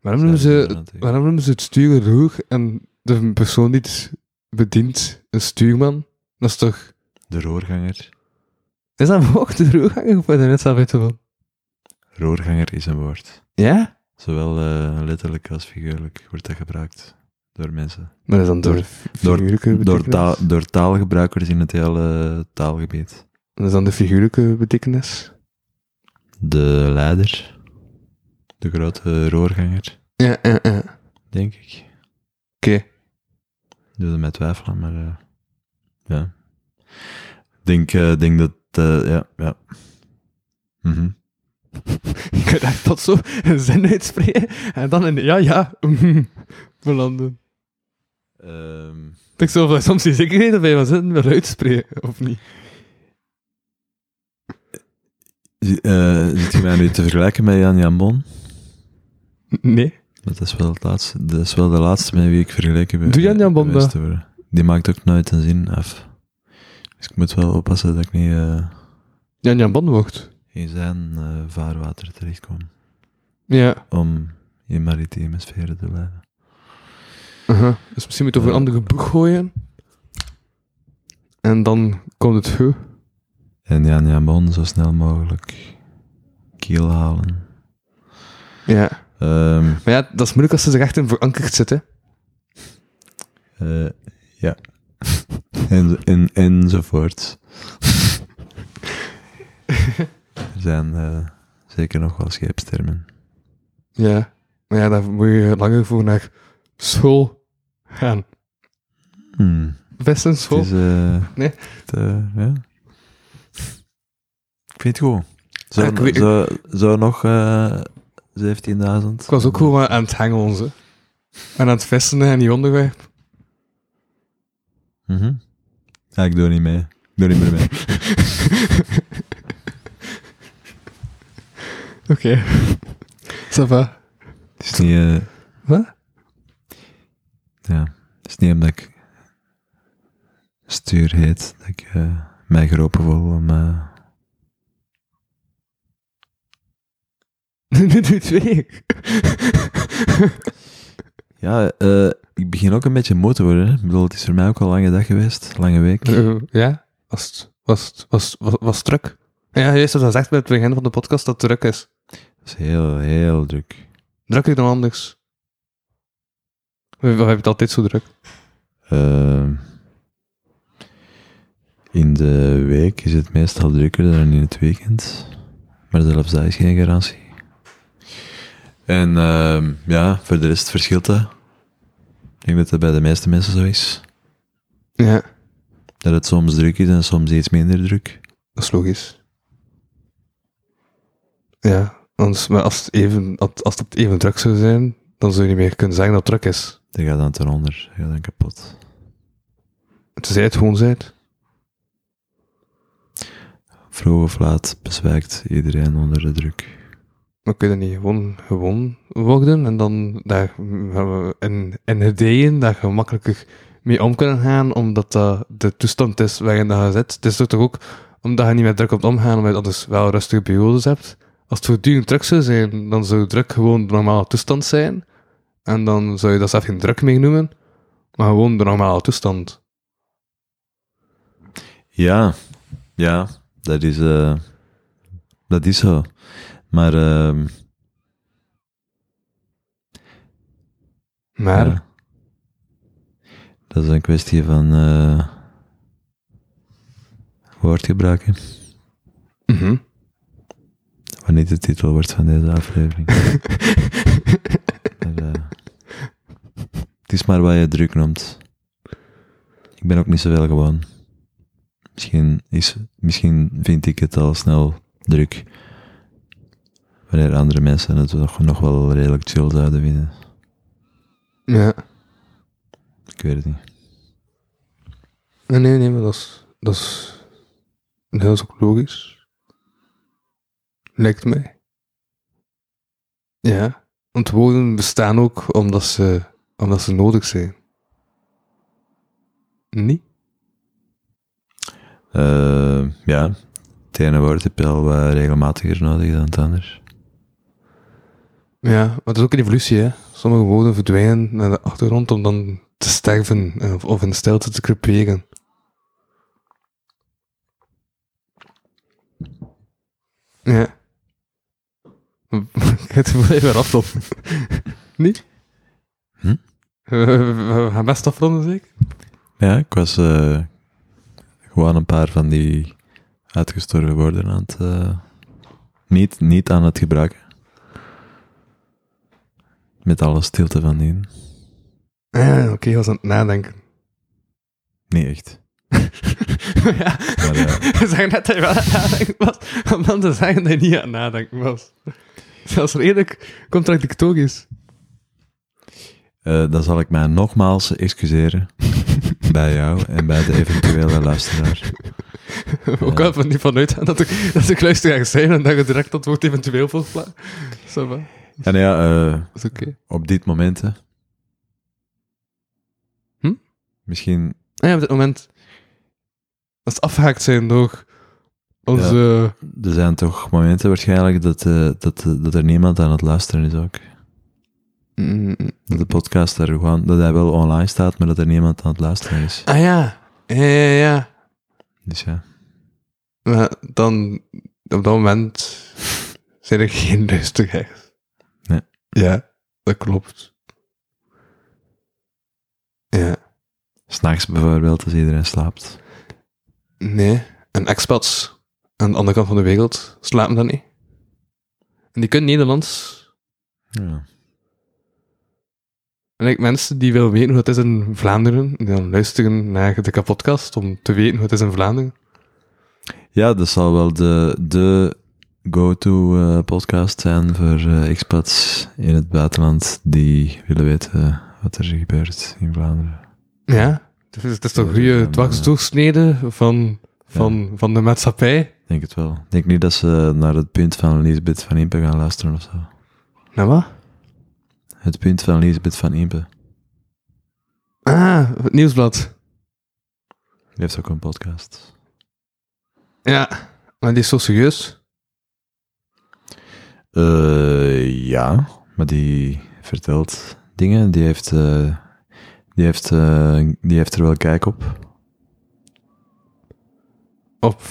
Waarom noemen zijn ze, ervan aan waarom noemen ze het stuur een roeg en de persoon die het bedient een stuurman? Dat is toch... De roerganger. Is dat ook de roerganger of ben je er net zelf uit van? Roerganger is een woord. Ja? Zowel eh, letterlijk als figuurlijk wordt dat gebruikt door mensen. Maar dat is dan door... Door- fi- figuurlijke Door, betekenis. taal, door taalgebruikers in het hele taalgebied. Dat is dan de figuurlijke betekenis. De leider. De grote roerganger, Ja, ja, ja. denk ik. Oké. Doe dat met twijfelen, maar eh, ja. Ik denk, eh, denk dat, eh, ja, ja. Mhm. Ik kan echt dat zo een zin uitspreken en dan in de ja, ja, mhm, belanden. Ehm, Ik denk zo van, soms die zekerheden bij van zitten wil uitspreken, of niet? zi- eh, zit je mij nu te vergelijken met Jan Jan Bon? Nee. Dat is wel, het laatste, dat is wel de laatste met wie ik vergeleken ben. Doe Jan Jan Bon geweest dat? te worden. Die maakt ook nooit een zin af. Dus ik moet wel oppassen dat ik niet eh, Jan-Jan Bon wordt. in zijn eh, vaarwater terechtkom. Ja. Om in maritieme sferen te blijven. Aha. Dus misschien moet je over een andere boeg gooien. En dan komt het goed. En Jan Jan Bon zo snel mogelijk kiel halen. Ja. Ehm, Maar ja, dat is moeilijk als ze zich echt in verankerd zitten. eh, ja. en, en, enzovoort. er zijn eh, zeker nog wel scheepstermen. Ja. Maar ja, daar moet je langer voor naar school gaan. Hmm. Best een school. Het is, eh, Nee. het, eh, ja. Ik vind het goed. Zo, Ah, ik weet- zo, zo nog eh 17.000. Ik was ook gewoon aan het hengelen, ze. En aan het vissen en die onderwerp. Mhm. Ja, ik doe niet mee. Ik doe niet meer mee. Oké. Ça va. Het is niet... eh, Wat? ja. Het is niet omdat ik stuur heet dat ik eh, mij geroepen voel om... eh, Nu doe twee. ja, eh, ik begin ook een beetje moe te worden. hè. Ik bedoel, het is voor mij ook al een lange dag geweest. Lange week. Eh, ja, was het, was, het- was, het- was, was het druk. Ja, juist zoals gezegd bij het begin van de podcast dat het druk is. Het is heel, heel druk. Druk ik dan anders? We, we hebben het altijd zo druk. Eh, in de week is het meestal drukker dan in het weekend. Maar zelfs dat is geen garantie. En ehm, ja, voor de rest verschilt dat. Ik denk dat dat bij de meeste mensen zo is. Ja. Dat het soms druk is en soms iets minder druk. Dat is logisch. Ja, anders, maar als het, even, als als het even druk zou zijn, dan zou je niet meer kunnen zeggen dat het druk is. Dat gaat dan ten onder. Dat gaat dan kapot. Tenzij het gewoon zijt. Vroeg of laat bezwijkt iedereen onder de druk. Dan kun je dat niet gewoon, gewoon worden en dan daar gaan we in, in ideeën daar gemakkelijker mee om kunnen gaan, omdat dat de toestand is waarin dat je zit. Het is toch ook omdat je niet met druk op omgaan, omdat je anders wel rustige periodes hebt. Als het voortdurend druk zou zijn, dan zou druk gewoon de normale toestand zijn. En dan zou je dat zelf geen druk meer noemen, maar gewoon de normale toestand. Ja, ja, dat is, eh, dat is zo. Maar, ehm, Maar ja. dat is een kwestie van eh, woordgebruik. hè. mhm. Wat niet de titel wordt van deze aflevering. maar, eh, het is maar wat je druk noemt. Ik ben ook niet zoveel gewoon. Misschien, is, misschien vind ik het al snel druk. Wanneer andere mensen het nog, nog wel redelijk chill zouden vinden. ja. Ik weet het niet. Nee, nee, nee, maar dat is, dat is, nee, dat is ook logisch. Lijkt mij. Ja, want woorden bestaan ook omdat ze, omdat ze nodig zijn. Niet? Eh, ja, het ene woord heb je al wat regelmatiger nodig dan het ander. Ja, maar dat is ook een evolutie, hè. Sommige woorden verdwijnen naar de achtergrond om dan te sterven eh, of, of in stilte te creperen. Ja. Het moet even aflopen. Niet? Hm? We, we- we gaan best afronden, zeker? Ja, ik was eh, gewoon een paar van die uitgestorven woorden aan het. eh, niet, niet aan het gebruiken. Met alle stilte van dien. Ah, oké, ik was aan het nadenken. Niet echt. ja, Maar, eh, we zeggen net dat je wel aan het nadenken was, om dan te zeggen dat je niet aan het nadenken was. Zelfs redelijk contradictorisch. eh, dan zal ik mij nogmaals excuseren bij jou en bij de eventuele luisteraar. Ook Ja. al van niet vanuit gaan dat ik, dat ik luisteraar zijn en dat je direct dat woord eventueel volplaat. Ça va, Ja, nou ja, eh, dat is oké. op dit moment. Hè. Hm? Misschien Ah ja, op dit moment, als het afgehaakt zijn door onze... Er zijn toch momenten waarschijnlijk dat, eh, dat, dat er niemand aan het luisteren is ook. Mm, Dat de podcast er gewoon, dat hij wel online staat, maar dat er niemand aan het luisteren is. ah ja, ja, ja, ja. Dus ja. Maar dan, op dat moment zijn er geen luisteraars. Nee. Ja, dat klopt. Ja. S'nachts bijvoorbeeld, als iedereen slaapt. Nee, en expats aan de andere kant van de wereld slapen dat niet. En die kunnen Nederlands. Ja. En ik mensen die willen weten hoe het is in Vlaanderen, die dan luisteren naar de podcast om te weten hoe het is in Vlaanderen. ja, dat zal wel de, de go-to eh, podcast zijn voor eh, expats in het buitenland die willen weten wat er gebeurt in Vlaanderen. Ja, dus het is toch een Ja, dat goede kan, dwarsdoorsnede van, van, van de maatschappij. Ik denk het wel. Ik denk niet dat ze naar het punt van Lisbeth van Impe gaan luisteren of zo. Nou wat? Het punt van Lisbeth van Impe. Ah, het nieuwsblad. Die heeft ook een podcast. Ja, maar die is zo serieus. Eh, ja, maar die vertelt dingen. Die heeft, eh, die, heeft, eh, die heeft er wel kijk op. Op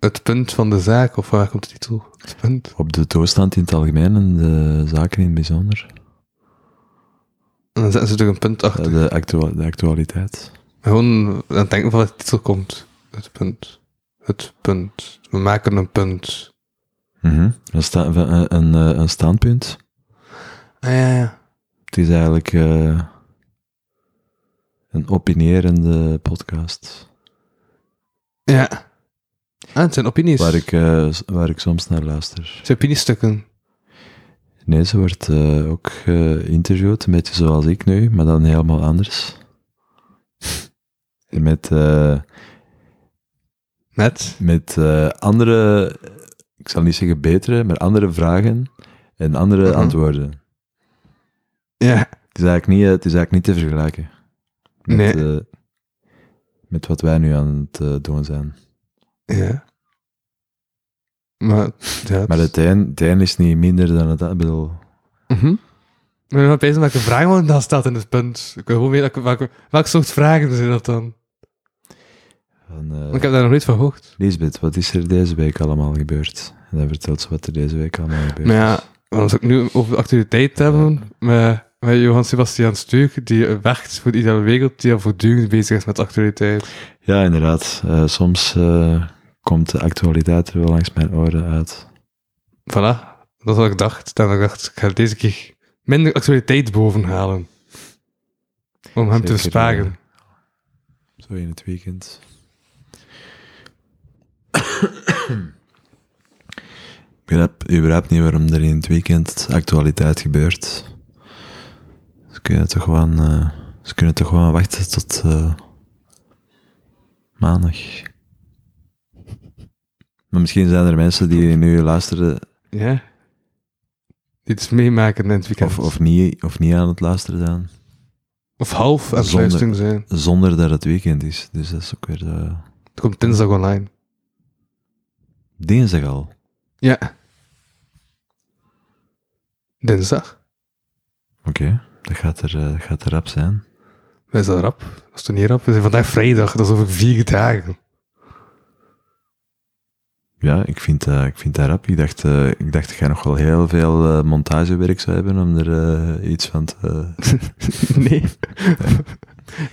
het punt van de zaak, of waar komt de titel? Het punt. Op de toestand in het algemeen en de zaken in het bijzonder. En dan zetten ze er een punt Eh, achter. De, actua- de actualiteit. Gewoon aan het denken van wat de titel komt. Het punt. Het punt. We maken een punt. Mhm. een, sta- een, een, eh, een standpunt. Ah ja, ja. Het is eigenlijk eh, een opinierende podcast. Ja. Ah, het zijn opinies. Waar ik, eh, s- waar ik soms naar luister. Het zijn opiniestukken. Nee, ze wordt eh, ook geïnterviewd, een beetje zoals ik nu, maar dan helemaal anders. Met, eh, Met. met eh, andere, ik zal niet zeggen betere, maar andere vragen en andere Mhm. antwoorden. Ja. Het is eigenlijk niet, eh, het is eigenlijk niet te vergelijken. Met, Nee. eh, met wat wij nu aan het eh, doen zijn. Ja. Maar, ja. Maar het een, het een is niet minder dan het ander. Ik bedoel, Mhm. Maar dan opeens welke vraag want dan staat in het punt. Ik wil gewoon weten welke, welke soort vragen zijn dat dan? van, eh, Want Ik heb daar nog nooit van gehoord. Lisbeth, wat is er deze week allemaal gebeurd? En dan vertelt ze wat er deze week allemaal gebeurd Maar is. ja, als ik nu over de actualiteit hebben met, met Johan Sebastian Stuuk, die werkt voor de ideale wereld, die al voortdurend bezig is met actualiteit. Ja, inderdaad. Eh, soms eh, komt de actualiteit er wel langs mijn oren uit. Voilà, dat is wat ik dacht. Dan dacht ik, ik ga deze keer minder actualiteit bovenhalen. Om hem te Zeker, besparen. Zo in het weekend. Ik begrijp überhaupt niet waarom er in het weekend actualiteit gebeurt. Ze kunnen toch gewoon, eh, ze kunnen toch gewoon wachten tot eh, maandag. Maar misschien zijn er mensen die nu luisteren Ja. Iets meemaken in het weekend. of, of, niet, of niet aan het luisteren zijn, Of half aan het Zonde. luisteren zijn. zonder dat het weekend is. Dus dat is ook weer eh, Het komt dinsdag online. dinsdag al. Ja. Dinsdag? Oké, dat gaat er, eh, dat gaat er rap zijn. Is dat rap? Dat is toch niet rap? We zijn vandaag vrijdag, dat is over vier dagen. Ja, ik vind, dat- ik vind dat rap. Ik dacht, eh, ik dacht, ik ga nog wel heel veel eh, montagewerk zou hebben om er eh, iets van te... Nee.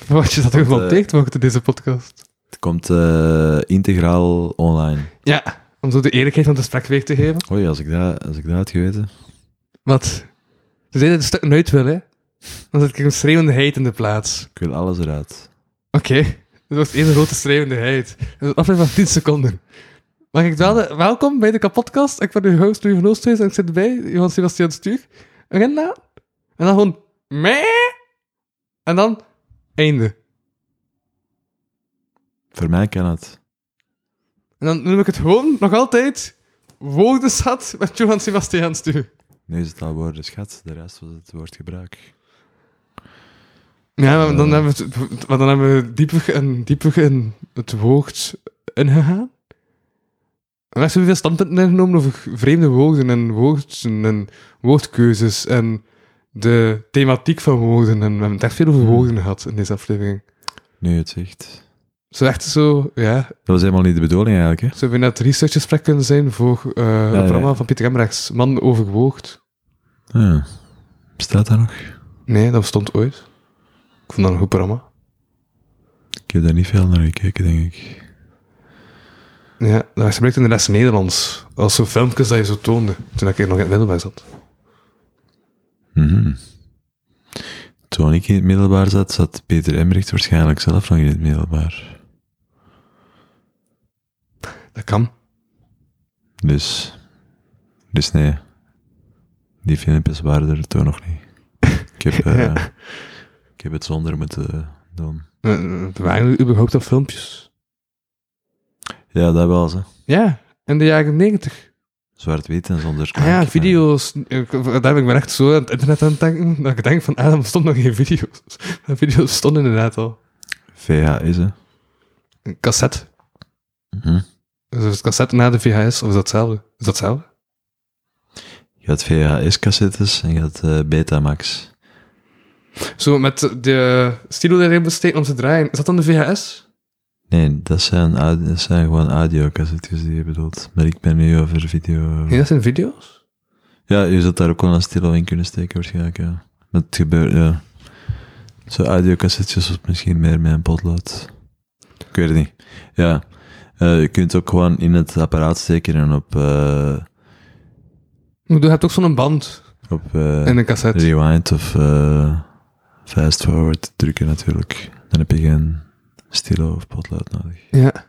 Wat je dat toch wel eh, tegen mocht in deze podcast? het komt eh, integraal online. Ja, om zo de eerlijkheid van het gesprek weer te geven. Oei, als ik dat, als ik dat had geweten... Wat? Ze zeiden dat het stuk nooit wil, hè? Dan zit ik een schreeuwende heid in de plaats. Ik wil alles eruit. Oké. Dat was één grote schreeuwende heid. Dat is een aflevering van 10 seconden. Mag ik wel de- welkom bij de kapotcast. Ik ben uw host, Louis van Oosthuis, en ik zit bij Johan Sebastian Stuur. Agenda. En dan gewoon... Mee. En dan... Einde. Voor mij kan het. En dan noem ik het gewoon, nog altijd... Woordenschat met Johan Sebastian Stuur. Nu is het al woorden schat, de rest was het woordgebruik. Ja, maar dan, Eh. hebben we het, want dan hebben we dieper en dieper in het woord ingegaan. En we hebben zoveel standpunten ingenomen over vreemde woorden en woorden en woordkeuzes en de thematiek van woorden. En we hebben het echt veel over woorden gehad in deze aflevering. Nu het zegt. Zo echt zo, ja, Dat was helemaal niet de bedoeling eigenlijk, hè? zo net researchgesprek kunnen zijn voor eh het nee. programma van Pieter Emrechts, Man over woord. Ah, Bestaat dat nog? Nee, dat bestond ooit. Ik vond dat een goed programma. Ik heb daar niet veel naar gekeken, denk ik. Ja, dat gebruikte in de rest Nederlands. Als zo'n filmpjes dat je zo toonde, toen ik hier nog in het middelbaar zat. Mhm. Toen ik in het middelbaar zat, zat Peter Emmerich waarschijnlijk zelf nog in het middelbaar. Dat kan. Dus, dus nee, die filmpjes waren er toen nog niet. Ik heb, eh, ik heb het zonder moeten doen. Eh, eh, Er waren er überhaupt al filmpjes. Ja, dat wel, hè. Ja, in de jaren negentig. Zwart-wit en zonder Ah klank. ja, maar- video's. Ik- Daar ben ik me echt zo aan het internet aan het denken, dat ik denk van, ah, er bestonden nog geen video's. Maar video's stonden inderdaad al. VHS, hè. Een cassette. Mhm. Dus het cassette na de VHS, of is dat hetzelfde? Is dat hetzelfde? Je had VHS-cassettes en je had eh, Betamax. Zo, met de stilo erin besteken om te draaien. Is dat dan de VHS? Nee, dat zijn, aud- dat zijn gewoon audiocassettes die je bedoelt. Maar ik ben nu over video... Nee, dat zijn video's. Ja, je zou daar ook wel een stilo in kunnen steken waarschijnlijk, ja. Maar het gebeurt, ja. Zo audiocassetjes of misschien meer met een potlood. Ik weet het niet. Ja, eh, je kunt ook gewoon in het apparaat steken en op, eh, Ik bedoel, Je hebt ook zo'n band op eh, in een cassette. rewind of eh, fast forward drukken natuurlijk. Dan heb je geen stilo of potlood nodig. Ja.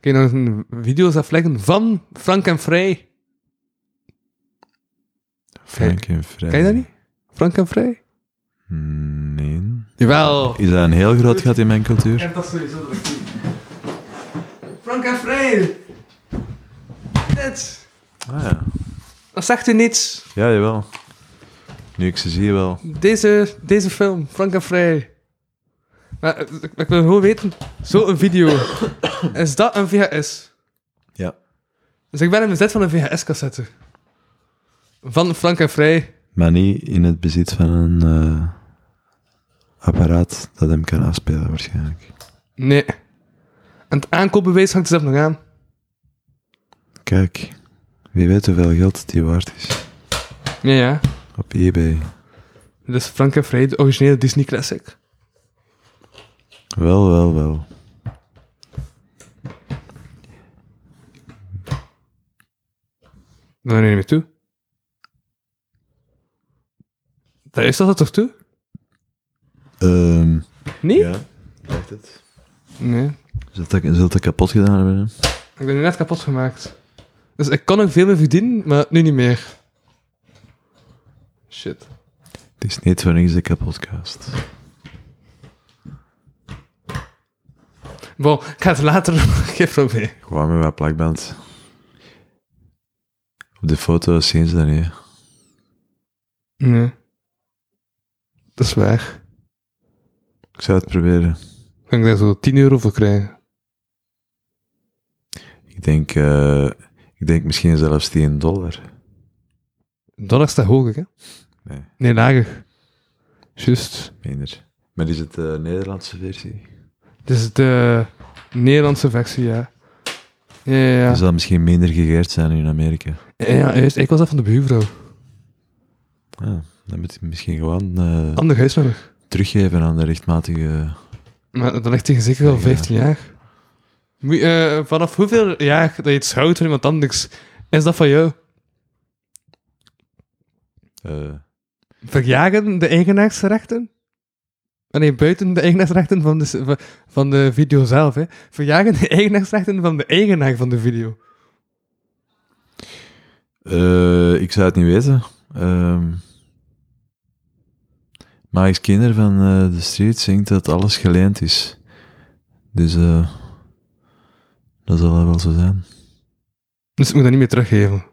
Kijk, dan een video's afleggen van Frank en Vrij. Frank en Vrij. Ken je dat niet? Frank en Vrij? Nee. Jawel. Is dat een heel groot gat in mijn cultuur? En dat is sowieso dat ik doe. Frank en Vrij! Dit! Ah ja. Dat zegt u niets. Ja, jawel. Nu ik ze zie wel. Deze, deze film, Frank en Vrij. Maar eh, ik- ik wil gewoon weten, zo'n video, is dat een VHS? Ja. Dus ik ben in bezit van een VHS-cassette. Van Frank en Vrij. Maar niet in het bezit van een eh, apparaat dat hem kan afspelen waarschijnlijk. Nee. En het aankoopbewijs hangt er zelf nog aan. Kijk, wie weet hoeveel geld die waard is. Ja, ja. Op eBay. Dit is Frank en Vrij, de originele Disney classic. Wel, wel, wel. Daar neem je mee toe. Daar is dat er toch toe? Ehm Nee? lijkt het. Nee. Zult dat, zult dat kapot gedaan hebben? hè? Ik ben nu net kapot gemaakt. Dus ik kon nog veel meer verdienen, maar nu niet meer. Shit. Het is niet voor niks de kapotcast. Bon, ik ga het later nog een keer proberen. Gewoon met wat plakband. Op de foto zien ze dat niet. hè. Nee. Dat is waar. Ik zou het proberen. Kan ik daar zo 10 euro voor krijgen? Ik denk, eh, ik denk misschien zelfs 10 dollar. Dollar staat hoger, hè? Nee. Nee, lager. Juist. Minder. Maar is het de Nederlandse versie? Dit is de Nederlandse versie, ja. Ja, ja, ja. Die zal misschien minder gegeerd zijn in Amerika. Ja, ja, juist. Ik was dat van de buurvrouw. Ah, dan moet je misschien gewoon eh, Ander huisnummer. teruggeven aan de rechtmatige... Maar dat ligt tegen zeker wel 15 jaar. Moet je, eh, vanaf hoeveel jaar dat je iets houdt van iemand anders, is dat van jou? eh, Verjagen de eigenaarsrechten? Ah, Nee, buiten de eigenaarsrechten van de, s- van- van de video zelf. Hè. Verjagen de eigenaarsrechten van de eigenaar van de video. eh, ik zou het niet weten. Ehm Mike's Kinder van eh, de Street zingt dat alles geleend is. Dus eh, dat zal dat wel zo zijn. Dus ik moet dat niet meer teruggeven.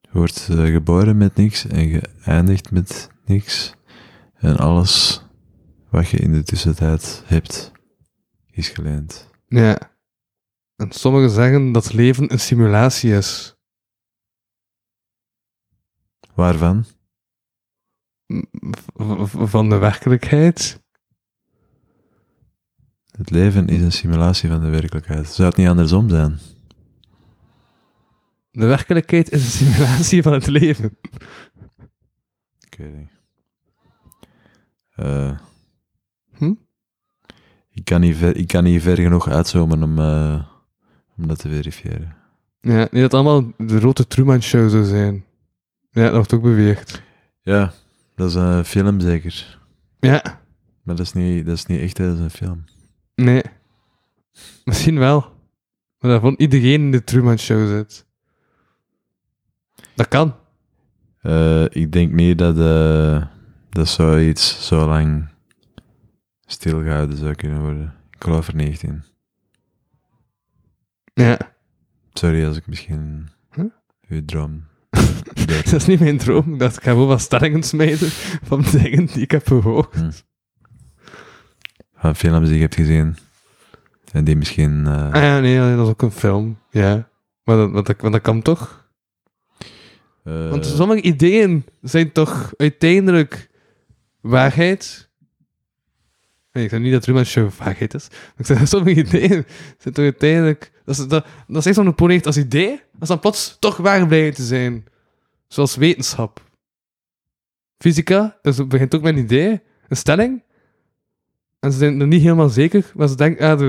Je wordt eh, geboren met niks en geëindigd met niks. En alles wat je in de tussentijd hebt, is geleend. Ja. En sommigen zeggen dat leven een simulatie is. Waarvan? V- v- van de werkelijkheid. Het leven is een simulatie van de werkelijkheid. Zou het niet andersom zijn? De werkelijkheid is een simulatie van het leven. Ik weet niet. Eh, Hm? ik, kan niet ver, ik kan niet ver genoeg uitzoomen om, eh, om dat te verifiëren. Ja, niet dat allemaal de rode Truman Show zou zijn. Ja, dat wordt ook beweerd. Ja, dat is een film zeker. Ja, Maar dat is niet, dat is niet echt, hè, dat is een film. nee. Misschien wel. Maar daarvan iedereen in de Truman Show zit. Dat kan. Eh, ik denk niet dat, eh, dat zoiets zo lang stilgehouden zou kunnen worden. Ik geloof er niet echt in. Ja, Sorry als ik misschien Huh? uw droom... dat is niet mijn droom. Dat ik ga gewoon wat stellingen smijten van dingen die ik heb gehoord. van films die je hebt gezien. En die misschien... eh, Ah ja, nee, nee, dat is ook een film. Ja. Maar dat, want dat, want dat kan toch? eh, Want sommige ideeën zijn toch uiteindelijk waarheid? Nee, ik zeg niet dat Truman Show waarheid is. Maar ik zeg dat sommige ideeën zijn toch uiteindelijk... Dat is, dat, dat is eerst zo'n project als idee, dat is dan plots toch waar blijken te zijn. Zoals wetenschap. Fysica dus het begint ook met een idee, een stelling. En ze zijn er niet helemaal zeker, maar ze denken... Ah, de,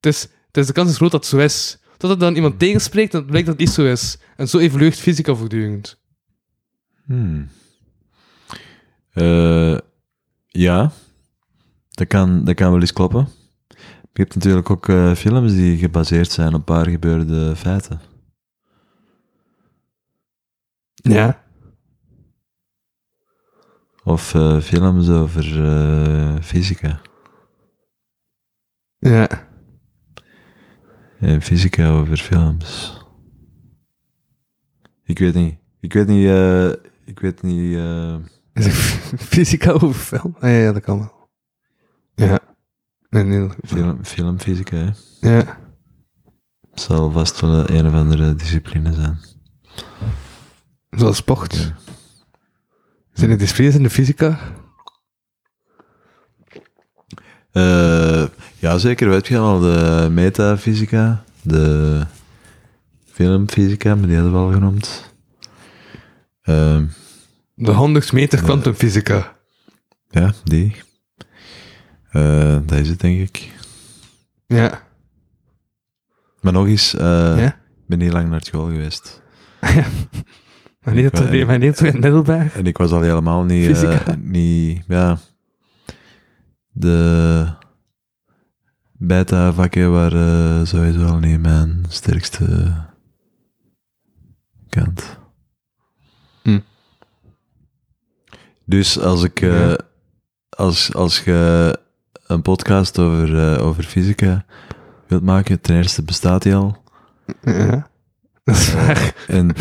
het is, het is, de kans is groot dat het zo is. Totdat dan iemand tegenspreekt, dan blijkt dat het niet zo is. En zo evolueert fysica voortdurend. hmm. Eh, ja, dat kan, dat kan wel eens kloppen. Je hebt natuurlijk ook eh, films die gebaseerd zijn op waar gebeurde feiten. Ja. Of eh, films over eh, fysica. Ja. En Eh, fysica over films. Ik weet niet. Ik weet niet. eh, ik weet niet. eh, Is het fysica over film? Ah, ja, ja, dat kan wel. Ja. Nee, nee. dat- film, filmfysica, hè. Ja. Het zal vast wel een of andere discipline zijn. Zoals sport. Ja. Zijn er disciplines in de fysica? Eh ja, zeker. Weet je al de metafysica, de filmfysica, maar die hadden we al genoemd. Ehm, De 100 meter kwantumfysica. ja, die. Eh, dat is het, denk ik. Ja. Maar nog eens, eh, Ja? ik ben niet lang naar school geweest. Maar niet dat Ja. maar niet dat we in Middelberg. En ik was al helemaal niet... eh, Fysica. niet ja, de beta-vakken waren eh, sowieso al niet mijn sterkste kant. Hm. Dus als ik... eh, Ja. als, als je een podcast over, eh, over fysica wilt maken, ten eerste bestaat die al. Ja. Dat is waar. En,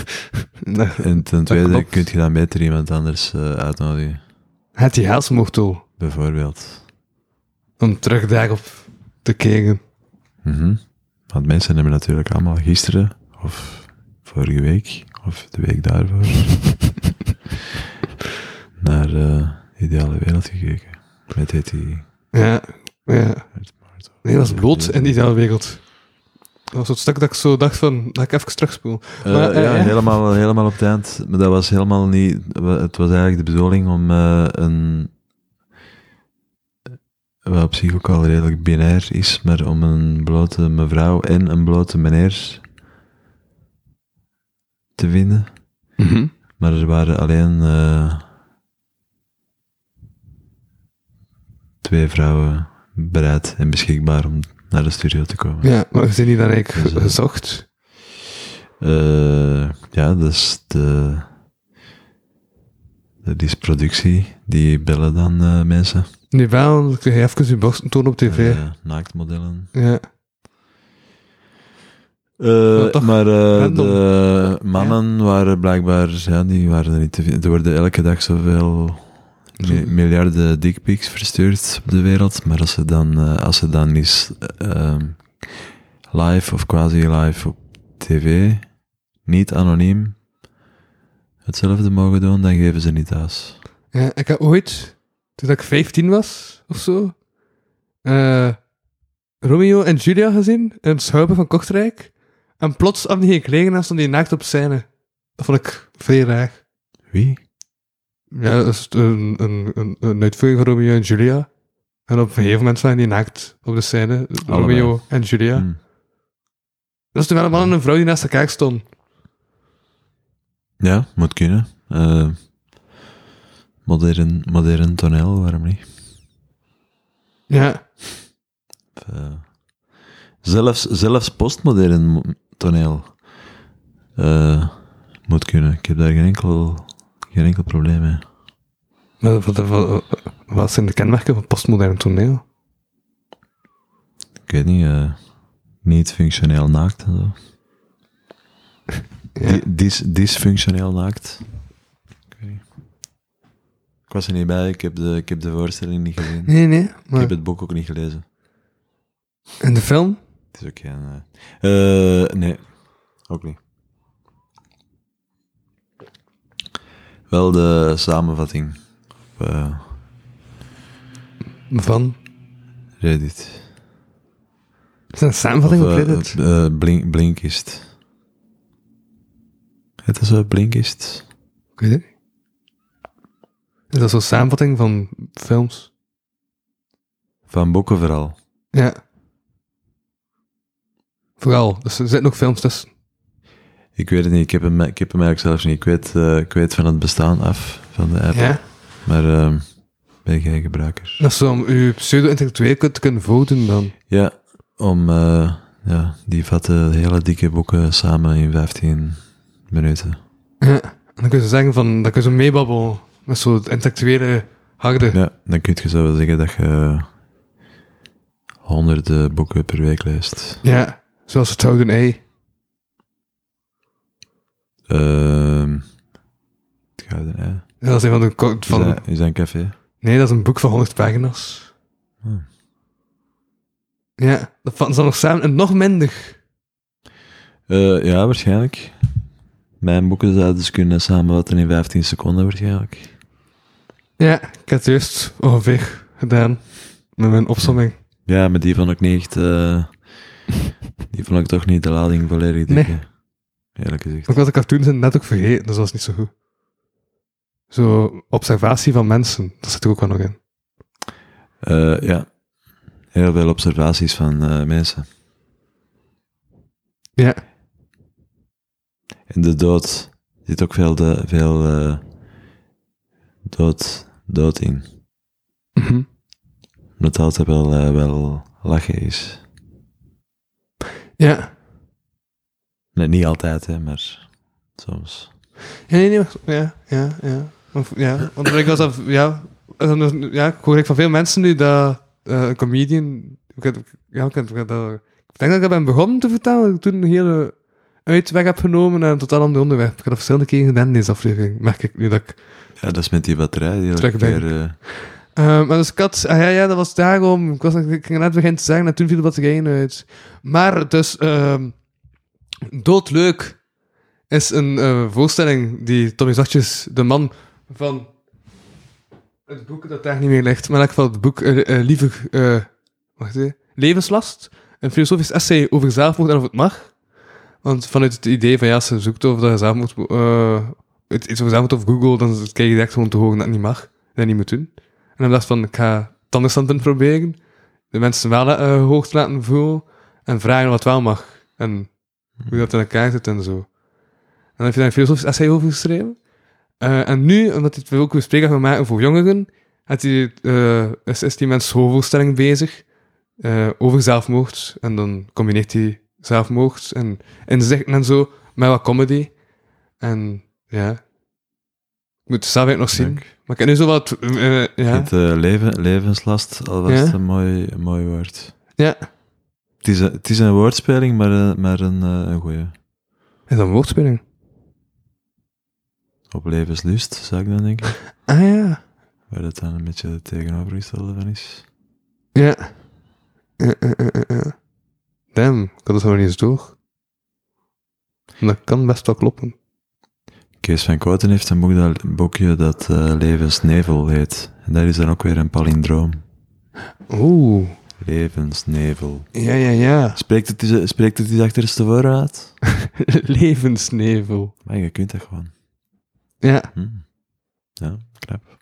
Dat- en ten tweede klopt. kun je dan beter iemand anders eh, uitnodigen. Het die helsmocht toe. Bijvoorbeeld. om terug daarop te kijken. Mhm. Want mensen hebben natuurlijk allemaal gisteren, of vorige week, of de week daarvoor, naar eh Ideale Wereld gekeken. Met heet die... Ja, ja. Nee, dat is bloot in die hele wereld. Dat was het stuk dat ik zo dacht van, dat ik even terugspoel. Eh, Maar, eh, ja, ja. Helemaal, helemaal op het eind. Maar dat was helemaal niet... Het was eigenlijk de bedoeling om eh, een... Wat op zich ook al redelijk binair is, maar om een blote mevrouw en een blote meneer te vinden. Mhm. Maar er waren alleen eh, twee vrouwen bereid en beschikbaar om naar de studio te komen. Ja, maar we zijn niet dan eigenlijk Dus, eh, gezocht. Eh, ja, dat is de. Dat is productie. Die bellen dan eh, mensen. Nu wel, dan kun je even je borst tonen op tv. Eh, naaktmodellen. Ah, ja. Ja, toch, maar eh, random. de mannen waren blijkbaar. Ja, die waren er niet te vinden. Er worden elke dag zoveel. mi- miljarden dickpics verstuurd op de wereld. Maar als ze dan, eh, als ze dan eens eh, ehm, live of quasi live op tv, niet anoniem, hetzelfde mogen doen, dan geven ze niet thuis. ja. Ik had ooit, toen ik 15 was of zo, eh, Romeo en Julia gezien in het Schuipen van Kortrijk. En plots aan die gelegen en stond die naakt op scène. Dat vond ik vrij raar. Wie? Ja, dat is een, een, een, een uitvoering van Romeo en Julia. En op een gegeven moment zijn die naakt op de scène. Romeo en Julia. Hmm. Dat is toen wel een man en een vrouw die naast elkaar stonden. Ja, moet kunnen. Eh, modern, modern toneel, waarom niet? Ja. Of, eh, zelfs, zelfs postmodern mo- toneel eh, moet kunnen. Ik heb daar geen enkel, geen enkel probleem mee. Maar Wat, wat, wat, wat zijn de kenmerken van postmodern toneel? Ik weet niet, eh, niet functioneel naakt en zo. Di- dis- dysfunctioneel naakt. Ik weet niet. Ik was er niet bij, ik heb de, ik heb de voorstelling niet gezien. Nee, nee. Ik Maar heb het boek ook niet gelezen. in de film? Het is ook geen... eh, eh, nee, ook niet. Wel de samenvatting op eh, Van? Reddit. Is dat een samenvatting Of, op eh, Reddit? eh, Blink, Blinkist. Het is een Blinkist. Ik weet het niet. Is dat zo'n samenvatting van films? Van boeken vooral. Ja. Vooral. Dus er zitten ook films tussen. Ik weet het niet, ik heb hem, ik heb hem eigenlijk zelfs niet. Ik weet, eh, ik weet van het bestaan af, van de app. Ja. Maar ehm, ben jij gebruiker? Dat is zo om je pseudo-intellectueel te kunnen voordoen dan. Ja, om eh, ja, die vette, hele dikke boeken samen in 15 minuten. Dan kun je zeggen van, dan kun je zo meebabbelen met zo'n intellectuele harde. Ja, dan kun je zo wel zeggen dat je honderden boeken per week leest. Ja, zoals het Houden Ei. Ehm het Gouden Ei. Ja, Dat is een van de... ko- Is, Van, dat, is dat een café? Nee, dat is een boek van 100 pagina's. Hmm. Ja, dat vatten ze dan nog samen. En nog minder. Eh, ja, waarschijnlijk. Mijn boeken zouden dus kunnen samenvatten in 15 seconden, waarschijnlijk. Ja, ik heb het juist ongeveer gedaan. Met mijn opzomming. Ja, maar die vond ik niet echt... eh, die vond ik toch niet de lading volledig Nee. dikke. Eerlijk gezegd. Ook wat de cartoons zijn net ook vergeten, dus dat is niet zo goed. Zo, observatie van mensen. Dat zit er ook wel nog in. Eh, ja. Heel veel observaties van eh, mensen. Ja. In de dood zit ook veel, de, veel eh, dood, dood in. Mhm. Omdat het altijd wel, eh, wel lachen is. Ja. Nee, niet altijd, hè, maar soms. Ja, nee, nee, maar- ja, ja, ja. Of- ja, want ik was dat, ja, en dan- ja, ik hoor ik van veel mensen nu dat eh, een comedian, ik, heb- ja, ik, heb- ik heb dat- ik denk dat ik dat ben begonnen te vertellen, dat ik toen een hele uitweg heb genomen naar een totaal ander onderwerp. Ik heb dat verschillende keren gedaan in deze aflevering, merk ik nu dat ik Ja, dat is met die batterij die elke Terugdenken. keer... eh, Eh, maar dus ik had... ah, ja, ja, dat was daarom. Ik, was, ik ging net beginnen te zeggen en toen viel de batterijen uit. Maar dus... ehm, Doodleuk is een eh, voorstelling die Tommy Zachtjes, de man van het boek dat daar niet meer ligt, maar in elk geval het boek eh, eh, Liever... eh, wacht even. Levenslast. Een filosofisch essay over zelfmoord en of het mag. Want vanuit het idee van ja, als ze zoekt over dat je zelfmoord... eh, het- iets over zelfmoord of Google, dan krijg je direct gewoon te horen dat het niet mag. Dat je dat niet moet doen. En dan dacht van, ik ga tandenstanden proberen. De mensen wel eh hoog te laten voelen. En vragen wat wel mag. En hoe dat in elkaar zit en zo. En dan heb je daar een filosofisch essay over geschreven. Eh, en nu, omdat hij het ook bespreekbaar wil maken voor jongeren, had hij, eh, is, is die mens schoolvoorstelling bezig eh, over zelfmoord. En dan combineert hij zelfmoord en inzichten en zo met wat comedy. En ja, ik moet het zelf eigenlijk nog zien. Leuk. Maar ik heb nu zo wat... eh, eh, ja. Het eh, leven, levenslast, al was Ja. het een mooi, een mooi woord. Ja. Het is, een- het is een woordspeling, maar, een- maar een, eh, een goeie. Is dat een woordspeling? Op levenslust, zou ik dan denken. Ah ja. Waar dat dan een beetje het tegenovergestelde van is. Ja. Eh, eh, eh, eh, eh. Damn, ik had het helemaal niet eens door. Dat kan best wel kloppen. Kees van Kooten heeft een, boek dat, een boekje dat eh, Levensnevel heet. En daar is dan ook weer een palindroom. Oeh. Levensnevel. Ja, ja, ja. Spreekt het, iets- spreekt het iets achterstevoren uit? Levensnevel. Maar je kunt dat gewoon. Ja. Hm. Ja, knap.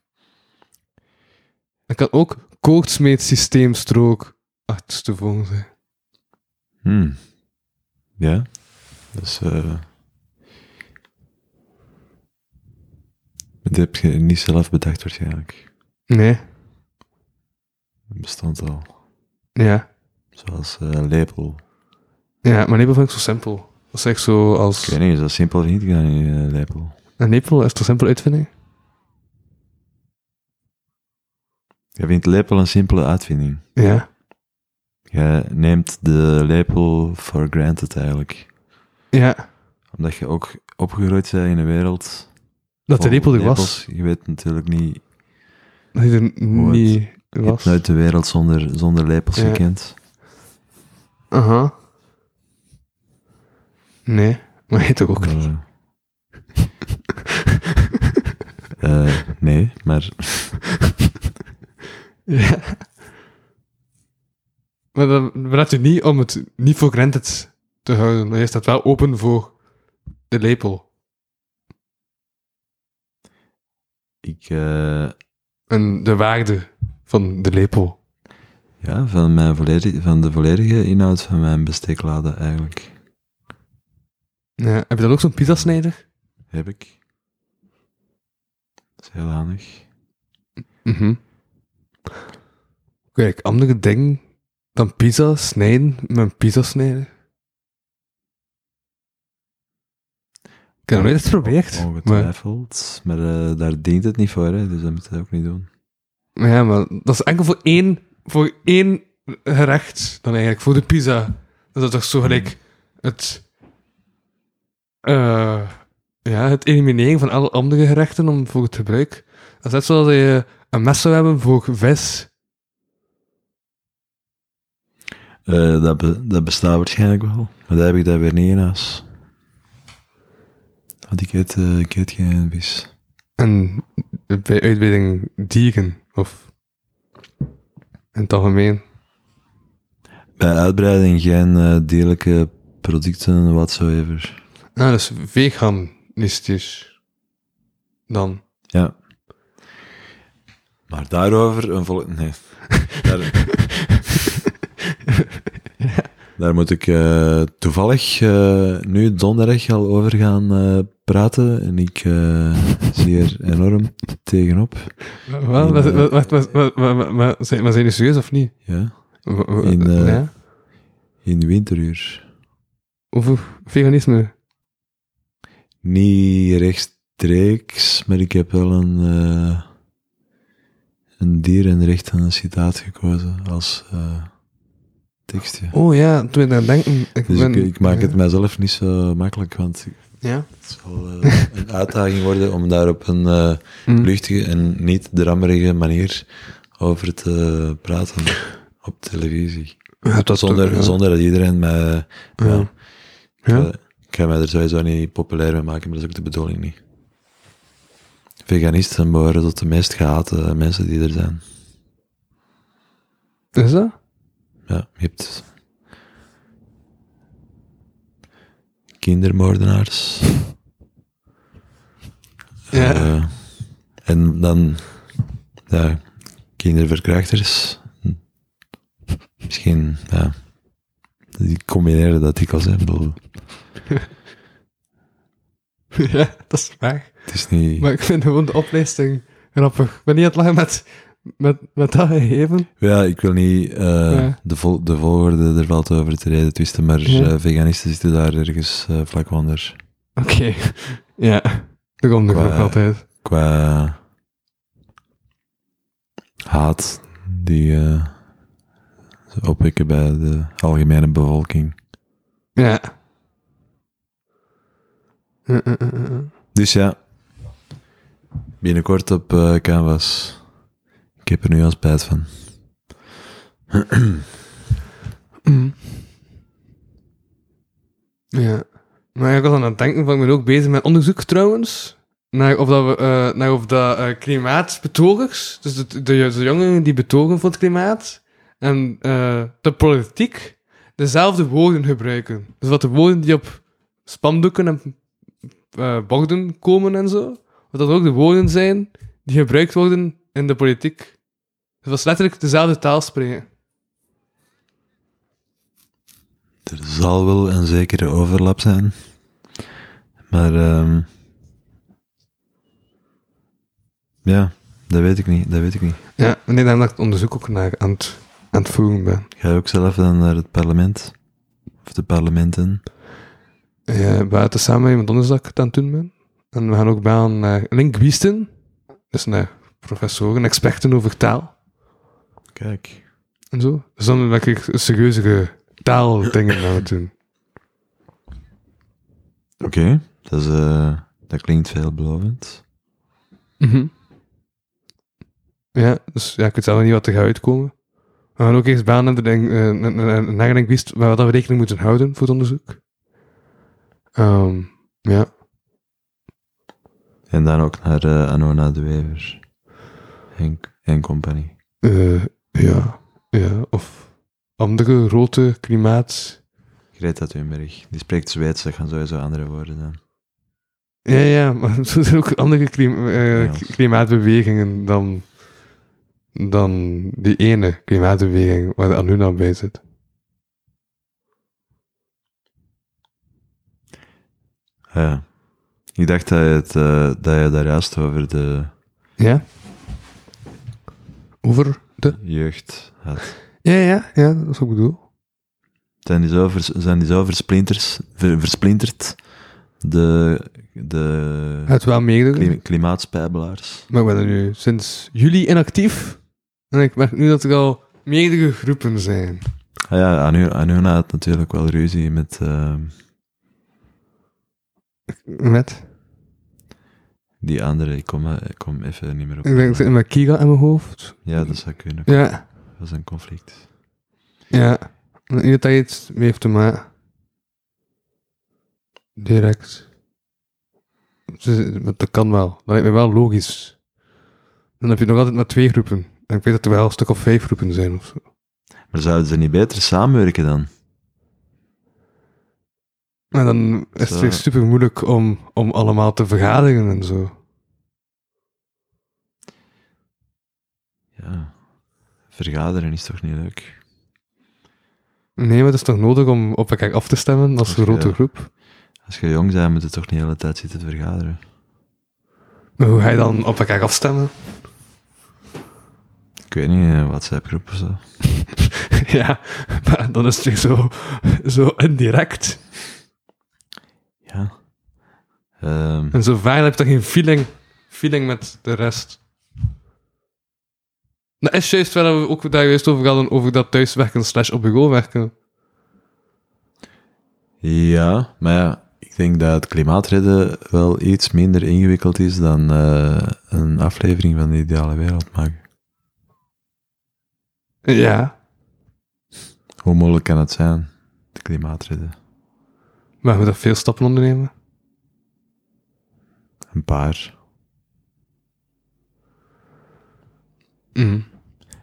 Dat kan ook koortsmeetsysteemstrook achterstevoren zijn. Hm. Ja. Dus, eh... Dit heb je niet zelf bedacht waarschijnlijk. Nee. Het bestond al. Ja. Zoals eh, lepel. Ja, maar nepel vind ik zo simpel. Dat is echt zo Ik weet als... niet, is dat simpel of niet gaan in eh, lepel? Een nepel is toch simpel uitvinding? Jij vindt lepel een simpele uitvinding. Ja. Jij neemt de lepel for granted eigenlijk. Ja. Omdat je ook opgegroeid bent in een wereld... Dat de vol nepel er was. lepels. Je weet natuurlijk niet... Dat hij er Hoe het- niet Je hebt was. nooit de wereld zonder, zonder lepels Ja. gekend. Aha. Nee, maar hij toch ook niet. Eh. Eh, nee, maar Ja. Maar dat belet je niet om het niet voor granted te houden. maar Je staat wel open voor de lepel. ik... eh, En de waarde van de lepel. ja, van, mijn volledig, van de volledige inhoud van mijn bestekladen eigenlijk. Ja, heb je dan ook zo'n pizzasnijder? Heb ik. Dat is heel handig. Mhm. Kijk, andere dingen Dan pizza snijden met een pizza snijden. Ik heb nog nooit eens geprobeerd. eh, Maar, Ongetwijfeld. Maar eh, daar dient het niet voor, hè, dus dat moet je ook niet doen. maar ja, maar dat is enkel voor één, voor één gerecht dan eigenlijk. Voor de pizza. Dat is toch zo gelijk het... eh, ja, het elimineren van alle andere gerechten om, voor het gebruik. Dat is net zoals dat je een mes zou hebben voor vis. Eh, dat, be- dat bestaat waarschijnlijk wel. Maar daar heb ik daar weer niet in huis. Want ik eet, eh, ik eet geen vis. En bij uitbreiding dieren, of in het algemeen. Bij uitbreiding geen eh, dierlijke producten, whatsoever. Nou, dat is veganistisch. Dan. Ja. Maar daarover een vol... Nee. Daar, daar moet ik eh, toevallig eh, nu donderdag al over gaan eh, praten. En ik eh, zie er enorm tegenop. Wel, maar, maar, maar, maar, maar, maar- maar- zijn, maar zijn jullie serieus of niet? Ja. W- w- In, eh, ja? In winteruur. Over veganisme. Niet rechtstreeks, maar ik heb wel een, eh een dierenrecht aan een citaat gekozen als eh, tekstje. Oh ja, toen ik daar denken. Ik Dus ben, ik, ik maak het mijzelf niet zo makkelijk, want Ja. het zal eh, een uitdaging worden om daar op een eh, Mm. luchtige en niet drammerige manier over te praten op televisie. Ja, dat zonder, ook, ja. zonder dat iedereen mij... Ja. Ik, Ja? eh, ik ga mij er sowieso niet populair mee maken, maar dat is ook de bedoeling niet. Veganisten behoren tot de meest gehate mensen die er zijn. Is dat? Ja, je hebt... Kindermoordenaars. Ja. eh, en dan... Ja, kinderverkrachters. Hm. Misschien, ja... Die combineren dat dikwijls, hè. Ik bedoel, ja, dat is waar. het is niet... Maar ik vind gewoon de opleiding grappig. Ik ben niet aan het lachen met, met, met dat gegeven. Ja, ik wil niet eh, Ja. de, vol de volgorde er valt over te reden twisten, maar Ja. eh, veganisten zitten daar ergens eh, vlak onder. Oké. Ja, dat komt nog Qua- ook altijd. Qua haat die eh, ze opwekken bij de algemene bevolking. Ja. Eh, eh, eh, eh. Dus ja, binnenkort op eh, Canvas. Ik heb er nu al spijt van. Ja. Maar ik was aan het denken van, ik ben ook bezig met onderzoek trouwens. Naar of dat, we, eh, naar of dat eh, klimaatbetogers, dus de, de, de jongeren die betogen voor het klimaat, en eh, de politiek dezelfde woorden gebruiken. Dus wat de woorden die op spandoeken en eh, borden komen en zo, wat dat ook de woorden zijn die gebruikt worden in de politiek. Dus dat is letterlijk dezelfde taal spreken. Er zal wel een zekere overlap zijn. Maar ehm, ja, dat weet ik niet. Dat weet ik niet. Ja, nee, daar ben ik het onderzoek ook naar aan het, aan het voeren ben. Ga je ook zelf dan naar het parlement? Of de parlementen? Ja, buiten samen met donderdag aan het doen ben. En we gaan ook baan naar linguisten. Dus naar professoren, experten over taal Kijk. en zo. Dus dan ben ik serieuzere taaldingen aan het doen. Oké. Dat, is, eh, dat klinkt veelbelovend. Ja, dus ja, ik weet zelf niet wat er gaat uitkomen. We gaan ook eerst baan hebben de, eh, naar- naar- naar een linguist waar we dat we rekening moeten houden voor het onderzoek. Ehm, ja. En dan ook naar eh, Anona de Wever. Henk en compagnie. Eh, ja. Ja. Of andere grote klimaat... Greta Thunberg. Die spreekt Zweeds, dat gaan sowieso andere woorden zijn. Ja, ja, maar er zijn ook andere klim- eh, Ja. k- klimaatbewegingen dan, dan die ene klimaatbeweging waar de Anuna bij zit. Ah Ja. Ik dacht dat je, het, eh, dat je daar juist over de Ja? Over de... jeugd had. Ja, ja, ja, dat is wat ik bedoel. Zijn die zo, vers, zijn die zo versplinters, ver- versplinterd? De, de Het wel meerdere. klim- klimaatspijbelaars. Maar ik ben er nu sinds juli inactief. En ik merk nu dat er al meerdere groepen zijn. Ah ja, aan hun, aan hun had natuurlijk wel ruzie met... ehm, Met? Die andere, ik kom, eh, ik kom even niet meer op. Ik denk dat ik met Kira in mijn hoofd. Ja, dat zou kunnen. Ja, Dat was een conflict. ja. En iedereen dat iets mee heeft te maken. Direct. Dus, eh, want dat kan wel. Dat lijkt me wel logisch. Dan heb je nog altijd maar twee groepen. En ik weet dat er wel een stuk of vijf groepen zijn of zo. Maar zouden ze niet beter samenwerken dan? En dan is het Zo. weer super moeilijk om, om allemaal te vergaderen en zo. Ja. Vergaderen is toch niet leuk? Nee, maar het is toch nodig om op elkaar af te stemmen als Oké. grote groep? Als je jong bent, moet je toch niet de hele tijd zitten vergaderen? Maar hoe ga je dan op elkaar afstemmen? Ik weet niet, een WhatsApp-groep of zo. ja, maar dan is het weer zo, zo indirect. Ja. Ehm, En zo vaak heb je toch geen feeling, feeling met de rest. Dat is juist waar we ook daar juist over hadden, over dat thuiswerken slash op bureau werken. ja, maar ja, ik denk dat het klimaat redden wel iets minder ingewikkeld is dan eh, een aflevering van de ideale wereld maken. Ja, Hoe moeilijk kan het zijn, het klimaat redden? maar we moeten veel stappen ondernemen. Een paar.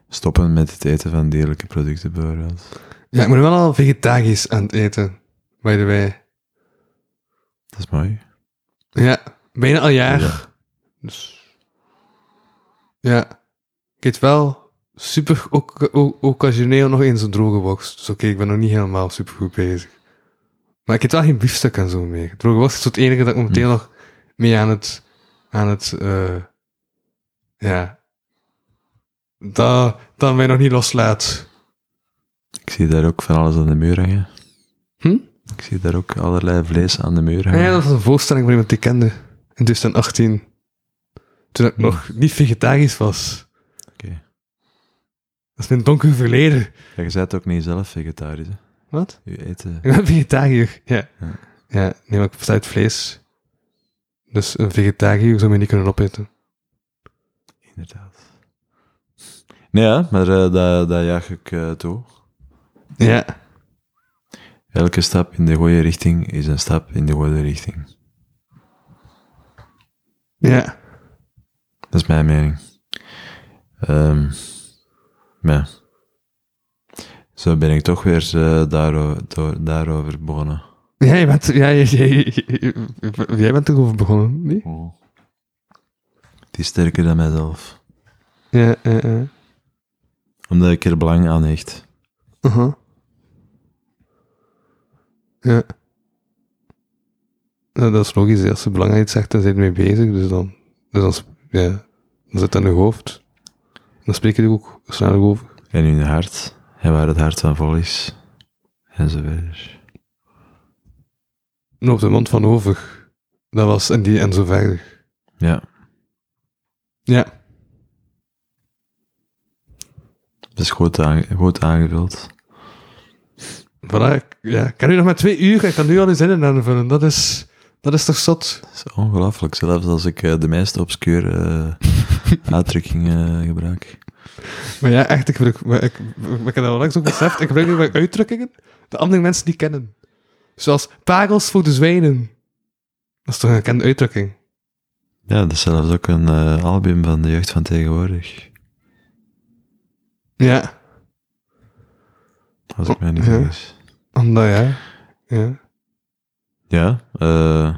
Stoppen met het eten van dierlijke producten bijvoorbeeld. Ja, ik ben wel al vegetarisch aan het eten, by the way. Dat is mooi. Ja, bijna al jaar. Ja. Dus ja, ik eet wel super oc- o- occasioneel nog eens een droge worst. Dus oké, ik ben nog niet helemaal super goed bezig. Maar ik eet wel geen biefstuk en zo meer. Droge worst is het enige dat ik momenteel nog mee aan het, aan het, eh, ja, dat, dat mij nog niet loslaat. Ik zie daar ook van alles aan de muur hangen. Hm? Ik zie daar ook allerlei vlees aan de muur hangen. Ja, dat was een voorstelling van iemand die ik kende. In 2018. Toen ik nog niet vegetarisch was. Oké. Dat is mijn donker verleden. Ja, je bent ook niet zelf vegetarisch, hè? Wat? Je eten... Ik ben vegetariër, ja. Ja. Ja, nee, maar ik versta het vlees. Dus een vegetariër zou mij niet kunnen opeten. Inderdaad. Nee, ja, maar eh dat, dat jaag ik eh, toe. Ja. Elke stap in de goede richting is een stap in de goede richting. Ja. Dat is mijn mening. Ehm, ja. Zo ben ik toch weer eh, daaro- door- daarover begonnen. Ja, je bent, ja, je- je- je- jij bent erover begonnen, niet? Het is sterker dan mijzelf. Ja, ja, ja. Omdat ik er belang aan hecht. Aha. Uh-huh. Ja. Nou, dat is logisch. hè. Als ze belangrijk iets zegt, dan zijn ze mee bezig. Dus dan, dus dan, sp- ja, dan zit dat in je hoofd. Dan spreek je er ook sneller over. En in je hart. En waar het hart van vol is. En zo verder. En op de mond van over. Dat was en die en zo verder. Ja, Ja. dat is goed, aange- goed aangevuld. Voilà, ik- ja. Ik kan nu nog maar twee uur en ik kan nu al eens in aanvullen. Dat is, dat is toch zot? Dat is ongelooflijk, zelfs als ik eh, de meest obscure eh, uitdrukkingen gebruik. Maar ja, echt, ik, gebruik, maar ik, maar ik heb dat onlangs ook beseft. Ik gebruik nu mijn uitdrukkingen die andere mensen niet kennen. Zoals pagels voor de zwijnen. Dat is toch een bekende uitdrukking? Ja, dat is zelfs ook een eh, album van de jeugd van tegenwoordig. Ja. Als ik mij niet Ja. vergis. Omdat ja. ja. Ja, eh,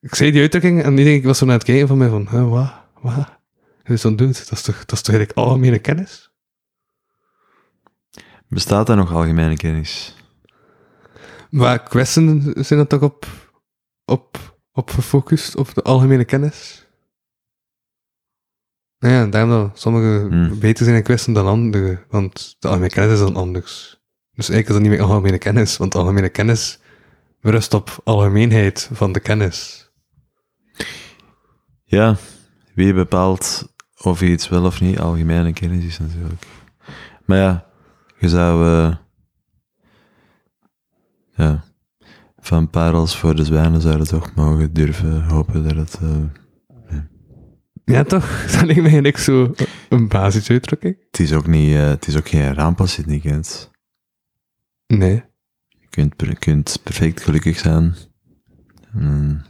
Ik zei die uitdrukking en iedereen was zo naar het kijken van mij van, hè, wat, wat? Hoe is dat doet? Dat is toch, dat is toch eigenlijk algemene kennis? bestaat daar nog algemene kennis? Maar kwesties zijn dat toch op, op, op gefocust, op de algemene kennis? Nou Ja, daarom dat sommige Hmm. beter zijn in kwestie dan andere, want de algemene kennis is dan anders. Dus eigenlijk is dat niet meer algemene kennis, want algemene kennis berust op algemeenheid van de kennis. Ja, wie bepaalt of je iets wel of niet algemene kennis is natuurlijk. Maar ja, je zou eh, ja, van parels voor de zwijnen zouden toch mogen durven hopen dat het... eh, Ja, toch? Dat lijkt mij niks zo een basisuitdrukking. het, is ook niet, eh, het is ook geen ramp als je het niet kent. Nee. Je kunt, per- je kunt perfect gelukkig zijn. Een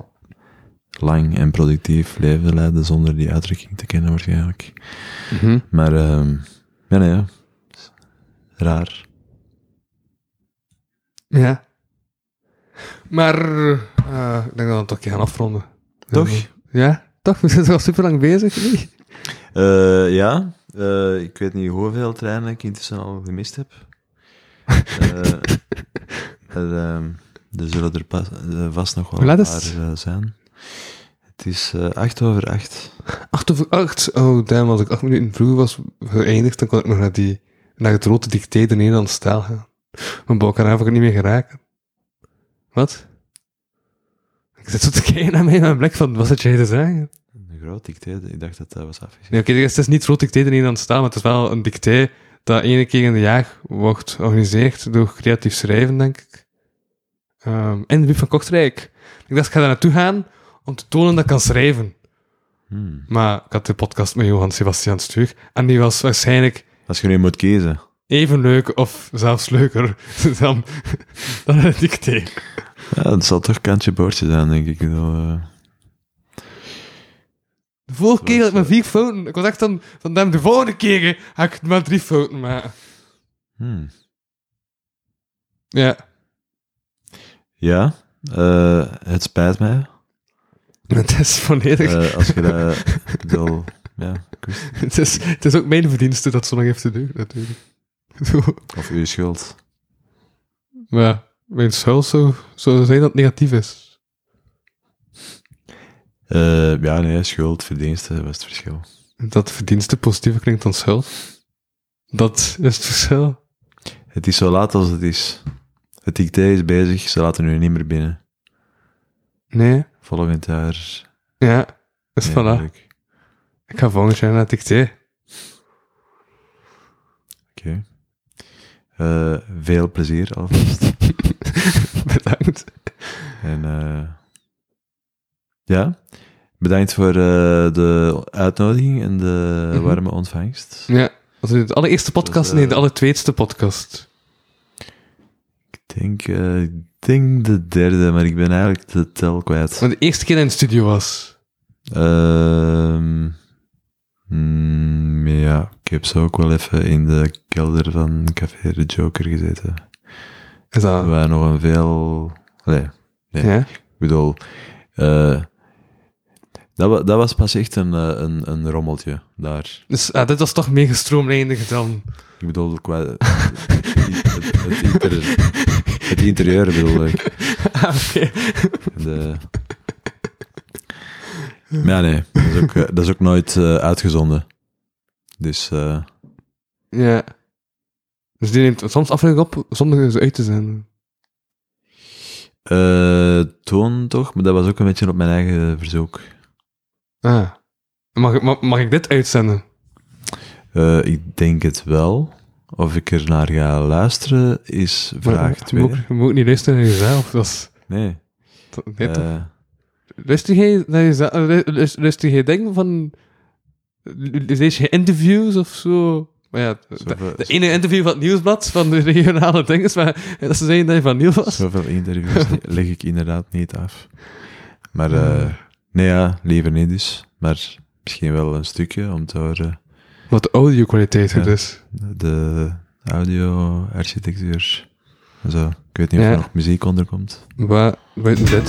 lang en productief leven leiden zonder die uitdrukking te kennen waarschijnlijk. Mhm. Maar, ehm ja, nee, ja. Raar. Ja. Maar, eh, ik denk dat we het toch een keer gaan afronden. Toch? Ja, toch? We zijn al super lang bezig. niet? Eh, ja, Eh, ik weet niet hoeveel treinen ik intussen al gemist heb. Eh, er, ehm, er zullen er pas, eh, vast nog wel Hoe laat een is paar het? eh, zijn. Het is eh, acht over acht. Acht over acht. Oh, damn, als ik acht minuten vroeg was geëindigd, dan kon ik nog naar, die, naar het rode dicté de Nederlandse taal gaan. Mijn bouw kan eigenlijk niet meer geraken. Wat? Ik zit zo te kijken naar mij met een blik van, wat zit jij te zeggen? Een groot dicté, ik dacht dat dat was afgezien. Nee, oké, het is niet het rode dicté de Nederlandse taal, maar het is wel een dicté dat ene keer in de jaar wordt georganiseerd door creatief schrijven, denk ik. Ehm in de buurt van Kortrijk. Ik dacht, ik ga daar naartoe gaan om te tonen dat ik kan schrijven. Hmm. Maar ik had de podcast met Johan Sebastian Stuur en die was waarschijnlijk Als je nu moet kiezen. even leuk of zelfs leuker dan, dan het dicté. Ja, het zal toch kantje boordje zijn, denk ik. Ik bedoel, eh, De vorige keer had ik maar eh, vier fouten. Ik was echt dan van hem, de volgende keer ga ik maar drie fouten maken. hmm. Ja. Ja, eh, het spijt mij. Het is volledig... Eh, als je dat... ik bedoel, ja, ik wist- het, is, het is ook mijn verdienste dat zo nog heeft te doen, natuurlijk. Zo. of uw schuld. Maar ja, mijn schuld zou, zou zijn dat het negatief is. Eh, ja, nee, schuld, verdiensten, dat was het verschil. Dat verdienste positiever klinkt dan schuld. Dat is het verschil. Het is zo laat als het is. Het ICT is bezig, ze laten nu niet meer binnen. Nee. Volgend jaar. Ja. Dus nee, voilà. druk. Ik ga volgend jaar naar het dicté. Oké. Eh, veel plezier alvast. Bedankt. en eh, ja, bedankt voor eh, de uitnodiging en de Mhm. warme ontvangst. Ja, was dit de allereerste podcast? Dus, eh, nee, de allertweetste podcast. Ik denk, eh, ik denk de derde, maar ik ben eigenlijk de tel kwijt. Want de eerste keer dat in de studio was. Ehm, mm, ja, ik heb zo ook wel even in de kelder van Café de Joker gezeten. Is dat... Waar nog een veel... Allee, nee, Ja? ik bedoel... eh, dat, wa- dat was pas echt een, eh, een, een rommeltje daar. Dus ah, dit was toch meer gestroomlijndig dan... Ik bedoel, qua... Het, het, het inter- het interieur bedoel eh. ik. Ah, oké. De... eh, Maar ja, nee, dat is ook, eh, dat is ook nooit eh, uitgezonden. Dus eh, Ja. Dus die neemt soms aflevering op zonder ze uit te zenden. eh, toen toch, maar dat was ook een beetje op mijn eigen verzoek. Ah. Mag, ik- mag, mag ik dit uitzenden? Eh, ik denk het wel. Of ik er naar ga luisteren is vraag je, moet, 2. ook- je moet ook niet luisteren naar jezelf. Dat is... Nee. dat- nee, toch? eh, Luister jij naar jezelf? eh, lu- lu- Luister jij dingen van... eh, Lees je interviews of zo? Maar ja, dat- zoveel, De ene interview van het nieuwsblad van de regionale dinges, maar dat ze zeiden dat je van Niel was. zoveel interviews le- leg ik inderdaad niet af. Maar eh, nee, ja, liever niet dus. Maar misschien wel een stukje om te horen. Wat de audio-kwaliteit het is. de audio, architectuur. Zo. Ik weet niet of Ja. er nog muziek onder komt. Wat buiten dit?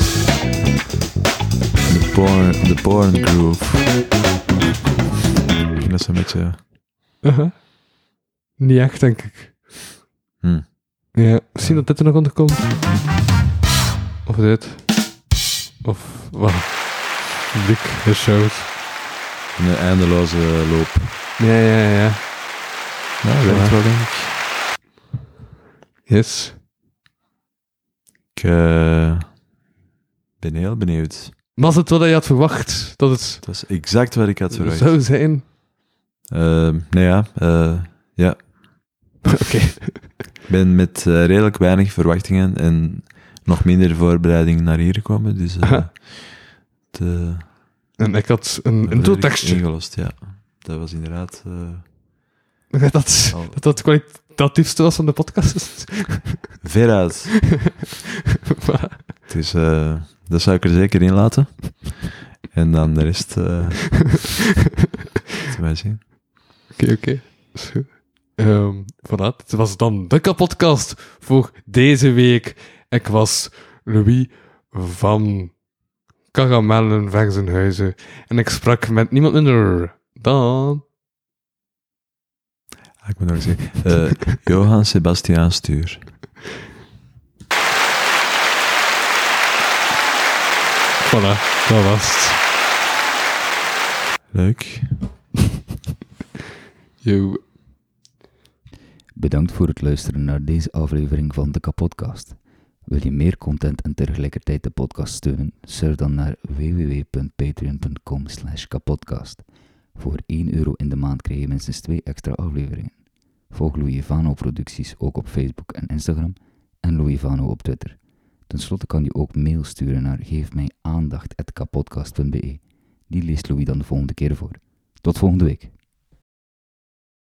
De porn, de porn groove. Ik vind dat zo'n beetje. Aha. Uh-huh. Niet echt, denk ik. Hm. Hmm. Ja, misschien dat dit er nog onder komt. Of dit. Of wat. Dik, de shows. Een eindeloze loop. Ja, ja, ja. Ja, dat werkt wel, denk ik. Yes. Ik eh, ben heel benieuwd. Was het wat je had verwacht dat het Dat is exact wat ik had verwacht. zou zijn? Ehm, nou ja, eh, ja. Oké. Ik ben met eh, redelijk weinig verwachtingen en nog minder voorbereiding naar hier gekomen, dus eh, Aha. het, eh, En ik had een, een redelijk doeltekstje. ingelost, ja. Dat was inderdaad... eh, Dat dat al dat het kwalitatiefste was van de podcast. veruit. Maar- Dus eh, dat zou ik er zeker in laten. En dan de rest... eh te mij zien. Oké, oké. Is goed. Ehm, voilà, dit was dan de kapotcast voor deze week. Ik was Louis van Karamellen Verzenhuizen en ik sprak met niemand minder dan... Ah, ik moet nog zeggen. eh, Johan Sebastiaan Stuur. Voilà, dat was het. Leuk. Yo. Bedankt voor het luisteren naar deze aflevering van de Kapodcast. Wil je meer content en tegelijkertijd de podcast steunen? Surf dan naar www.patreon.com slash kapodcast. Voor 1 euro in de maand krijg je minstens 2 extra afleveringen. Volg Louis Vano producties ook op Facebook en Instagram en Louis Vano op Twitter. Ten slotte kan je ook mail sturen naar geefmijaandacht.kapodcast.be. Die leest Louis dan de volgende keer voor. Tot volgende week.